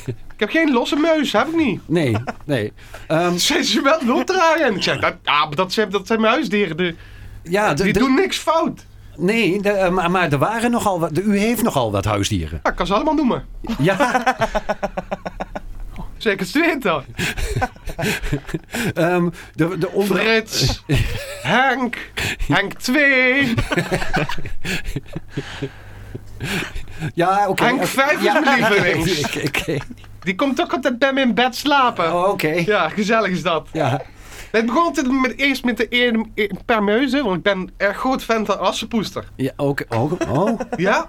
Speaker 4: ik heb geen losse muis, heb ik niet.
Speaker 5: nee, nee. Ehm,
Speaker 4: Zijn ze wel doordraaien? Ik zeg, dat, ah, maar dat, zijn, dat zijn mijn huisdieren. De-
Speaker 5: ja, de-
Speaker 4: die
Speaker 5: de-
Speaker 4: doen niks fout.
Speaker 5: nee, de- eh, maar, maar er waren nogal wat, de, u heeft nogal wat huisdieren.
Speaker 4: Ja, ik kan ze allemaal noemen.
Speaker 5: Ja,
Speaker 4: Zeker twintig.
Speaker 5: ehm, de, de onder...
Speaker 4: Frits. Henk. Henk 2.
Speaker 5: Ja, oké.
Speaker 4: Henk
Speaker 5: oké.
Speaker 4: 5 is mijn lievelings.
Speaker 5: Oké, oké.
Speaker 4: Die komt ook altijd bij me in bed slapen.
Speaker 5: Oh, Oké.
Speaker 4: Ja, gezellig is dat.
Speaker 5: Ja.
Speaker 4: Het begon altijd met, eerst met de eer, eer- permeuzen, want ik ben erg groot fan van assenpoester.
Speaker 5: Ja, ook. ook oh,
Speaker 4: Ja?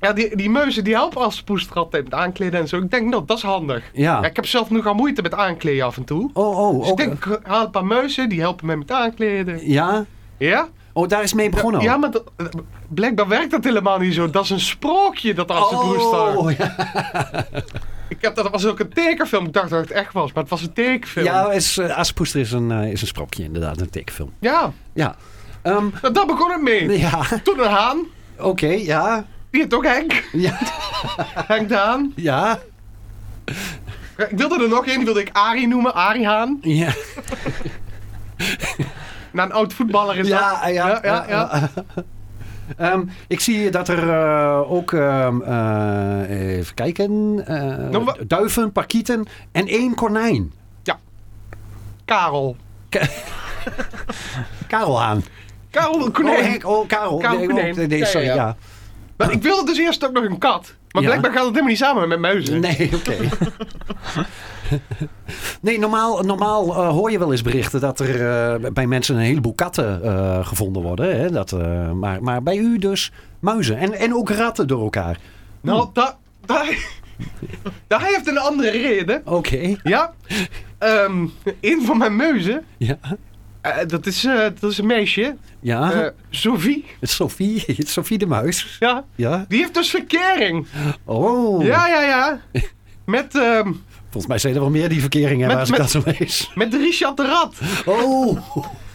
Speaker 4: Ja, die, die meuzen die helpen assenpoester altijd met aankleden en zo. Ik denk, nou, dat is handig.
Speaker 5: ja.
Speaker 4: Ja, ik heb zelf nog al moeite met aankleden af en toe.
Speaker 5: Oh, oh,
Speaker 4: Dus
Speaker 5: ook.
Speaker 4: ik denk, ik haal een paar meuzen, die helpen mij met aankleden.
Speaker 5: Ja?
Speaker 4: Ja?
Speaker 5: Oh, daar is mee begonnen.
Speaker 4: Ja,
Speaker 5: al.
Speaker 4: maar dat- blijkbaar werkt dat helemaal niet zo. Dat is een sprookje, dat assenpoester.
Speaker 5: Oh, ja.
Speaker 4: Ik heb, dat was ook een tekenfilm. Ik dacht dat het echt was, maar het was een tekenfilm.
Speaker 5: Ja, is, eh, Assepoester is een, eh, is een sprookje, inderdaad, een tekenfilm.
Speaker 4: ja.
Speaker 5: Ja. Ehm,
Speaker 4: Nou, daar begon het mee.
Speaker 5: ja,
Speaker 4: Toen een haan.
Speaker 5: oké, ja.
Speaker 4: Die heet ook Henk.
Speaker 5: Ja.
Speaker 4: Henk de Haan.
Speaker 5: Ja.
Speaker 4: Ik wilde er nog één, die wilde ik Arie noemen. Arie Haan.
Speaker 5: Ja.
Speaker 4: Na een oud voetballer is
Speaker 5: Ja,
Speaker 4: dat.
Speaker 5: ja,
Speaker 4: ja, ja,
Speaker 5: Ehm, ik zie dat er eh, ook, ehm, eh, even kijken, eh,
Speaker 4: Nou, wa-
Speaker 5: duiven, parkieten en één konijn.
Speaker 4: Karel.
Speaker 5: Karel aan.
Speaker 4: Karel de
Speaker 5: Oh,
Speaker 4: Konijn.
Speaker 5: Henk, oh, Karel.
Speaker 4: Karel
Speaker 5: Nee, oh,
Speaker 4: konijn.
Speaker 5: nee, sorry,
Speaker 4: Ja, ja,
Speaker 5: ja.
Speaker 4: maar ik wilde dus eerst ook nog een kat. Maar
Speaker 5: Ja.
Speaker 4: blijkbaar gaat het helemaal niet samen met muizen.
Speaker 5: Nee, oké. nee, normaal, normaal eh, hoor je wel eens berichten dat er eh, bij mensen een heleboel katten eh, gevonden worden. Hè? Dat, eh, maar, maar bij u dus muizen en, en ook ratten door elkaar.
Speaker 4: Nou, daar... daar- Daar heeft een andere reden.
Speaker 5: Oké.
Speaker 4: Ja. Ehm, een van mijn muizen,
Speaker 5: Ja.
Speaker 4: eh, dat, is, eh, dat is een meisje,
Speaker 5: Ja.
Speaker 4: eh, Sophie,
Speaker 5: Sophie, Sophie de muis.
Speaker 4: ja,
Speaker 5: Ja.
Speaker 4: die heeft dus verkering.
Speaker 5: Oh.
Speaker 4: Ja, ja, ja. Met, ehm,
Speaker 5: Volgens mij zijn er wel meer die verkeringen
Speaker 4: Met-
Speaker 5: als ik
Speaker 4: met-
Speaker 5: dat zo lees.
Speaker 4: met Richard de Rat.
Speaker 5: Oh.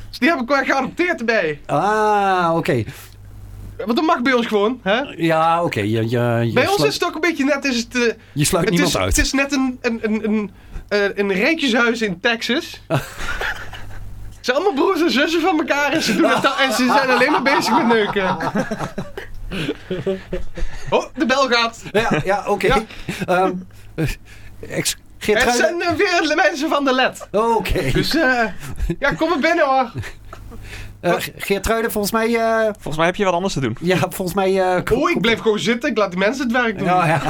Speaker 4: Dus die heb ik gewoon geadopteerd bij.
Speaker 5: Ah, oké.
Speaker 4: Want dat mag bij ons gewoon, hè?
Speaker 5: Ja, oké. Je, je, je,
Speaker 4: bij ons
Speaker 5: sluit-
Speaker 4: is het ook een beetje net is het... eh,
Speaker 5: je sluit
Speaker 4: het,
Speaker 5: niemand
Speaker 4: is,
Speaker 5: uit.
Speaker 4: het is net een, een, een, een, eh, een rijtjeshuis in Texas. Ze zijn allemaal broers en zussen van elkaar en ze, doen het al- en ze zijn alleen maar bezig met neuken. Oh, de bel gaat.
Speaker 5: Ja, ja oké.
Speaker 4: Ja.
Speaker 5: Ehm, eh, ex-
Speaker 4: Er
Speaker 5: Geertruida-
Speaker 4: zijn eh, weer mensen van de led.
Speaker 5: Oké.
Speaker 4: Dus eh, ja, kom maar binnen hoor.
Speaker 5: Eh, Geertruiden, volgens mij... eh,
Speaker 3: Volgens mij heb je wat anders te doen.
Speaker 5: ja, volgens mij... eh, kom-
Speaker 4: Oh, ik bleef gewoon zitten. Ik laat die mensen het werk doen.
Speaker 5: Ja, ja.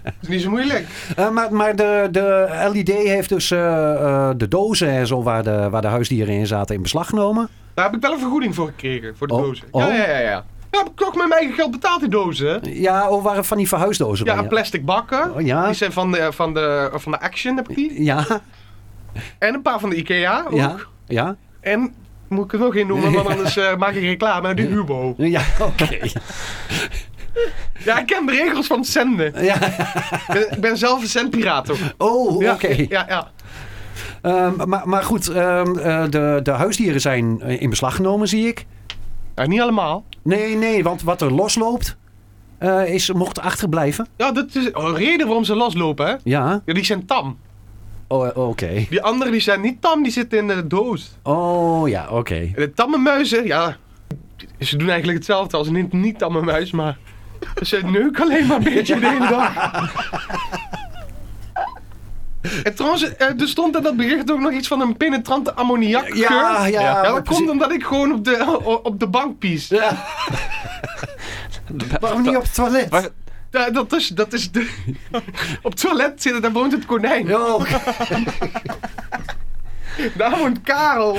Speaker 4: Dat is niet zo moeilijk.
Speaker 5: Eh, maar maar de, de LED heeft dus eh, eh, de dozen en zo waar de, waar de huisdieren in zaten in beslag genomen.
Speaker 4: Daar heb ik wel een vergoeding voor gekregen, voor de
Speaker 5: Oh,
Speaker 4: dozen.
Speaker 5: oh.
Speaker 4: Ja, ja, ja. ja. Ja, heb ik ook met mijn eigen geld betaald die dozen.
Speaker 5: Ja, oh, waren van die verhuisdozen.
Speaker 4: Ja,
Speaker 5: dan,
Speaker 4: plastic bakken.
Speaker 5: Oh, ja.
Speaker 4: Die zijn van de, van, de, van de Action, heb ik die.
Speaker 5: Ja,
Speaker 4: En een paar van de Ikea ook.
Speaker 5: ja, ja.
Speaker 4: En, moet ik er nog in noemen, want anders eh, maak ik reclame. De Hubo.
Speaker 5: Ja, oké.
Speaker 4: Ja, ik ken de regels van het zenden.
Speaker 5: Ja.
Speaker 4: Ik ben, ik ben zelf een zendpiraat ook.
Speaker 5: Oh, oké.
Speaker 4: Ja, Ja, ja.
Speaker 5: Ehm, maar, maar goed, ehm, eh, de, de huisdieren zijn eh, in beslag genomen, zie ik.
Speaker 4: Nou, niet allemaal.
Speaker 5: Nee, nee, want wat er losloopt, eh, is, mocht achterblijven.
Speaker 4: Ja, dat is een reden waarom ze loslopen, hè.
Speaker 5: Ja,
Speaker 4: Ja, die zijn tam.
Speaker 5: oh, eh, oké.
Speaker 4: Die anderen die zijn niet tam, die zitten in de doos.
Speaker 5: Oh, ja, oké.
Speaker 4: En de tamme muizen, ja, ze doen eigenlijk hetzelfde als een niet- niet-tamme muis, maar ze neuken alleen maar een beetje de hele dag. En trouwens, eh, er stond in dat bericht ook nog iets van een penetrante ammoniak.
Speaker 5: Ja, ja,
Speaker 4: dat
Speaker 5: precies.
Speaker 4: komt omdat ik gewoon op de, op de bank pies.
Speaker 5: Ja. Waarom niet op het toilet?
Speaker 3: Waar-
Speaker 4: Ja, dat is, dat is de, op het toilet zitten, daar woont het konijn.
Speaker 5: Ja, oké.
Speaker 4: Daar woont Karel.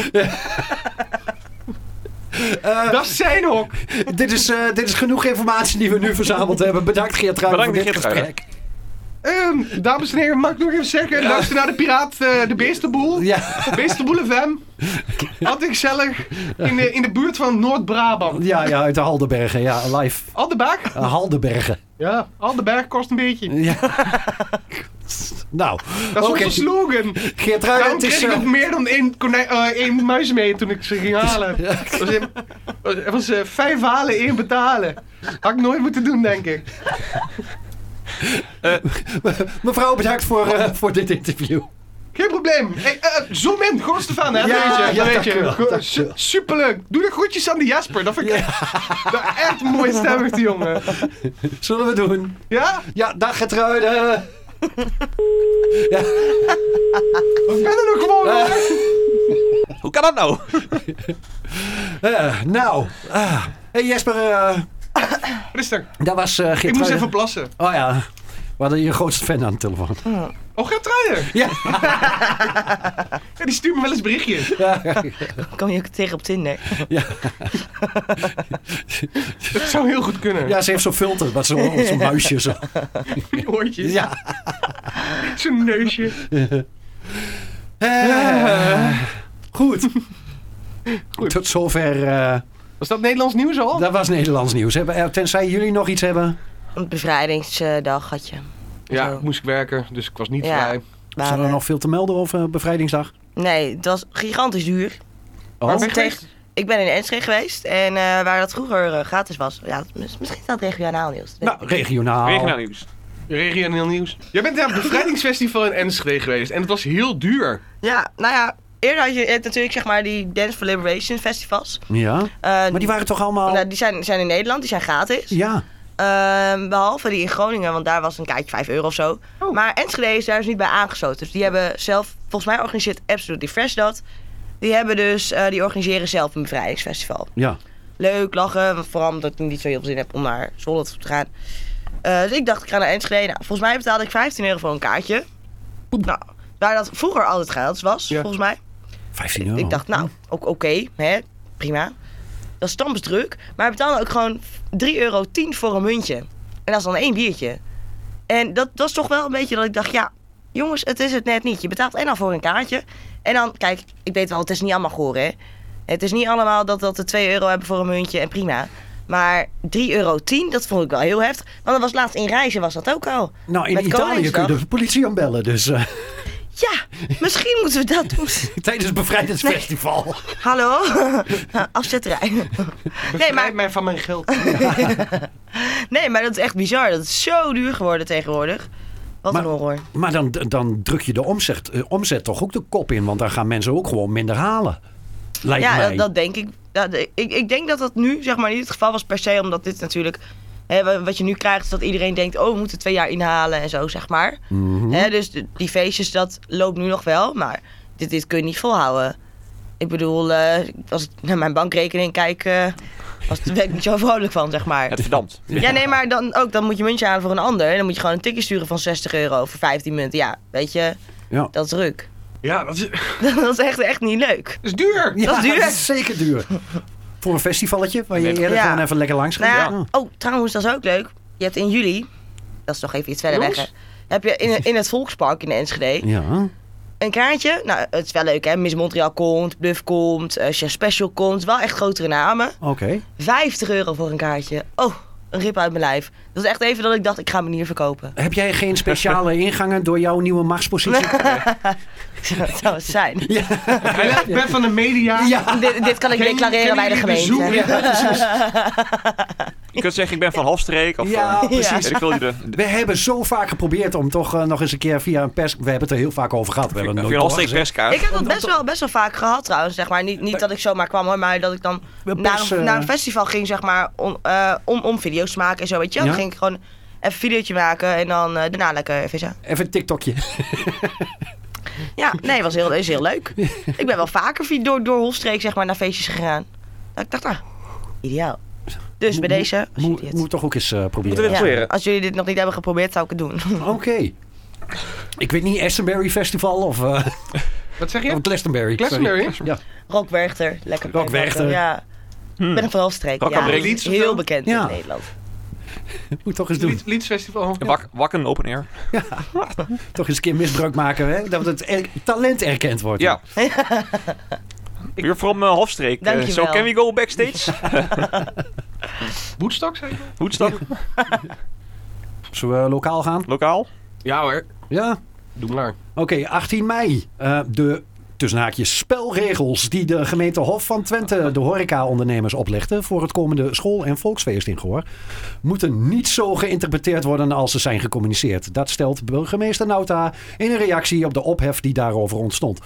Speaker 4: dat is zijn hok.
Speaker 5: dit, is, eh, dit is genoeg informatie die we nu verzameld hebben. Bedankt Geert Ruijden voor
Speaker 3: Bedankt,
Speaker 5: dit
Speaker 3: Geertruida.
Speaker 5: gesprek.
Speaker 4: Ehm, dames en heren, mag ik nog even zeggen? Luister naar de Piraat, eh, de Beestenboel.
Speaker 5: Ja,
Speaker 4: Beestenboel FM. Altijd gezellig in de, in de buurt van Noord-Brabant.
Speaker 5: ja, ja, uit de Haldenbergen. Ja, live.
Speaker 4: Aldeberg?
Speaker 5: Eh, Haldenbergen.
Speaker 4: Ja, Aldeberg kost een beetje.
Speaker 5: Ja. nou,
Speaker 4: Dat is
Speaker 5: oké.
Speaker 4: onze slogan.
Speaker 5: Geert Ruijden,
Speaker 4: Daarom
Speaker 5: het is...
Speaker 4: kreeg ik
Speaker 5: eh,
Speaker 4: ook meer dan één, konijn, eh, één muis mee toen ik ze ging halen. Het was, in- het was eh, vijf halen, één betalen. Had ik nooit moeten doen, denk ik.
Speaker 5: eh, mevrouw, bedankt voor, eh, voor dit interview.
Speaker 4: Geen probleem. Hey, eh, zoom in, Goor Stefan, hè?
Speaker 5: Ja,
Speaker 4: dat weet
Speaker 5: ja,
Speaker 4: je. dat weet
Speaker 5: dankjewel,
Speaker 4: je. Go-
Speaker 5: dankjewel.
Speaker 4: su- Superleuk. Doe de groetjes aan de Jasper. Dat vind ik echt, dat echt een mooie stem heeft die jongen.
Speaker 5: Zullen we doen?
Speaker 4: Ja?
Speaker 5: Ja, dag Gertruiden.
Speaker 4: Ik ben er nog gewoon. hoor.
Speaker 3: Hoe kan dat nou?
Speaker 5: Eh, nou, ah. hey Jesper, eh,
Speaker 4: Rustig.
Speaker 5: dat was eh Geert
Speaker 4: Ik moest
Speaker 5: Ruijden.
Speaker 4: even plassen.
Speaker 5: Oh ja, we hadden je grootste fan aan de telefoon.
Speaker 4: Oh, Gertruiden.
Speaker 5: Ja.
Speaker 4: ja. Die stuurt me wel eens berichtjes.
Speaker 2: Kom je ook tegen op Tinder?
Speaker 4: Dat zou heel goed kunnen.
Speaker 5: Ja, ze heeft zo'n filter, wat zo'n zo'n muisje zo.
Speaker 4: Die oortjes.
Speaker 5: Ja.
Speaker 4: Zijn neusje.
Speaker 5: Eh, goed.
Speaker 4: Goed.
Speaker 5: Tot zover. eh,
Speaker 4: Was dat Nederlands nieuws al?
Speaker 5: dat was Nederlands nieuws. Hebben- eh, Tenzij jullie nog iets hebben.
Speaker 2: Een bevrijdingsdag had je.
Speaker 4: Ja,
Speaker 2: Zo.
Speaker 4: moest ik werken, dus ik was niet
Speaker 2: Ja.
Speaker 5: Oh.
Speaker 4: vrij.
Speaker 5: Zijn
Speaker 2: Waren-
Speaker 5: er nog veel te melden over Bevrijdingsdag?
Speaker 2: Nou, Nee, het was gigantisch duur.
Speaker 5: Oh,
Speaker 4: ben je
Speaker 2: Tegen-
Speaker 4: geweest?
Speaker 2: Ik ben in Enschede geweest en eh, waar dat vroeger eh, gratis was. Ja, mis- misschien staat regionaal nieuws.
Speaker 5: nou, regionaal.
Speaker 3: Regionaal nieuws.
Speaker 4: Regionaal nieuws. Jij bent naar het bevrijdingsfestival in Enschede geweest en het was heel duur.
Speaker 2: Ja, nou ja, eerder had je eh, natuurlijk zeg maar die Dance for Liberation festivals.
Speaker 5: Ja.
Speaker 2: Eh,
Speaker 5: Maar die waren toch allemaal...
Speaker 2: nou, die zijn, zijn in Nederland, die zijn gratis.
Speaker 5: Ja.
Speaker 2: Ehm, behalve die in Groningen, want daar was een kaartje 5 euro of zo.
Speaker 4: Oh.
Speaker 2: Maar Enschede is daar dus niet bij aangesloten. Dus die hebben zelf, volgens mij organiseert Absolutely Fresh dat. Die hebben dus, eh, die organiseren zelf een bevrijdingsfestival.
Speaker 5: Ja.
Speaker 2: Leuk, lachen, want vooral omdat ik niet zo heel veel zin heb om naar Zwolle te gaan. Eh, dus ik dacht, ik ga naar Enschede. Nou, volgens mij betaalde ik 15 euro voor een kaartje. Nou, waar dat vroeger altijd gratis was,
Speaker 4: Ja.
Speaker 2: volgens mij.
Speaker 5: 15 euro.
Speaker 2: Ik dacht, nou, ook oké, hè, prima. Dat is tams druk. Maar we betaalden ook gewoon 3,10 euro voor een muntje. En dat is dan één biertje. En dat was toch wel een beetje dat ik dacht, ja, jongens, het is het net niet. Je betaalt en al voor een kaartje. En dan, kijk, ik weet wel, het is niet allemaal goor, hè. Het is niet allemaal dat, dat we 2 euro hebben voor een muntje en prima. Maar 3,10 euro, dat vond ik wel heel heftig. Want dat was laatst in reizen was dat ook al.
Speaker 5: Nou, in
Speaker 2: Met
Speaker 5: Italië kun
Speaker 2: Koningsdag.
Speaker 5: je de politie aanbellen, dus... eh,
Speaker 2: Ja, misschien moeten we dat doen.
Speaker 5: Tijdens het bevrijdingsfestival.
Speaker 2: Hallo? Afzetterij. Nee maar,
Speaker 4: Bevrijd mij van mijn geld.
Speaker 2: nee, maar dat is echt bizar. Dat is zo duur geworden tegenwoordig. Wat
Speaker 5: Maar-
Speaker 2: een horror.
Speaker 5: Maar dan, dan druk je de omzet, eh, omzet toch ook de kop in, want dan gaan mensen ook gewoon minder halen. Lijkt
Speaker 2: ja,
Speaker 5: mij.
Speaker 2: dat, dat denk ik. Ja, de- ik. Ik denk dat dat nu zeg maar niet het geval was per se, omdat dit natuurlijk... Hè, wa- wat je nu krijgt is dat iedereen denkt, oh, we moeten twee jaar inhalen en zo, zeg maar.
Speaker 5: Mhm.
Speaker 2: Hè, dus de- die feestjes, dat loopt nu nog wel, maar dit, dit kun je niet volhouden. Ik bedoel, eh, als ik naar mijn bankrekening kijk, eh, was, daar ben ik niet zo vrolijk van, zeg maar.
Speaker 3: Het verdampt.
Speaker 2: Ja, nee, maar dan, ook, dan moet je muntje halen voor een ander. Dan moet je gewoon een tikje sturen van 60 euro voor 15 munten. Ja, weet je,
Speaker 5: Ja.
Speaker 2: dat is druk.
Speaker 4: Ja, dat is, dat
Speaker 2: dat is echt, echt niet leuk.
Speaker 4: is duur.
Speaker 5: Ja,
Speaker 2: dat is duur.
Speaker 5: zeker duur. Voor een festivalletje waar je
Speaker 3: Nee, dat-
Speaker 5: eerder
Speaker 2: Ja.
Speaker 5: gewoon even lekker langs gaat.
Speaker 2: Nou ja,
Speaker 5: Ja.
Speaker 2: oh, trouwens, dat is ook leuk. Je hebt in juli, dat is nog even iets verder weg, hè,
Speaker 4: Jongens?
Speaker 2: heb je in, in het Volkspark in Enschede
Speaker 5: Ja.
Speaker 2: een kaartje. Nou, het is wel leuk, hè. Miss Montreal komt, Bluff komt, eh Chef Special komt. Wel echt grotere namen.
Speaker 5: oké.
Speaker 2: 50 euro voor een kaartje. Oh, een rip uit mijn lijf. Dat is echt even dat ik dacht, ik ga me hier verkopen.
Speaker 5: Heb jij geen speciale ingangen door jouw nieuwe machtspositie?
Speaker 2: dat zou het zijn.
Speaker 4: Ik ben van de media.
Speaker 5: ja.
Speaker 2: Dit, dit kan ik
Speaker 4: Ken-
Speaker 2: declareren
Speaker 4: kennen
Speaker 2: bij de gemeente.
Speaker 4: jullie Zoom? Ja, precies.
Speaker 3: Je kunt zeggen, ik ben van Halfstreek. Of,
Speaker 5: Ja,
Speaker 3: eh,
Speaker 5: precies.
Speaker 3: weet ik wil je de,
Speaker 5: We hebben zo vaak geprobeerd om toch eh, nog eens een keer via een pers... We hebben het er heel vaak over gehad. We hebben
Speaker 3: de,
Speaker 5: het
Speaker 3: de
Speaker 5: nooit
Speaker 3: Halfstreek
Speaker 5: doorgezet.
Speaker 3: perskaart.
Speaker 2: Ik heb dat best wel, best wel vaak gehad trouwens, zeg maar. Niet,
Speaker 4: Eh.
Speaker 2: niet dat ik zomaar kwam hoor, maar dat ik dan
Speaker 5: Wel
Speaker 2: naar,
Speaker 5: pers,
Speaker 2: een-
Speaker 5: eh,
Speaker 2: naar een festival ging, zeg maar, om, eh, om, om video's te maken en zo, weet je wel.
Speaker 5: Ja.
Speaker 2: Dan ging ik gewoon even een videootje maken en dan eh, daarna lekker vissen.
Speaker 5: Even een TikTokje.
Speaker 2: Ja, nee, was heel, is heel leuk. ik ben wel vaker vi- door, door Hofstreek, zeg maar, naar feestjes gegaan. Dat ik dacht, ah, ideaal. Dus bij
Speaker 5: Moet-
Speaker 2: deze, als
Speaker 5: Moet
Speaker 2: jullie, dit,
Speaker 5: moet toch ook eens eh, proberen.
Speaker 3: Moeten we-
Speaker 2: ja,
Speaker 3: proberen?
Speaker 2: als jullie dit nog niet hebben geprobeerd, zou ik het doen.
Speaker 5: Oké. Ik weet niet, Astonbury Festival of, eh
Speaker 4: Wat zeg
Speaker 5: of
Speaker 4: je?
Speaker 5: Glastonbury.
Speaker 4: Glastonbury?
Speaker 5: Sorry. Ja.
Speaker 2: Rock Werchter, lekker.
Speaker 5: Rock Werchter. Hmm.
Speaker 2: Ja. Ik ben van Hofstreek,
Speaker 3: Rock
Speaker 2: ja.
Speaker 3: aan Brink.
Speaker 2: Is Heel bekend
Speaker 5: Ja.
Speaker 2: in Nederland.
Speaker 5: Moet toch eens doen.
Speaker 4: Lied- Liedfestival.
Speaker 3: En Wak, wakken, open air.
Speaker 5: Toch eens een keer misbruik maken. Hè? Dat het er- talent erkend wordt.
Speaker 3: Ja. You're from eh, Halfstreek. Eh,
Speaker 2: Dankjewel.
Speaker 3: so can we go backstage?
Speaker 4: Woodstock, zei je? wel?
Speaker 3: Hoedstak,
Speaker 5: Zullen we lokaal gaan?
Speaker 3: lokaal.
Speaker 4: Ja hoor,
Speaker 5: Ja.
Speaker 4: doe maar.
Speaker 5: Oké, 18 mei. Eh, de tussen haakjes spelregels die de gemeente Hof van Twente de horecaondernemers oplegde voor het komende school- en volksfeest in Goor, moeten niet zo geïnterpreteerd worden als ze zijn gecommuniceerd. Dat stelt burgemeester Nauta in een reactie op de ophef die daarover ontstond.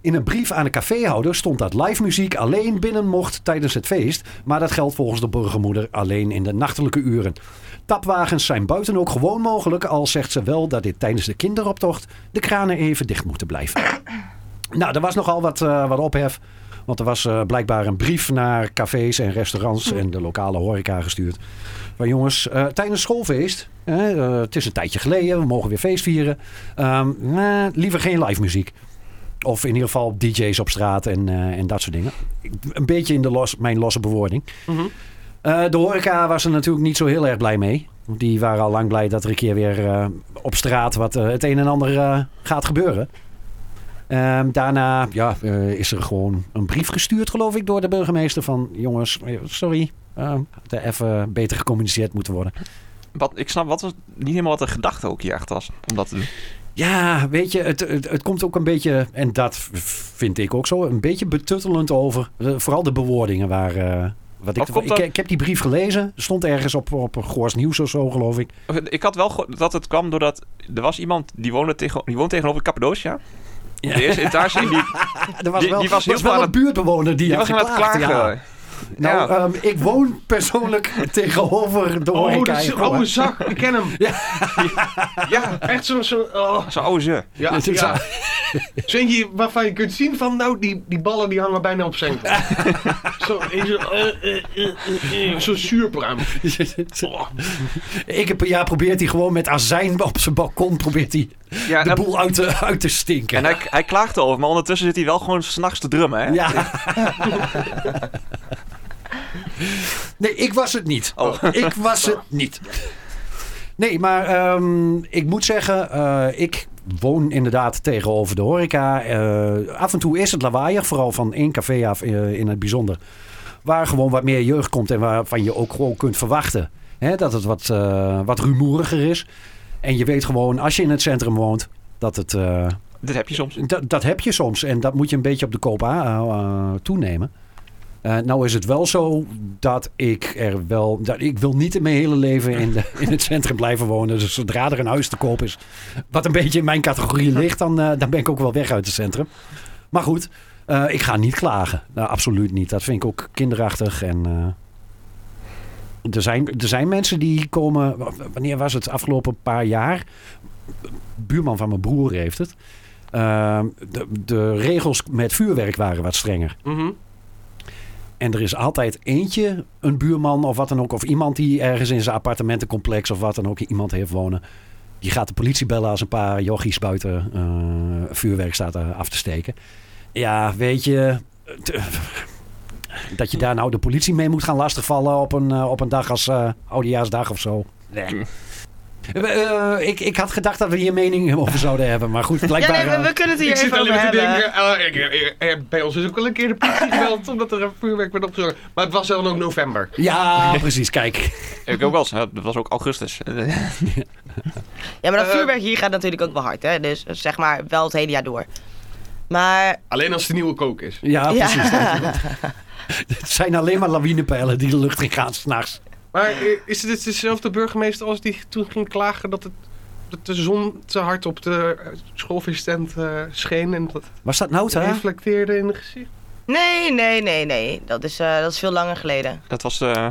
Speaker 5: In een brief aan de caféhouder stond dat live muziek alleen binnen mocht tijdens het feest, maar dat geldt volgens de burgermoeder alleen in de nachtelijke uren. Tapwagens zijn buiten ook gewoon mogelijk, al zegt ze wel dat dit tijdens de kinderoptocht de kranen even dicht moeten blijven. Nou, er was nogal wat, eh, wat ophef. Want er was eh, blijkbaar een brief naar cafés en restaurants en de lokale horeca gestuurd. Van jongens, eh, tijdens schoolfeest, hè, eh, het is een tijdje geleden, we mogen weer feest vieren. Ehm, nah, liever geen live muziek. Of in ieder geval DJ's op straat en, eh, en dat soort dingen. Ik- Een beetje in de los, mijn losse bewoording. Eh, de horeca was er natuurlijk niet zo heel erg blij mee. Want Die waren al lang blij dat er een keer weer eh, op straat wat eh, het een en ander eh, gaat gebeuren. Ehm, daarna ja, eh, is er gewoon een brief gestuurd, geloof ik, door de burgemeester van jongens, eh, sorry, ehm, had er even beter gecommuniceerd moeten worden.
Speaker 3: Wat, ik snap wat was, niet helemaal wat de gedachte ook hier achter was. Om dat te doen.
Speaker 5: Ja, weet je, het, het, het komt ook een beetje, en dat v- vind ik ook zo, een beetje betuttelend over. Eh, vooral de bewoordingen waar. eh, wat ik,
Speaker 3: Wat komt
Speaker 5: ik,
Speaker 3: dat-
Speaker 5: ik heb die brief gelezen, stond ergens op, op Goors Nieuws of zo, geloof ik.
Speaker 3: Ik had wel gehoord dat het kwam doordat er was iemand die woonde, tegen, die woonde tegenover Cappadocia.
Speaker 5: Ja.
Speaker 3: De eerste etage. En die,
Speaker 5: Ah, er was
Speaker 3: Die-
Speaker 5: wel,
Speaker 3: die was
Speaker 5: er
Speaker 3: heel veel
Speaker 5: wel
Speaker 3: aan
Speaker 5: een buurtbewoner die,
Speaker 3: die
Speaker 5: had
Speaker 3: was aan het
Speaker 5: geklaagd,
Speaker 3: klagen.
Speaker 5: ja. Nou,
Speaker 3: Ja.
Speaker 5: ehm, ik woon persoonlijk tegenover de
Speaker 4: Oh,
Speaker 5: horeca.
Speaker 4: dat is
Speaker 5: in
Speaker 4: een
Speaker 5: Goor.
Speaker 4: oude zak. Ik ken hem. Ja, echt zo'n... Zo, oh.
Speaker 3: Zo, oh ze.
Speaker 4: Ja,
Speaker 5: Dat is-
Speaker 4: ja. Zoentje waarvan je kunt zien van, nou, die, die ballen die hangen bijna op zijn kant. Zo, in zo'n eh, eh, eh, eh, zo'n zuurpruim. Oh,
Speaker 5: Ik heb, ja, probeert hij gewoon met azijn op zijn balkon probeert hij
Speaker 3: Ja,
Speaker 5: de
Speaker 3: en,
Speaker 5: boel uit te, uit te stinken.
Speaker 3: en hij, hij klaagde over, maar ondertussen zit hij wel gewoon s'nachts te drummen. Hè?
Speaker 5: ja. nee, ik was het niet.
Speaker 3: Oh.
Speaker 5: Ik was het niet. Nee, maar ehm, ik moet zeggen, eh, ik woon inderdaad tegenover de horeca. Eh, af en toe is het lawaaiig, vooral van één café af eh, in het bijzonder. Waar gewoon wat meer jeugd komt en waarvan je ook gewoon kunt verwachten hè, dat het wat, eh, wat rumoeriger is. En je weet gewoon, als je in het centrum woont, dat het eh,
Speaker 3: Dat heb je soms.
Speaker 5: Dat, dat heb je soms en dat moet je een beetje op de koop aan eh, toenemen. Eh, nou is het wel zo dat ik er wel... Dat, ik wil niet in mijn hele leven in, de- in het centrum blijven wonen. Dus zodra er een huis te koop is, wat een beetje in mijn categorie ligt, dan, eh, dan ben ik ook wel weg uit het centrum. Maar goed, eh, ik ga niet klagen. Nou, absoluut niet. Dat vind ik ook kinderachtig. En, eh, er, zijn, er zijn mensen die komen... w- w- Wanneer was het? Afgelopen paar jaar. Buurman van mijn broer heeft het. Ehm, de, de regels met vuurwerk waren wat strenger.
Speaker 4: Mhm.
Speaker 5: En er is altijd eentje, een buurman of wat dan ook, of iemand die ergens in zijn appartementencomplex of wat dan ook iemand heeft wonen. Die gaat de politie bellen als een paar jochies buiten eh, vuurwerk staat eh, af te steken. Ja, weet je. t- dat je daar nou de politie mee moet gaan lastigvallen op een, eh, op een dag als eh Oudejaarsdag of zo. Nee. Eh, eh, ik, ik had gedacht dat we hier mening over zouden hebben, maar goed,
Speaker 2: Ja,
Speaker 5: blijkbaar...
Speaker 2: nee, we,
Speaker 5: eh,
Speaker 2: we kunnen het hier
Speaker 4: Ik zit
Speaker 2: even
Speaker 4: alleen
Speaker 2: over
Speaker 4: maar te
Speaker 2: hebben.
Speaker 4: denken, eh, ik- ik- ik- bij ons is ook al een keer de politie gebeld omdat er een vuurwerk werd opgezocht. Maar het was dan ook november.
Speaker 5: Ja, precies, kijk.
Speaker 3: Ik ook wel eens. Ja, Dat was ook augustus.
Speaker 2: Ja, maar dat
Speaker 4: Eh,
Speaker 2: vuurwerk hier gaat natuurlijk ook wel hard, hè. Dus eh, zeg maar wel het hele jaar door. Maar
Speaker 4: Alleen als het de nieuwe kook is.
Speaker 3: Ah,
Speaker 5: Ja,
Speaker 2: ja,
Speaker 5: precies. Het zijn alleen maar lawinepijlen die de lucht in gaan s'nachts.
Speaker 4: Maar eh, is dit dezelfde burgemeester als die toen ging klagen dat, het, dat de zon te hard op de eh, schoolvistent eh, scheen en dat
Speaker 5: Was dat nou, hè?
Speaker 4: reflecteerde in het gezicht?
Speaker 2: nee, nee, nee, nee. Dat is, eh, dat is veel langer geleden.
Speaker 3: Dat was... eh,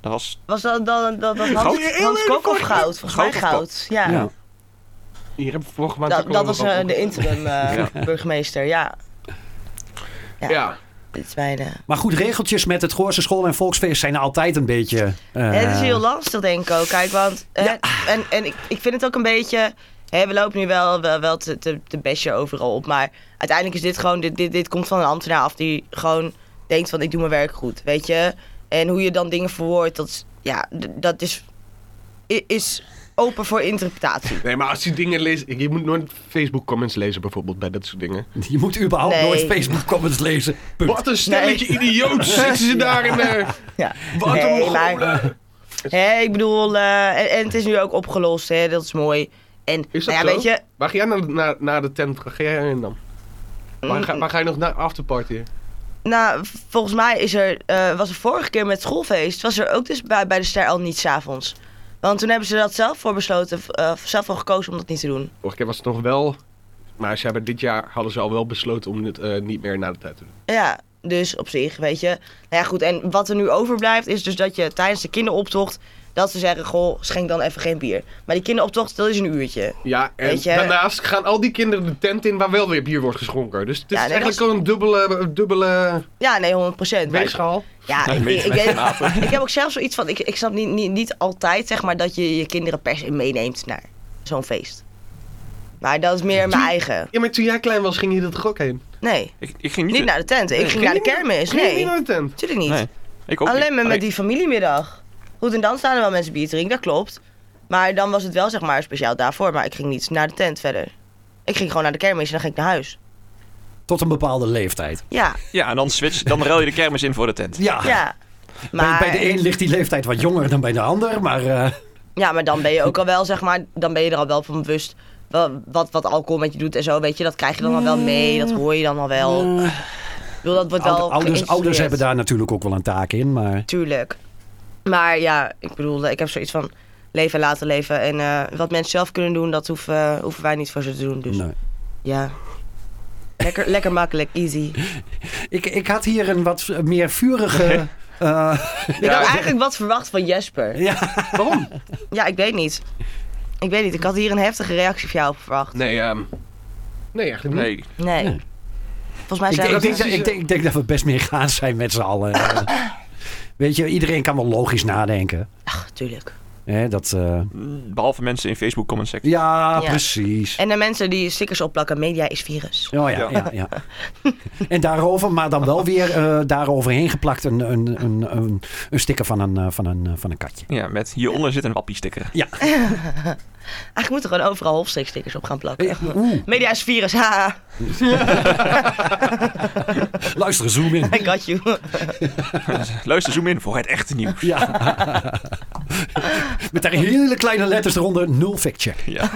Speaker 3: dat was...
Speaker 2: Was dat, dat, dat, dat Hans,
Speaker 3: Goud?
Speaker 2: Hans Kok of goud? Volgens mij
Speaker 3: Goud of
Speaker 2: goud. Ja.
Speaker 5: Ja.
Speaker 4: Hier hebben we vorige maand ook
Speaker 2: Dat,
Speaker 4: al
Speaker 2: dat
Speaker 4: nog
Speaker 2: was
Speaker 4: over
Speaker 2: eh, de interim eh, burgemeester, ja. Ja.
Speaker 4: Ja.
Speaker 2: Dit is mijn, eh,
Speaker 5: Maar goed, regeltjes met het Goorse School en Volksfeest zijn altijd een beetje... eh,
Speaker 2: Het is heel lastig, denk ik ook. Kijk, want. eh, En, en ik, ik vind het ook een beetje. Hè, we lopen nu wel, wel, wel te, te, te bashen overal op. Maar uiteindelijk is dit gewoon. Dit, dit, dit komt van een ambtenaar af die gewoon denkt: van ik doe mijn werk goed. Weet je? En hoe je dan dingen verwoordt, dat is. Ja, d- dat is. i- Is open voor interpretatie.
Speaker 4: Nee, maar als je dingen leest... Je moet nooit Facebook comments lezen bijvoorbeeld bij dat soort dingen.
Speaker 5: Je moet überhaupt
Speaker 2: Nee.
Speaker 5: nooit Facebook comments lezen. Punt.
Speaker 4: Wat een stelletje idioot zitten ze daar in de...
Speaker 2: Ja.
Speaker 4: Wat een
Speaker 2: Nee, maar-
Speaker 4: mongolen.
Speaker 2: Hè, ik bedoel. eh, en, en het is nu ook opgelost, hè? Dat is mooi. En
Speaker 4: Is dat
Speaker 2: nou ja,
Speaker 4: zo?
Speaker 2: weet je,
Speaker 4: Waar ga jij naar, naar, naar de tent? Ga jij heen dan? Waar ga, waar ga je nog naar afterparty?
Speaker 2: Nou, v- volgens mij is er, eh, was er vorige keer met schoolfeest, was er ook dus bij, bij de ster al niet s'avonds. Want toen hebben ze dat zelf voor besloten, v- eh, zelf voor gekozen om dat niet te doen.
Speaker 4: Vorige keer was het nog wel... Maar ze hebben dit jaar hadden ze al wel besloten om het eh, niet meer naar de tijd te doen.
Speaker 2: Ja, dus op zich, weet je. Nou ja, goed, en wat er nu overblijft is dus dat je tijdens de kinderoptocht, dat ze zeggen, goh, schenk dan even geen bier. Maar die kinderoptocht, dat is een uurtje.
Speaker 4: Ja, en
Speaker 2: Weet je-
Speaker 4: daarnaast gaan al die kinderen de tent in waar wel weer bier wordt geschonken. Dus het is
Speaker 2: Ja, nee,
Speaker 4: eigenlijk
Speaker 2: dat
Speaker 4: gewoon een dubbele, een dubbele
Speaker 2: Ja, nee, 100 procent.
Speaker 4: weegschaal.
Speaker 2: Ja, ik, ik, ik, ik heb ook zelf zoiets van, ik, ik snap niet, niet, niet altijd, zeg maar, dat je je kinderen per se meeneemt naar zo'n feest. Maar dat is meer mijn eigen.
Speaker 4: Ja, maar toen jij klein was, ging je dat toch ook heen?
Speaker 2: Nee.
Speaker 3: Ik, ik ging niet...
Speaker 2: Niet nou, naar de tent. Ik ging,
Speaker 4: Ging
Speaker 2: naar de
Speaker 4: je niet-
Speaker 2: kermis.
Speaker 4: Ging je
Speaker 2: Nee,
Speaker 4: niet naar de tent?
Speaker 2: natuurlijk niet.
Speaker 3: Nee, ik ook
Speaker 2: Alleen
Speaker 3: niet.
Speaker 2: maar met
Speaker 3: Alleen-
Speaker 2: die familiemiddag. Goed, en dan staan er wel mensen bier te drinken, dat klopt. Maar dan was het wel zeg maar speciaal daarvoor. Maar ik ging niet naar de tent verder. Ik ging gewoon naar de kermis en dan ging ik naar huis.
Speaker 5: Tot een bepaalde leeftijd.
Speaker 2: Ja,
Speaker 3: Ja, en dan, switch, dan ruil je de kermis in voor de tent.
Speaker 5: Ja.
Speaker 2: ja.
Speaker 5: Ah. Bij-
Speaker 2: Maar,
Speaker 5: Bij, de een ligt die leeftijd wat jonger dan bij de ander. Maar eh,
Speaker 2: ja, maar dan ben je ook al wel, zeg maar, dan ben je er al wel van bewust wa- wat, wat alcohol met je doet en zo, weet je. Dat krijg je dan al wel mee, dat hoor je dan al wel. Ik bedoel, dat wordt
Speaker 5: oude- ouders,
Speaker 2: wel
Speaker 5: ouders
Speaker 2: geïnstrueerd.
Speaker 5: hebben daar natuurlijk ook wel een taak in. Maar
Speaker 2: Tuurlijk. Maar ja, ik bedoel, ik heb zoiets van leven en laten leven. En eh, wat mensen zelf kunnen doen, dat hoeven, eh, hoeven wij niet voor ze te doen. Dus
Speaker 5: nee.
Speaker 2: ja, lekker, lekker makkelijk, easy.
Speaker 5: ik, ik had hier een wat meer vurige... eh,
Speaker 2: Ik had eigenlijk wat verwacht van Jesper.
Speaker 5: ja.
Speaker 4: Waarom?
Speaker 2: Ja, ik weet niet. Ik weet niet, ik had hier een heftige reactie van jou op verwacht.
Speaker 4: Nee, ehm, nee, eigenlijk niet.
Speaker 3: Nee.
Speaker 2: Nee.
Speaker 5: Nee.
Speaker 2: Volgens mij
Speaker 5: Ik,
Speaker 2: zijn
Speaker 5: denk- ik, denk,
Speaker 2: we...
Speaker 5: dat- ik, denk, ik denk dat we best meer gaan zijn met z'n allen. Eh, Weet je, iedereen kan wel logisch nadenken.
Speaker 2: Ach, tuurlijk.
Speaker 5: Hè, dat, eh,
Speaker 3: Behalve mensen in Facebook comment section.
Speaker 5: ja,
Speaker 2: Ja.
Speaker 5: precies.
Speaker 2: En de mensen die stickers opplakken, media is virus.
Speaker 5: Oh ja, ja, ja. en daarover, maar dan wel weer eh daaroverheen geplakt een, een, een, een, een sticker van een, eh, van, een, eh, van een katje.
Speaker 3: Ja, met hieronder zit een wappie sticker.
Speaker 2: Eigenlijk moeten we gewoon overal Hofstreek stickers op gaan plakken.
Speaker 5: Eh, Oeh,
Speaker 2: Media is virus, haha.
Speaker 5: luister, zoom in.
Speaker 2: I got you.
Speaker 3: Luister, zoom in voor het echte nieuws.
Speaker 5: Ja. Met daar hele kleine letters eronder. Nul fact check.
Speaker 3: Ja.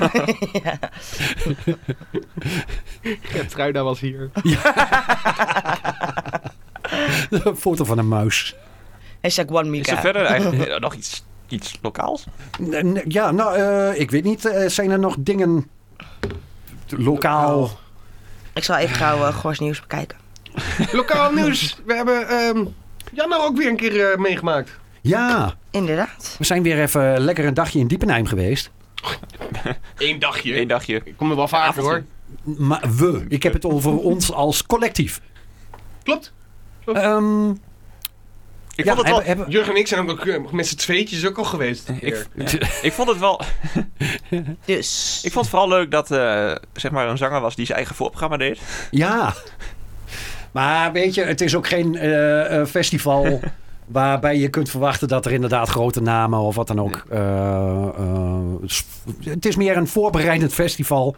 Speaker 4: Truida was hier.
Speaker 5: Een foto van een muis.
Speaker 2: Hashtag One
Speaker 3: Is er
Speaker 2: Mika.
Speaker 3: verder eigenlijk eh, nog iets, iets lokaals?
Speaker 5: Nee, nee, Ja, nou, eh, ik weet niet. eh, zijn er nog dingen lokaal?
Speaker 2: Ik zal even gauw eh, Gors Nieuws bekijken.
Speaker 4: Lokaal nieuws. We hebben ehm Janna ook weer een keer eh, meegemaakt.
Speaker 5: Ja,
Speaker 2: Inderdaad.
Speaker 5: we zijn weer even lekker een dagje in Diepenheim geweest.
Speaker 4: Eén dagje.
Speaker 3: Eén dagje.
Speaker 4: Ik kom er wel vaker
Speaker 3: Avondje.
Speaker 4: hoor.
Speaker 5: Maar we, ik heb het over ons als collectief.
Speaker 4: Klopt.
Speaker 5: Ehm,
Speaker 3: Ik
Speaker 5: ja,
Speaker 3: vond het wel...
Speaker 5: hebben- hebben-
Speaker 4: Jurgen en ik zijn ook nog, eh, met z'n tweetjes ook al geweest. een keer.
Speaker 3: Ik, ja. ik vond het wel...
Speaker 2: Dus.
Speaker 3: Ik vond het vooral leuk dat eh zeg maar een zanger was die zijn eigen voorprogramma deed.
Speaker 5: ja. Maar weet je, het is ook geen eh, eh, festival waarbij je kunt verwachten dat er inderdaad grote namen of wat dan ook. eh, eh, s- het is meer een voorbereidend festival.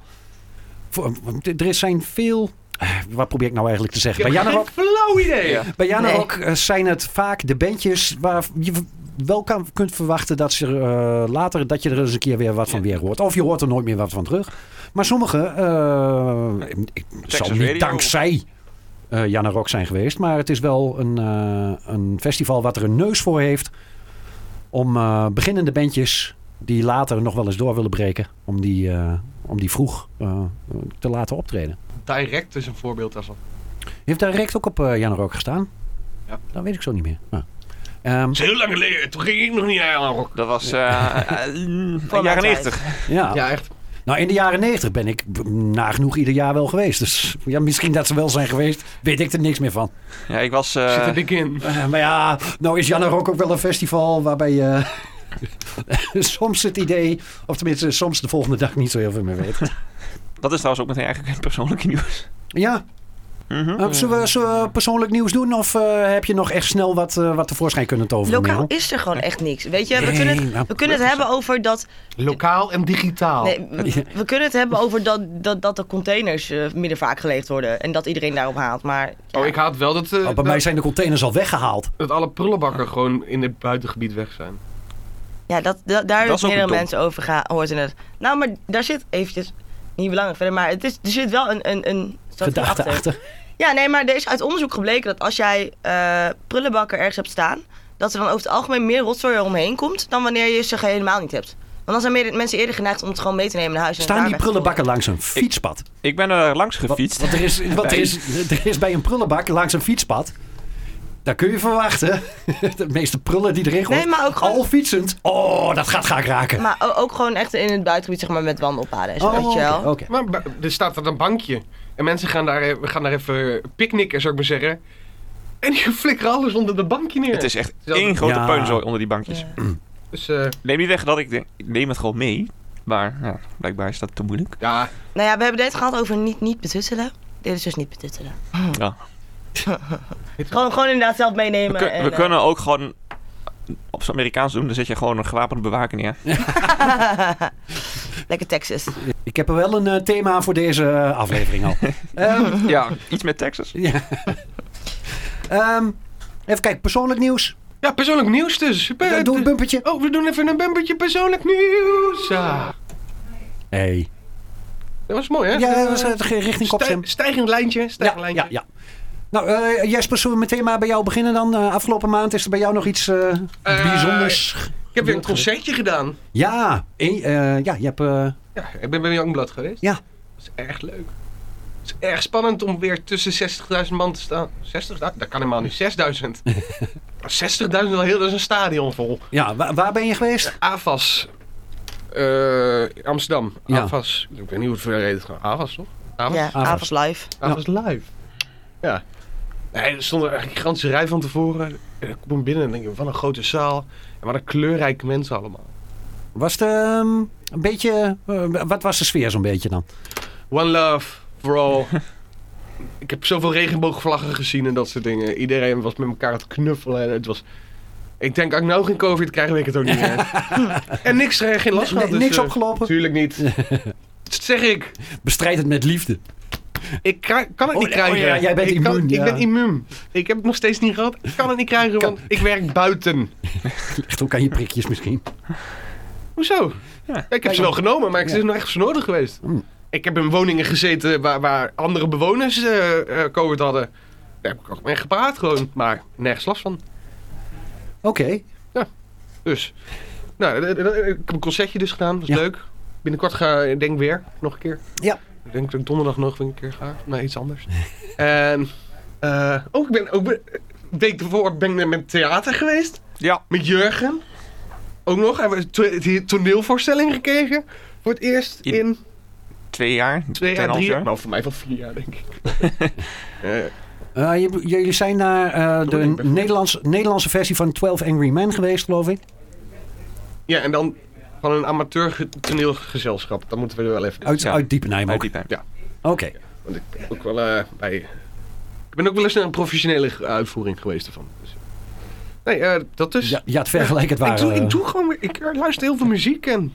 Speaker 5: Voor- eh, Er is zijn veel. eh, Wat probeer ik nou eigenlijk te
Speaker 4: Ik
Speaker 5: zeggen?
Speaker 4: heb
Speaker 5: Bij
Speaker 4: geen
Speaker 5: Janne
Speaker 4: flauw idee.
Speaker 3: Ja.
Speaker 5: Bij Jana
Speaker 2: Nee.
Speaker 5: ook eh, zijn het vaak de bandjes waar je wel kan, kunt verwachten dat ze eh, later dat je er eens een keer weer wat van weer hoort. Of je hoort er nooit meer wat van terug. Maar sommige, eh ik- ik
Speaker 3: Texas
Speaker 5: zal niet
Speaker 3: Radio.
Speaker 5: dankzij eh Jana Rock zijn geweest, maar het is wel een, eh, een festival wat er een neus voor heeft om eh, beginnende bandjes die later nog wel eens door willen breken, om die, eh, om die vroeg eh, te laten optreden.
Speaker 4: Direct is een voorbeeld daarvan.
Speaker 5: Heeft direct ook op eh Jan Rock gestaan?
Speaker 4: Ja.
Speaker 5: Dat weet ik zo niet meer. Ah. Ehm,
Speaker 4: Dat is heel lang geleden. Toen ging ik nog niet aan rock.
Speaker 3: Dat was eh eh, mm,
Speaker 2: Voor mijn tijd.
Speaker 3: jaren 90.
Speaker 5: ja.
Speaker 4: Ja, echt.
Speaker 5: Nou, in de jaren 90 ben ik b- nagenoeg ieder jaar wel geweest. Dus ja, misschien dat ze wel zijn geweest, weet ik er niks meer van.
Speaker 3: Ja, ik was...
Speaker 4: Zit
Speaker 3: eh,
Speaker 4: er dik in.
Speaker 5: Eh, maar ja, nou is Jan Rock ook wel een festival waarbij je soms het idee, of tenminste soms de volgende dag niet zo heel veel meer weet.
Speaker 3: dat is trouwens ook meteen eigenlijk persoonlijke nieuws.
Speaker 5: Ja,
Speaker 3: Mhm.
Speaker 5: eh, zullen, we, zullen we persoonlijk nieuws doen of eh, heb je nog echt snel wat, eh, wat tevoorschijn kunnen toveren?
Speaker 2: Lokaal
Speaker 5: Merel?
Speaker 2: is er gewoon echt niks. Weet je, we kunnen
Speaker 5: Nee, nou,
Speaker 2: het, we kunnen het hebben over dat
Speaker 4: Lokaal en digitaal.
Speaker 2: Nee, we, we kunnen het hebben over dat, dat, dat de containers eh, minder vaak geleegd worden. En dat iedereen daarop haalt. Maar ja,
Speaker 4: Oh, ik haat wel dat, eh,
Speaker 5: Oh, bij
Speaker 4: dat,
Speaker 5: mij zijn Ah. de containers al weggehaald.
Speaker 4: dat alle prullenbakken gewoon in het buitengebied weg zijn.
Speaker 2: ja, dat, dat, daar
Speaker 3: Dat
Speaker 2: hebben
Speaker 3: is ook
Speaker 2: meerdere
Speaker 3: dom.
Speaker 2: mensen over geha- hoort in het. Nou, maar daar zit eventjes, niet belangrijk verder, maar het is, er zit wel een... een, een soort van
Speaker 5: Gedachte achter.
Speaker 2: Ja, nee, maar er is uit onderzoek gebleken dat als jij eh, prullenbakken ergens hebt staan... dat er dan over het algemeen meer rotzooi eromheen komt dan wanneer je ze helemaal niet hebt. Want dan zijn meer, mensen eerder geneigd om het gewoon mee te nemen naar huis. en het
Speaker 5: Staan die
Speaker 2: daar weg te
Speaker 5: prullenbakken langs een fietspad?
Speaker 3: Ik ben er langs
Speaker 5: Wat,
Speaker 3: gefietst.
Speaker 5: wat er, is, wat er, is, er is bij een prullenbak langs een fietspad. Daar kun je verwachten. De meeste prullen die erin gooien.
Speaker 2: Nee, maar ook gewoon-
Speaker 5: Al fietsend. Oh, dat gaat ga ik raken.
Speaker 2: Maar o- ook gewoon echt in het buitengebied, zeg maar, met wandelpaden en zo,
Speaker 5: oh,
Speaker 2: weet je wel.
Speaker 5: oké, oké.
Speaker 4: Maar ba- er staat er een bankje. En mensen gaan daar, eh, we gaan daar even picknicken, zou ik maar zeggen. En die flikkeren alles onder de bankje neer.
Speaker 3: Het is echt
Speaker 4: Zelfde-
Speaker 3: één grote
Speaker 5: Ja.
Speaker 3: puinzooi onder die bankjes.
Speaker 2: Ja.
Speaker 4: Dus eh,
Speaker 3: Neem niet weg dat ik denk, ik neem het gewoon mee. Maar ja, blijkbaar is dat te moeilijk.
Speaker 4: ja,
Speaker 2: Nou ja, we hebben het gehad over niet, niet betuttelen. Dit is dus niet betuttelen.
Speaker 3: Ja.
Speaker 2: Gewoon, gewoon inderdaad zelf meenemen.
Speaker 3: We, kun-
Speaker 2: en,
Speaker 3: we
Speaker 2: eh,
Speaker 3: kunnen ook gewoon op z'n Amerikaans doen. Dan zet je gewoon een gewapende bewaker neer.
Speaker 2: eh, Lekker Texas.
Speaker 5: Ik heb er wel een eh, thema voor deze eh, aflevering al. Ehm,
Speaker 3: Ja, iets met Texas.
Speaker 5: ja. Ehm, even kijken, persoonlijk nieuws.
Speaker 4: ja, persoonlijk nieuws dus. Ben-
Speaker 5: Doe een bumpertje.
Speaker 4: Oh, we doen even een bumpertje persoonlijk nieuws. Ah,
Speaker 5: Hey.
Speaker 4: dat was mooi, hè?
Speaker 5: Ja, dat was eh, richting
Speaker 4: Stij-
Speaker 5: Kopsem.
Speaker 4: stijgend lijntje,
Speaker 5: Ja,
Speaker 4: stijgend
Speaker 5: ja,
Speaker 4: lijntje.
Speaker 5: ja. Nou, eh, Jesper, zullen we meteen maar bij jou beginnen dan? Eh, afgelopen maand is er bij jou nog iets eh,
Speaker 4: Eh,
Speaker 5: bijzonders.
Speaker 4: Ik heb weer een concertje gedaan.
Speaker 5: Ja, eh, eh, ja, je hebt... eh,
Speaker 4: Ja, ik ben bij Youngblood geweest.
Speaker 5: Ja.
Speaker 4: Dat is erg leuk. Het is erg spannend om weer tussen 60.000 man te staan. 60.000? Dat kan helemaal niet. 6.000. 60.000 al heel, dat is een stadion vol.
Speaker 5: Ja, waar, waar ben je geweest?
Speaker 4: AFAS. eh, Amsterdam.
Speaker 5: Ja.
Speaker 4: AFAS. Ik weet niet hoe het verder heet. Gewoon AFAS, toch? AFAS?
Speaker 2: Ja,
Speaker 5: Avas.
Speaker 2: avonds live.
Speaker 4: AFAS live. Ja. Nee, er stond een gigantische rij van tevoren. En ik kom binnen en denk ik, wat een grote zaal. En wat een kleurrijke mensen allemaal.
Speaker 5: Was het ehm, een beetje... eh, wat was de sfeer zo'n beetje dan?
Speaker 4: One love for all. ik heb zoveel regenboogvlaggen gezien en dat soort dingen. Iedereen was met elkaar aan het knuffelen. En het was... Ik denk, als ik nou geen covid krijg, weet ik het ook niet meer. en niks, eh, geen last gehad.
Speaker 5: Nee, niks
Speaker 4: dus, eh,
Speaker 5: opgelopen?
Speaker 4: Tuurlijk niet. Dat zeg ik.
Speaker 5: Bestrijd het met liefde.
Speaker 4: Ik kri- kan het
Speaker 5: Oh,
Speaker 4: niet
Speaker 5: oh
Speaker 4: krijgen.
Speaker 5: ja, jij bent
Speaker 4: ik kan-
Speaker 5: immuun, ja.
Speaker 4: Ik ben immuun. Ik heb het nog steeds niet gehad. Ik kan het niet krijgen, want ik werk buiten.
Speaker 5: Ligt ook aan je prikjes misschien.
Speaker 4: Hoezo?
Speaker 3: Ja.
Speaker 4: Ja, ik heb ze wel genomen, maar ik is nog echt nodig geweest. Ik heb in woningen gezeten waar, waar andere bewoners eh, eh, COVID hadden. Daar heb ik ook mee gepraat gewoon, maar nergens last van.
Speaker 5: Oké.
Speaker 4: Dus, nou, eh, eh, eh, ik heb een concertje dus gedaan, dat is
Speaker 5: Ja.
Speaker 4: leuk. Binnenkort ga ik denk weer, nog een keer.
Speaker 5: Ja.
Speaker 4: Ik denk dat ik donderdag nog een keer ga, naar iets anders. en, eh, ook ik ben, ook ben, week ervoor ben ik met theater geweest.
Speaker 3: Ja,
Speaker 4: Met Jurgen. Ook nog. Hebben we to- die toneelvoorstelling gekregen. Voor het eerst
Speaker 3: In-
Speaker 4: in
Speaker 3: twee jaar.
Speaker 4: twee jaar,
Speaker 3: tweeënhalf
Speaker 4: drie jaar.
Speaker 3: jaar.
Speaker 4: Nou, voor mij wel vier jaar, denk ik. Eh,
Speaker 5: Eh, je- jullie zijn naar eh, de
Speaker 4: Doordenk bijvoorbeeld.
Speaker 5: Nederlandse, Nederlandse versie van 12 Angry Men geweest, geloof ik.
Speaker 4: ja, en dan van een amateur ge- toneelgezelschap. Dat moeten we er wel even
Speaker 5: Uit,
Speaker 3: Ja.
Speaker 5: uit Diepenheim
Speaker 3: Uit
Speaker 5: ook.
Speaker 3: die tijd.
Speaker 5: Oké.
Speaker 4: Want ik ben ook wel eh, bij... Ik ben ook wel eens naar een professionele ge- uitvoering geweest ervan. Dus- Nee, eh, dat is...
Speaker 5: Ja, ja, het vergelijk het
Speaker 4: ik,
Speaker 5: waar.
Speaker 4: doe,
Speaker 5: eh.
Speaker 4: ik doe gewoon... weer- Ik luister heel veel muziek en...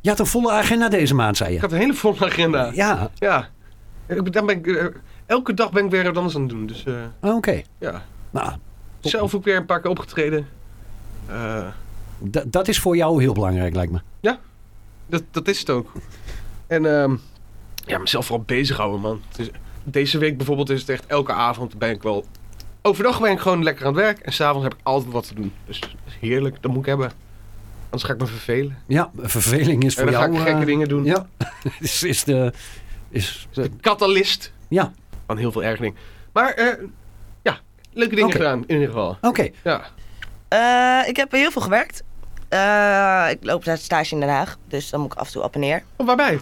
Speaker 5: Je had een volle agenda deze maand, zei
Speaker 4: Ik
Speaker 5: je.
Speaker 4: had een hele volle agenda.
Speaker 5: Ja,
Speaker 4: Ja. Ik- Dan ben ik, eh, elke dag ben ik weer wat anders aan het doen. Dus eh,
Speaker 5: oké.
Speaker 4: ja...
Speaker 5: Nou, Top.
Speaker 4: Zelf ook weer een paar keer opgetreden. Eh,
Speaker 5: d- dat is voor jou heel belangrijk, lijkt me.
Speaker 4: dat, dat is het ook. En ehm, ja, mezelf vooral bezighouden, man. Het is- deze week bijvoorbeeld is het echt elke avond ben ik wel... Overdag ben ik gewoon lekker aan het werk. En s'avonds heb ik altijd wat te doen. Dus dat is heerlijk, dat moet ik hebben. Anders ga ik me vervelen.
Speaker 5: Ja, verveling is
Speaker 4: En
Speaker 5: voor
Speaker 4: dan ga
Speaker 5: jou.
Speaker 4: ik gekke
Speaker 5: eh,
Speaker 4: dingen doen.
Speaker 5: Ja, is, is de. Is,
Speaker 4: De catalyst
Speaker 5: ja,
Speaker 4: van heel veel ergering. Maar eh, ja, leuke dingen
Speaker 5: Oké.
Speaker 4: gedaan in ieder geval.
Speaker 5: oké.
Speaker 4: Ja,
Speaker 2: Eh, ik heb heel veel gewerkt. Eh, ik loop naar stage in Den Haag, dus dan moet ik af en toe op en neer.
Speaker 4: Oh, waarbij?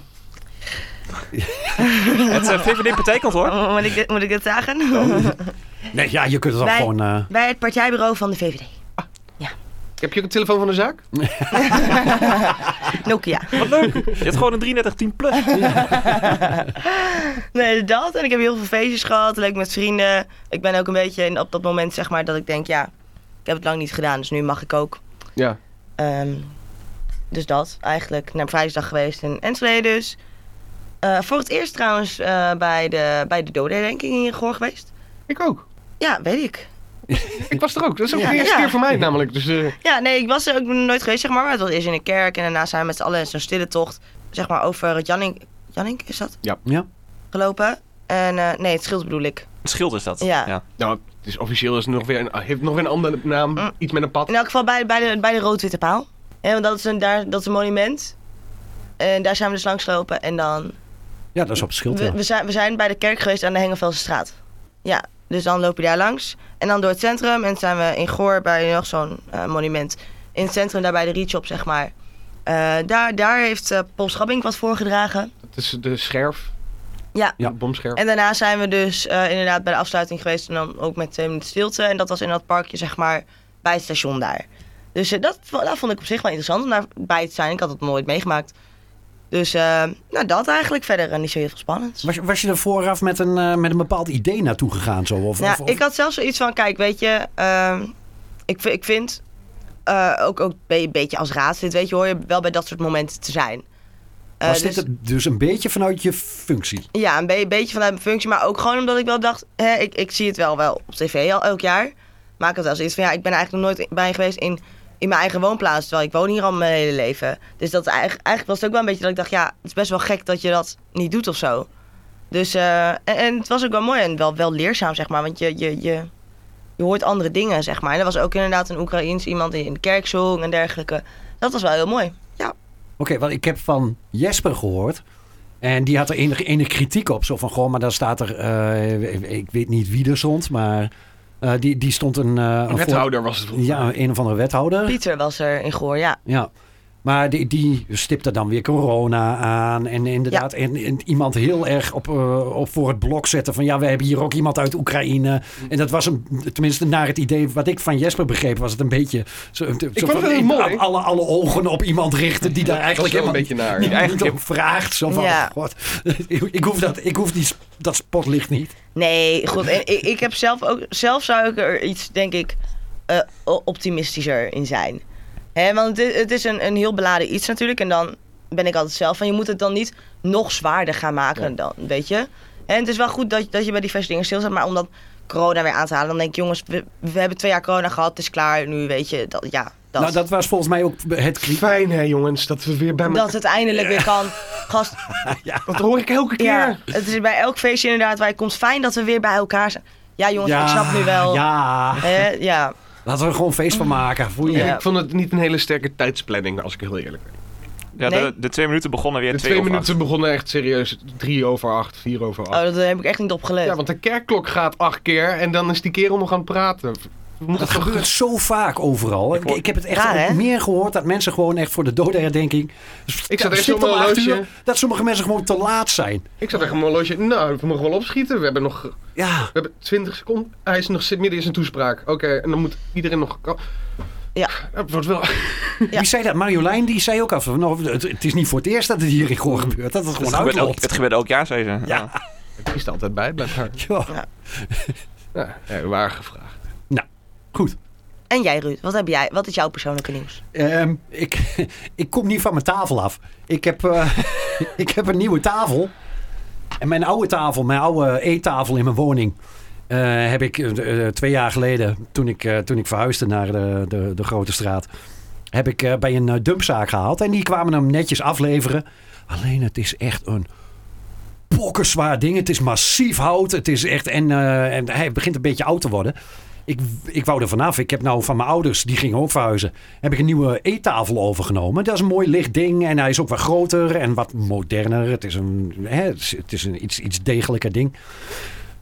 Speaker 3: Het eh, VVD-partijkantoor.
Speaker 2: Oh, moet, ik, dit- moet ik dit zeggen?
Speaker 5: Nee, ja, je kunt het dan
Speaker 2: Wij-
Speaker 5: gewoon. eh,
Speaker 2: Bij het partijbureau van de VVD.
Speaker 4: Heb je ook een telefoon van de zaak?
Speaker 2: Nokia.
Speaker 3: Wat leuk. Je hebt gewoon een 3310 plus.
Speaker 2: Nee, dat. En ik heb heel veel feestjes gehad, leuk met vrienden. Ik ben ook een beetje in, op dat moment, zeg maar, dat ik denk, ja, ik heb het lang niet gedaan, dus nu mag ik ook.
Speaker 4: Ja.
Speaker 2: Ehm, dus dat, eigenlijk. Naar vrijdag geweest in Enschede dus. Eh, voor het eerst trouwens eh, bij de, bij de dodenherdenking in Goor geweest.
Speaker 4: Ik ook.
Speaker 2: Ja, weet ik.
Speaker 4: Ik was er ook. Dat is ook
Speaker 5: Ja.
Speaker 4: de eerste
Speaker 2: Ja.
Speaker 4: keer voor mij namelijk. Dus eh,
Speaker 2: Ja, nee, ik was er ook nooit geweest, zeg maar. Maar het was eerst in een kerk en daarna zijn we met z'n allen in zo'n stille tocht, zeg maar, over het Jannink... Jannink, is dat?
Speaker 5: ja.
Speaker 2: Gelopen. En eh, nee, het schild bedoel ik.
Speaker 3: Het schild is dat.
Speaker 2: Ja.
Speaker 4: Nou, het is officieel is het nog weer een, heeft nog weer een andere naam.
Speaker 2: Mm.
Speaker 4: Iets met een pad.
Speaker 2: In elk geval bij, bij de, bij de rood-witte paal. Hè, want dat is, een, daar, dat is een monument. En daar zijn we dus langs gelopen. En dan...
Speaker 5: Ja, dat is op het schild.
Speaker 2: We,
Speaker 5: ja.
Speaker 2: we, zijn, we zijn bij de kerk geweest aan de Hengelvelse straat. Ja, dus dan loop je daar langs. En dan door het centrum. En zijn we in Goor bij nog zo'n eh, monument. In het centrum, daar bij de Rietshop, zeg maar. Eh, daar, daar heeft eh Paul Schabbing wat voorgedragen.
Speaker 4: Het is de scherf.
Speaker 2: Ja.
Speaker 5: Ja.
Speaker 4: De bomscherf.
Speaker 2: En daarna zijn we dus eh, inderdaad bij de afsluiting geweest. En dan ook met twee minuten stilte. En dat was in dat parkje, zeg maar, bij het station daar. Dus eh, dat, vo- dat vond ik op zich wel interessant om daarbij te zijn. Ik had het nooit meegemaakt. Dus eh, nou, dat eigenlijk verder. En niet zo heel veel spannends.
Speaker 5: Was, je- was je er vooraf met een, eh, met een bepaald idee naartoe gegaan? Zo, of,
Speaker 2: Nou,
Speaker 5: of- of-
Speaker 2: ik had zelfs zoiets van, kijk, weet je, ehm, ik, vi- ik vind eh, ook, ook be- een beetje als raadslid, weet je, hoor je wel bij dat soort momenten te zijn. Eh,
Speaker 5: was dit
Speaker 2: dus-
Speaker 5: het dus een beetje vanuit je functie?
Speaker 2: Ja, een be- beetje vanuit mijn functie, maar ook gewoon omdat ik wel dacht, hè, ik, ik zie het wel, wel op tv al elk jaar. Maar ik had wel zoiets van, ja, ik ben er eigenlijk nog nooit bij geweest in, in mijn eigen woonplaats, terwijl ik woon hier al mijn hele leven. Dus dat is eigenlijk, eigenlijk was het ook wel een beetje dat ik dacht, ja, het is best wel gek dat je dat niet doet of zo. Dus, eh, en, en het was ook wel mooi en wel, wel leerzaam, zeg maar, want je, je, je, je hoort andere dingen, zeg maar. En er was ook inderdaad een Oekraïens iemand die in de kerk zong en dergelijke. Dat was wel heel mooi.
Speaker 5: Oké, want ik heb van Jesper gehoord. En die had er enige, enige kritiek op. Zo van, goh, maar daar staat er... eh, ik- ik weet niet wie er stond, maar... eh, die, die stond een... eh, een voor-
Speaker 4: Wethouder was het. volgens
Speaker 5: ja, een of andere wethouder.
Speaker 2: Pieter was er in Goor, ja.
Speaker 5: Ja. Maar die, die stipte dan weer corona aan. En inderdaad, en, en iemand heel erg op, eh, op voor het blok zetten. Van ja, we hebben hier ook iemand uit Oekraïne. En dat was een, tenminste naar het idee wat ik van Jesper begreep, was het een beetje. Zo, zo
Speaker 4: vond het
Speaker 5: van,
Speaker 4: heel
Speaker 5: in-
Speaker 4: mooi.
Speaker 5: Alle, alle ogen op iemand richten die daar
Speaker 4: mij.
Speaker 5: eigenlijk
Speaker 4: wel een
Speaker 5: helemaal
Speaker 4: beetje naar.
Speaker 5: die
Speaker 4: Ja.
Speaker 5: eigenlijk niet om vraagt. Zo van,
Speaker 2: Ja.
Speaker 5: oh god, ik hoef, dat, ik hoef die, sp- dat spotlicht niet.
Speaker 2: Nee, goed. En ik, ik heb zelf ook. Zelf zou ik er iets, denk ik, eh, o- optimistischer in zijn. Hè, want het, het is een, een heel beladen iets natuurlijk. En dan ben ik altijd zelf van je moet het dan niet nog zwaarder gaan maken, dan, weet je. En het is wel goed dat, dat je bij diverse dingen stilstaat. Maar om dan corona weer aan te halen, dan denk ik, jongens, we, we hebben twee jaar corona gehad, het is klaar. Nu weet je dat, ja, dat.
Speaker 5: Nou, dat was volgens mij ook het kri-
Speaker 4: Fijn hè jongens, dat we weer bij elkaar...
Speaker 2: Dat het eindelijk weer kan. Gast,
Speaker 4: Dat hoor ik elke keer.
Speaker 2: ja, het is bij elk feestje inderdaad waar je komt. Fijn dat we weer bij elkaar zijn. Ja, jongens,
Speaker 5: Ja,
Speaker 2: ik snap nu wel.
Speaker 5: Ja,
Speaker 2: Hè, ja.
Speaker 5: laten we er gewoon feest van maken. Voel je?
Speaker 2: Ja.
Speaker 4: Ik vond het niet een hele sterke tijdsplanning, als ik heel eerlijk ben.
Speaker 3: Ja,
Speaker 2: Nee.
Speaker 3: de, de twee minuten begonnen weer
Speaker 4: De
Speaker 3: twee,
Speaker 4: twee
Speaker 3: over
Speaker 4: minuten begonnen echt serieus drie over acht, vier over acht.
Speaker 2: Oh, dat heb ik echt niet opgelet.
Speaker 4: ja, want de kerkklok gaat acht keer en dan is die kerel nog aan het praten. We moeten
Speaker 5: Dat
Speaker 4: toch-
Speaker 5: gebeurt zo vaak overal. Ik,
Speaker 3: hoor-
Speaker 5: ik heb het echt
Speaker 2: Raar,
Speaker 5: ook
Speaker 2: hè?
Speaker 5: meer gehoord dat mensen gewoon echt voor de dode herdenking.
Speaker 4: Ik zat echt
Speaker 5: zit
Speaker 4: op mijn
Speaker 5: om acht
Speaker 4: horloge.
Speaker 5: uur, dat sommige mensen gewoon te laat zijn.
Speaker 4: Ik zat echt op mijn horloge. Nou, we mogen wel opschieten. We hebben nog we
Speaker 5: Ja,
Speaker 4: hebben 20 seconden. Hij is nog zit midden in zijn toespraak. Oké, en dan moet iedereen nog.
Speaker 2: Ja.
Speaker 4: Het wordt wel.
Speaker 5: wie zei dat? Marjolein die zei ook af. Nou, het, het is niet voor het eerst dat het hier in Goor gebeurt. Dat het
Speaker 3: Het
Speaker 5: gewoon
Speaker 3: gebeurt, elk,
Speaker 5: uitloopt.
Speaker 3: het gebeurt elk jaar, zei ze.
Speaker 5: Ja.
Speaker 4: Het is er altijd bij, blijkbaar.
Speaker 5: Ja.
Speaker 4: Ja, ja, waar gevraagd.
Speaker 5: Goed.
Speaker 2: En jij, Ruud, wat, heb jij, wat is jouw persoonlijke nieuws?
Speaker 5: Ehm, ik, ik kom niet van mijn tafel af. Ik heb, eh, ik heb een nieuwe tafel. En mijn oude tafel, mijn oude eettafel in mijn woning. eh, heb ik eh, eh, twee jaar geleden, toen ik, eh, toen ik verhuisde naar de, de, de Grote Straat. Heb ik eh, bij een eh, dumpzaak gehaald. En die kwamen hem netjes afleveren. Alleen het is echt een pokkerzwaar ding. Het is massief hout. Het is echt. En, eh, en hij begint een beetje oud te worden. Ik, ik wou er vanaf. Ik heb nou van mijn ouders, die gingen ook verhuizen. Heb ik een nieuwe eettafel overgenomen. Dat is een mooi licht ding. En hij is ook wat groter en wat moderner. Het is een, hè, het is- het is een iets, iets degelijker ding.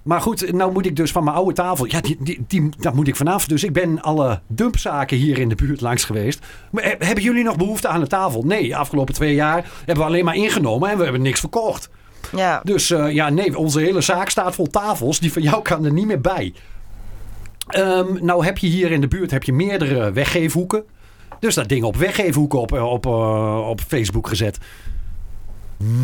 Speaker 5: Maar goed, nou moet ik dus van mijn oude tafel. Ja, die, die, die, daar moet ik vanaf. Dus ik ben alle dumpzaken hier in de buurt langs geweest. Maar he- hebben jullie nog behoefte aan een tafel? Nee, afgelopen twee jaar hebben we alleen maar ingenomen en we hebben niks verkocht.
Speaker 2: Ja.
Speaker 5: Dus eh, ja, nee, onze hele zaak staat vol tafels. Die van jou kan er niet meer bij. Ehm, nou heb je hier in de buurt heb je meerdere weggeefhoeken. Dus dat ding op weggeefhoeken op, eh, op, eh, op Facebook gezet.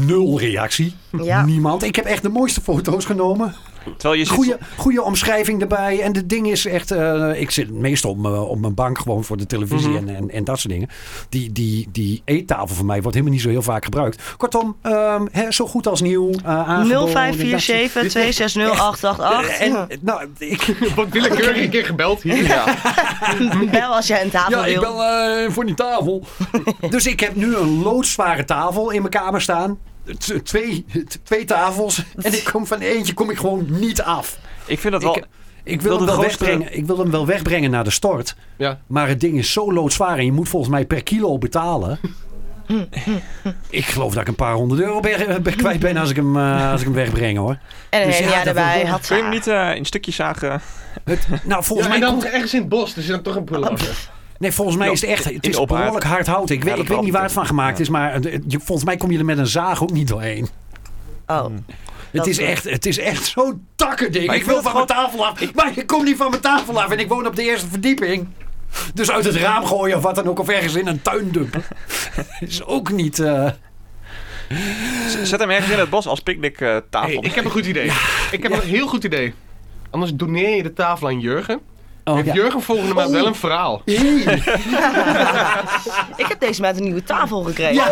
Speaker 5: Nul reactie.
Speaker 2: Ja.
Speaker 5: Niemand. Ik heb echt de mooiste foto's genomen.
Speaker 3: Terwijl je zit-
Speaker 5: Goeie, goede omschrijving erbij. En het ding is echt. eh, ik zit meestal op, mijn- op mijn bank gewoon voor de televisie
Speaker 3: Mhm.
Speaker 5: en, en, en dat soort dingen. Die, die, die eettafel van mij wordt helemaal niet zo heel vaak gebruikt. Kortom, ehm, hè, zo goed als nieuw. eh, aangeboden, dat soort-
Speaker 2: 0547 260888.
Speaker 5: En, nou, ik,
Speaker 4: Wat willekeurig een keer gebeld hier.
Speaker 2: Bel als jij een tafel
Speaker 5: ja,
Speaker 2: wil.
Speaker 5: ik ben eh, voor die tafel. dus ik heb nu een loodzware tafel in mijn kamer staan. T- twee, t- twee tafels. En ik kom van eentje kom ik gewoon niet af.
Speaker 3: Ik vind dat wel...
Speaker 5: Ik- Ik wil,
Speaker 3: Wel de
Speaker 5: hem wel
Speaker 3: grootste-
Speaker 5: wegbrengen, ik wil hem wel wegbrengen naar de stort.
Speaker 4: Ja.
Speaker 5: Maar het ding is zo loodzwaar en je moet volgens mij per kilo betalen. ik geloof dat ik een paar honderd euro ben, ben kwijt ben als ik hem, eh, als ik hem wegbreng hoor.
Speaker 2: en
Speaker 5: Dus
Speaker 2: een
Speaker 5: ja,
Speaker 2: ja,
Speaker 5: dat wil
Speaker 2: erbij.
Speaker 5: wel.
Speaker 2: Had
Speaker 3: Kun je hem niet eh, in stukjes zagen?
Speaker 5: Het, nou, volgens
Speaker 4: Ja, en
Speaker 5: mij,
Speaker 4: dan
Speaker 5: komt-
Speaker 4: ergens in het bos, dus dan toch een prologue.
Speaker 5: nee, volgens mij
Speaker 3: Ja,
Speaker 5: is het echt het
Speaker 3: in
Speaker 5: is
Speaker 3: ophaard.
Speaker 5: behoorlijk hard hout. Ik, weet
Speaker 3: dat
Speaker 5: ik weet niet waar het
Speaker 3: brandt.
Speaker 5: van gemaakt
Speaker 3: Ja.
Speaker 5: is, maar eh, je- volgens mij kom je er met een zaag ook niet doorheen.
Speaker 2: Oh.
Speaker 5: Het
Speaker 2: Dat
Speaker 5: is,
Speaker 2: is-
Speaker 5: echt, het is echt zo'n takkerding.
Speaker 3: Maar
Speaker 5: Ik
Speaker 3: ik
Speaker 5: wil
Speaker 3: wil
Speaker 5: van mijn tafel af. Maar ik kom niet van mijn tafel af. En ik woon op de eerste verdieping. Dus uit het raam gooien of wat dan ook. Of ergens in een tuin dumpen. is ook niet... eh,
Speaker 3: Z- Zet hem ergens in het bos als
Speaker 4: Hey,
Speaker 3: picknicktafel.
Speaker 4: ik heb een goed idee. Ik heb een heel goed idee. Anders doneer je de tafel aan Jurgen.
Speaker 5: Oh,
Speaker 4: Heeft
Speaker 5: ja.
Speaker 4: Jurgen volgende maand wel een verhaal?
Speaker 5: Hey.
Speaker 2: Ik heb deze maand een nieuwe tafel gekregen.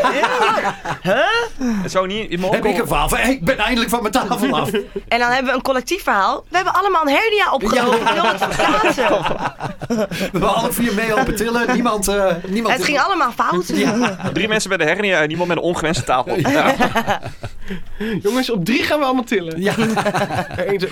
Speaker 3: Het zou niet in
Speaker 5: Heb ik een verhaal van, hey, ik ben eindelijk van mijn tafel af.
Speaker 2: En dan hebben we een collectief verhaal. We hebben allemaal een hernia opgelopen. Ik wil het verplaatsen.
Speaker 5: We waren alle vier mee op het tillen. Niemand... eh, niemand
Speaker 2: Het ging allemaal fout.
Speaker 3: Drie mensen bij de hernia en iemand met een ongewenste tafel. Ja.
Speaker 4: Jongens, op drie gaan we allemaal tillen.
Speaker 5: Ja.
Speaker 4: Eén zo-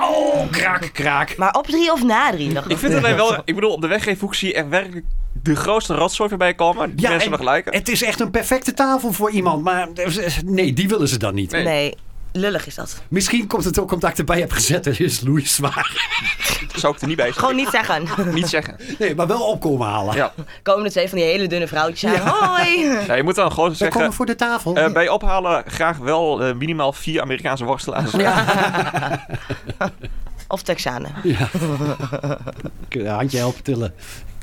Speaker 5: Oh, kraak, kraak.
Speaker 2: Maar op drie of na drie. nog.
Speaker 3: Ik vind dat wij wel... Ik bedoel, op de weggeefhoek zie je echt werkelijk de grootste rotzooi voorbij komen. Die mensen
Speaker 5: en
Speaker 3: hebben gelijk.
Speaker 5: het is echt een perfecte tafel voor iemand. Maar eh, nee, die willen ze dan niet.
Speaker 3: Nee.
Speaker 2: Nee, lullig is dat.
Speaker 5: Misschien komt het ook omdat ik erbij heb gezet. Er is Louis zwaar.
Speaker 3: Zou ik er niet bij zijn.
Speaker 2: Gewoon niet zeggen.
Speaker 3: Niet zeggen.
Speaker 5: Nee, maar wel opkomen halen.
Speaker 3: Ja.
Speaker 2: Komen er twee van die hele dunne vrouwtjes aan. Hoi.
Speaker 3: Ja, je moet dan gewoon
Speaker 5: Wij
Speaker 3: zeggen...
Speaker 5: komen voor de tafel.
Speaker 3: eh, bij ophalen graag wel eh, minimaal vier Amerikaanse worstelaars.
Speaker 2: Of Texanen.
Speaker 5: Ja. Kun je een handje helpen tillen.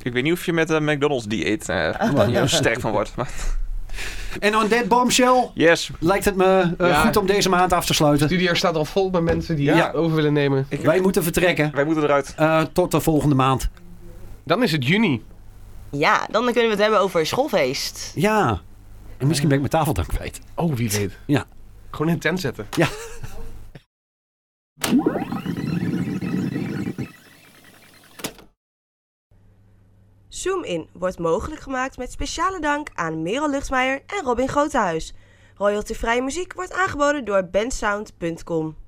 Speaker 3: Ik weet niet of je met een McDonald's dieet eh heel sterk van wordt. Maar
Speaker 5: En on that bombshell
Speaker 3: yes,
Speaker 5: lijkt het me eh,
Speaker 4: Ja.
Speaker 5: goed om deze maand af te
Speaker 4: De
Speaker 5: sluiten.
Speaker 4: studio staat al vol met mensen die
Speaker 5: Ja.
Speaker 4: het over willen nemen.
Speaker 5: Wij moeten vertrekken.
Speaker 3: wij moeten eruit.
Speaker 5: Eh, tot de volgende maand.
Speaker 4: Dan is het juni.
Speaker 2: Ja, dan kunnen we het hebben over schoolfeest.
Speaker 5: Ja. En misschien ben ik mijn tafel dan kwijt.
Speaker 4: Oh, wie weet.
Speaker 5: Ja.
Speaker 4: Gewoon een tent zetten.
Speaker 2: Zoom In wordt mogelijk gemaakt met speciale dank aan Merel Luchtmeijer en Robin Grotehuis. Royaltyvrije muziek wordt aangeboden door bandsound.com.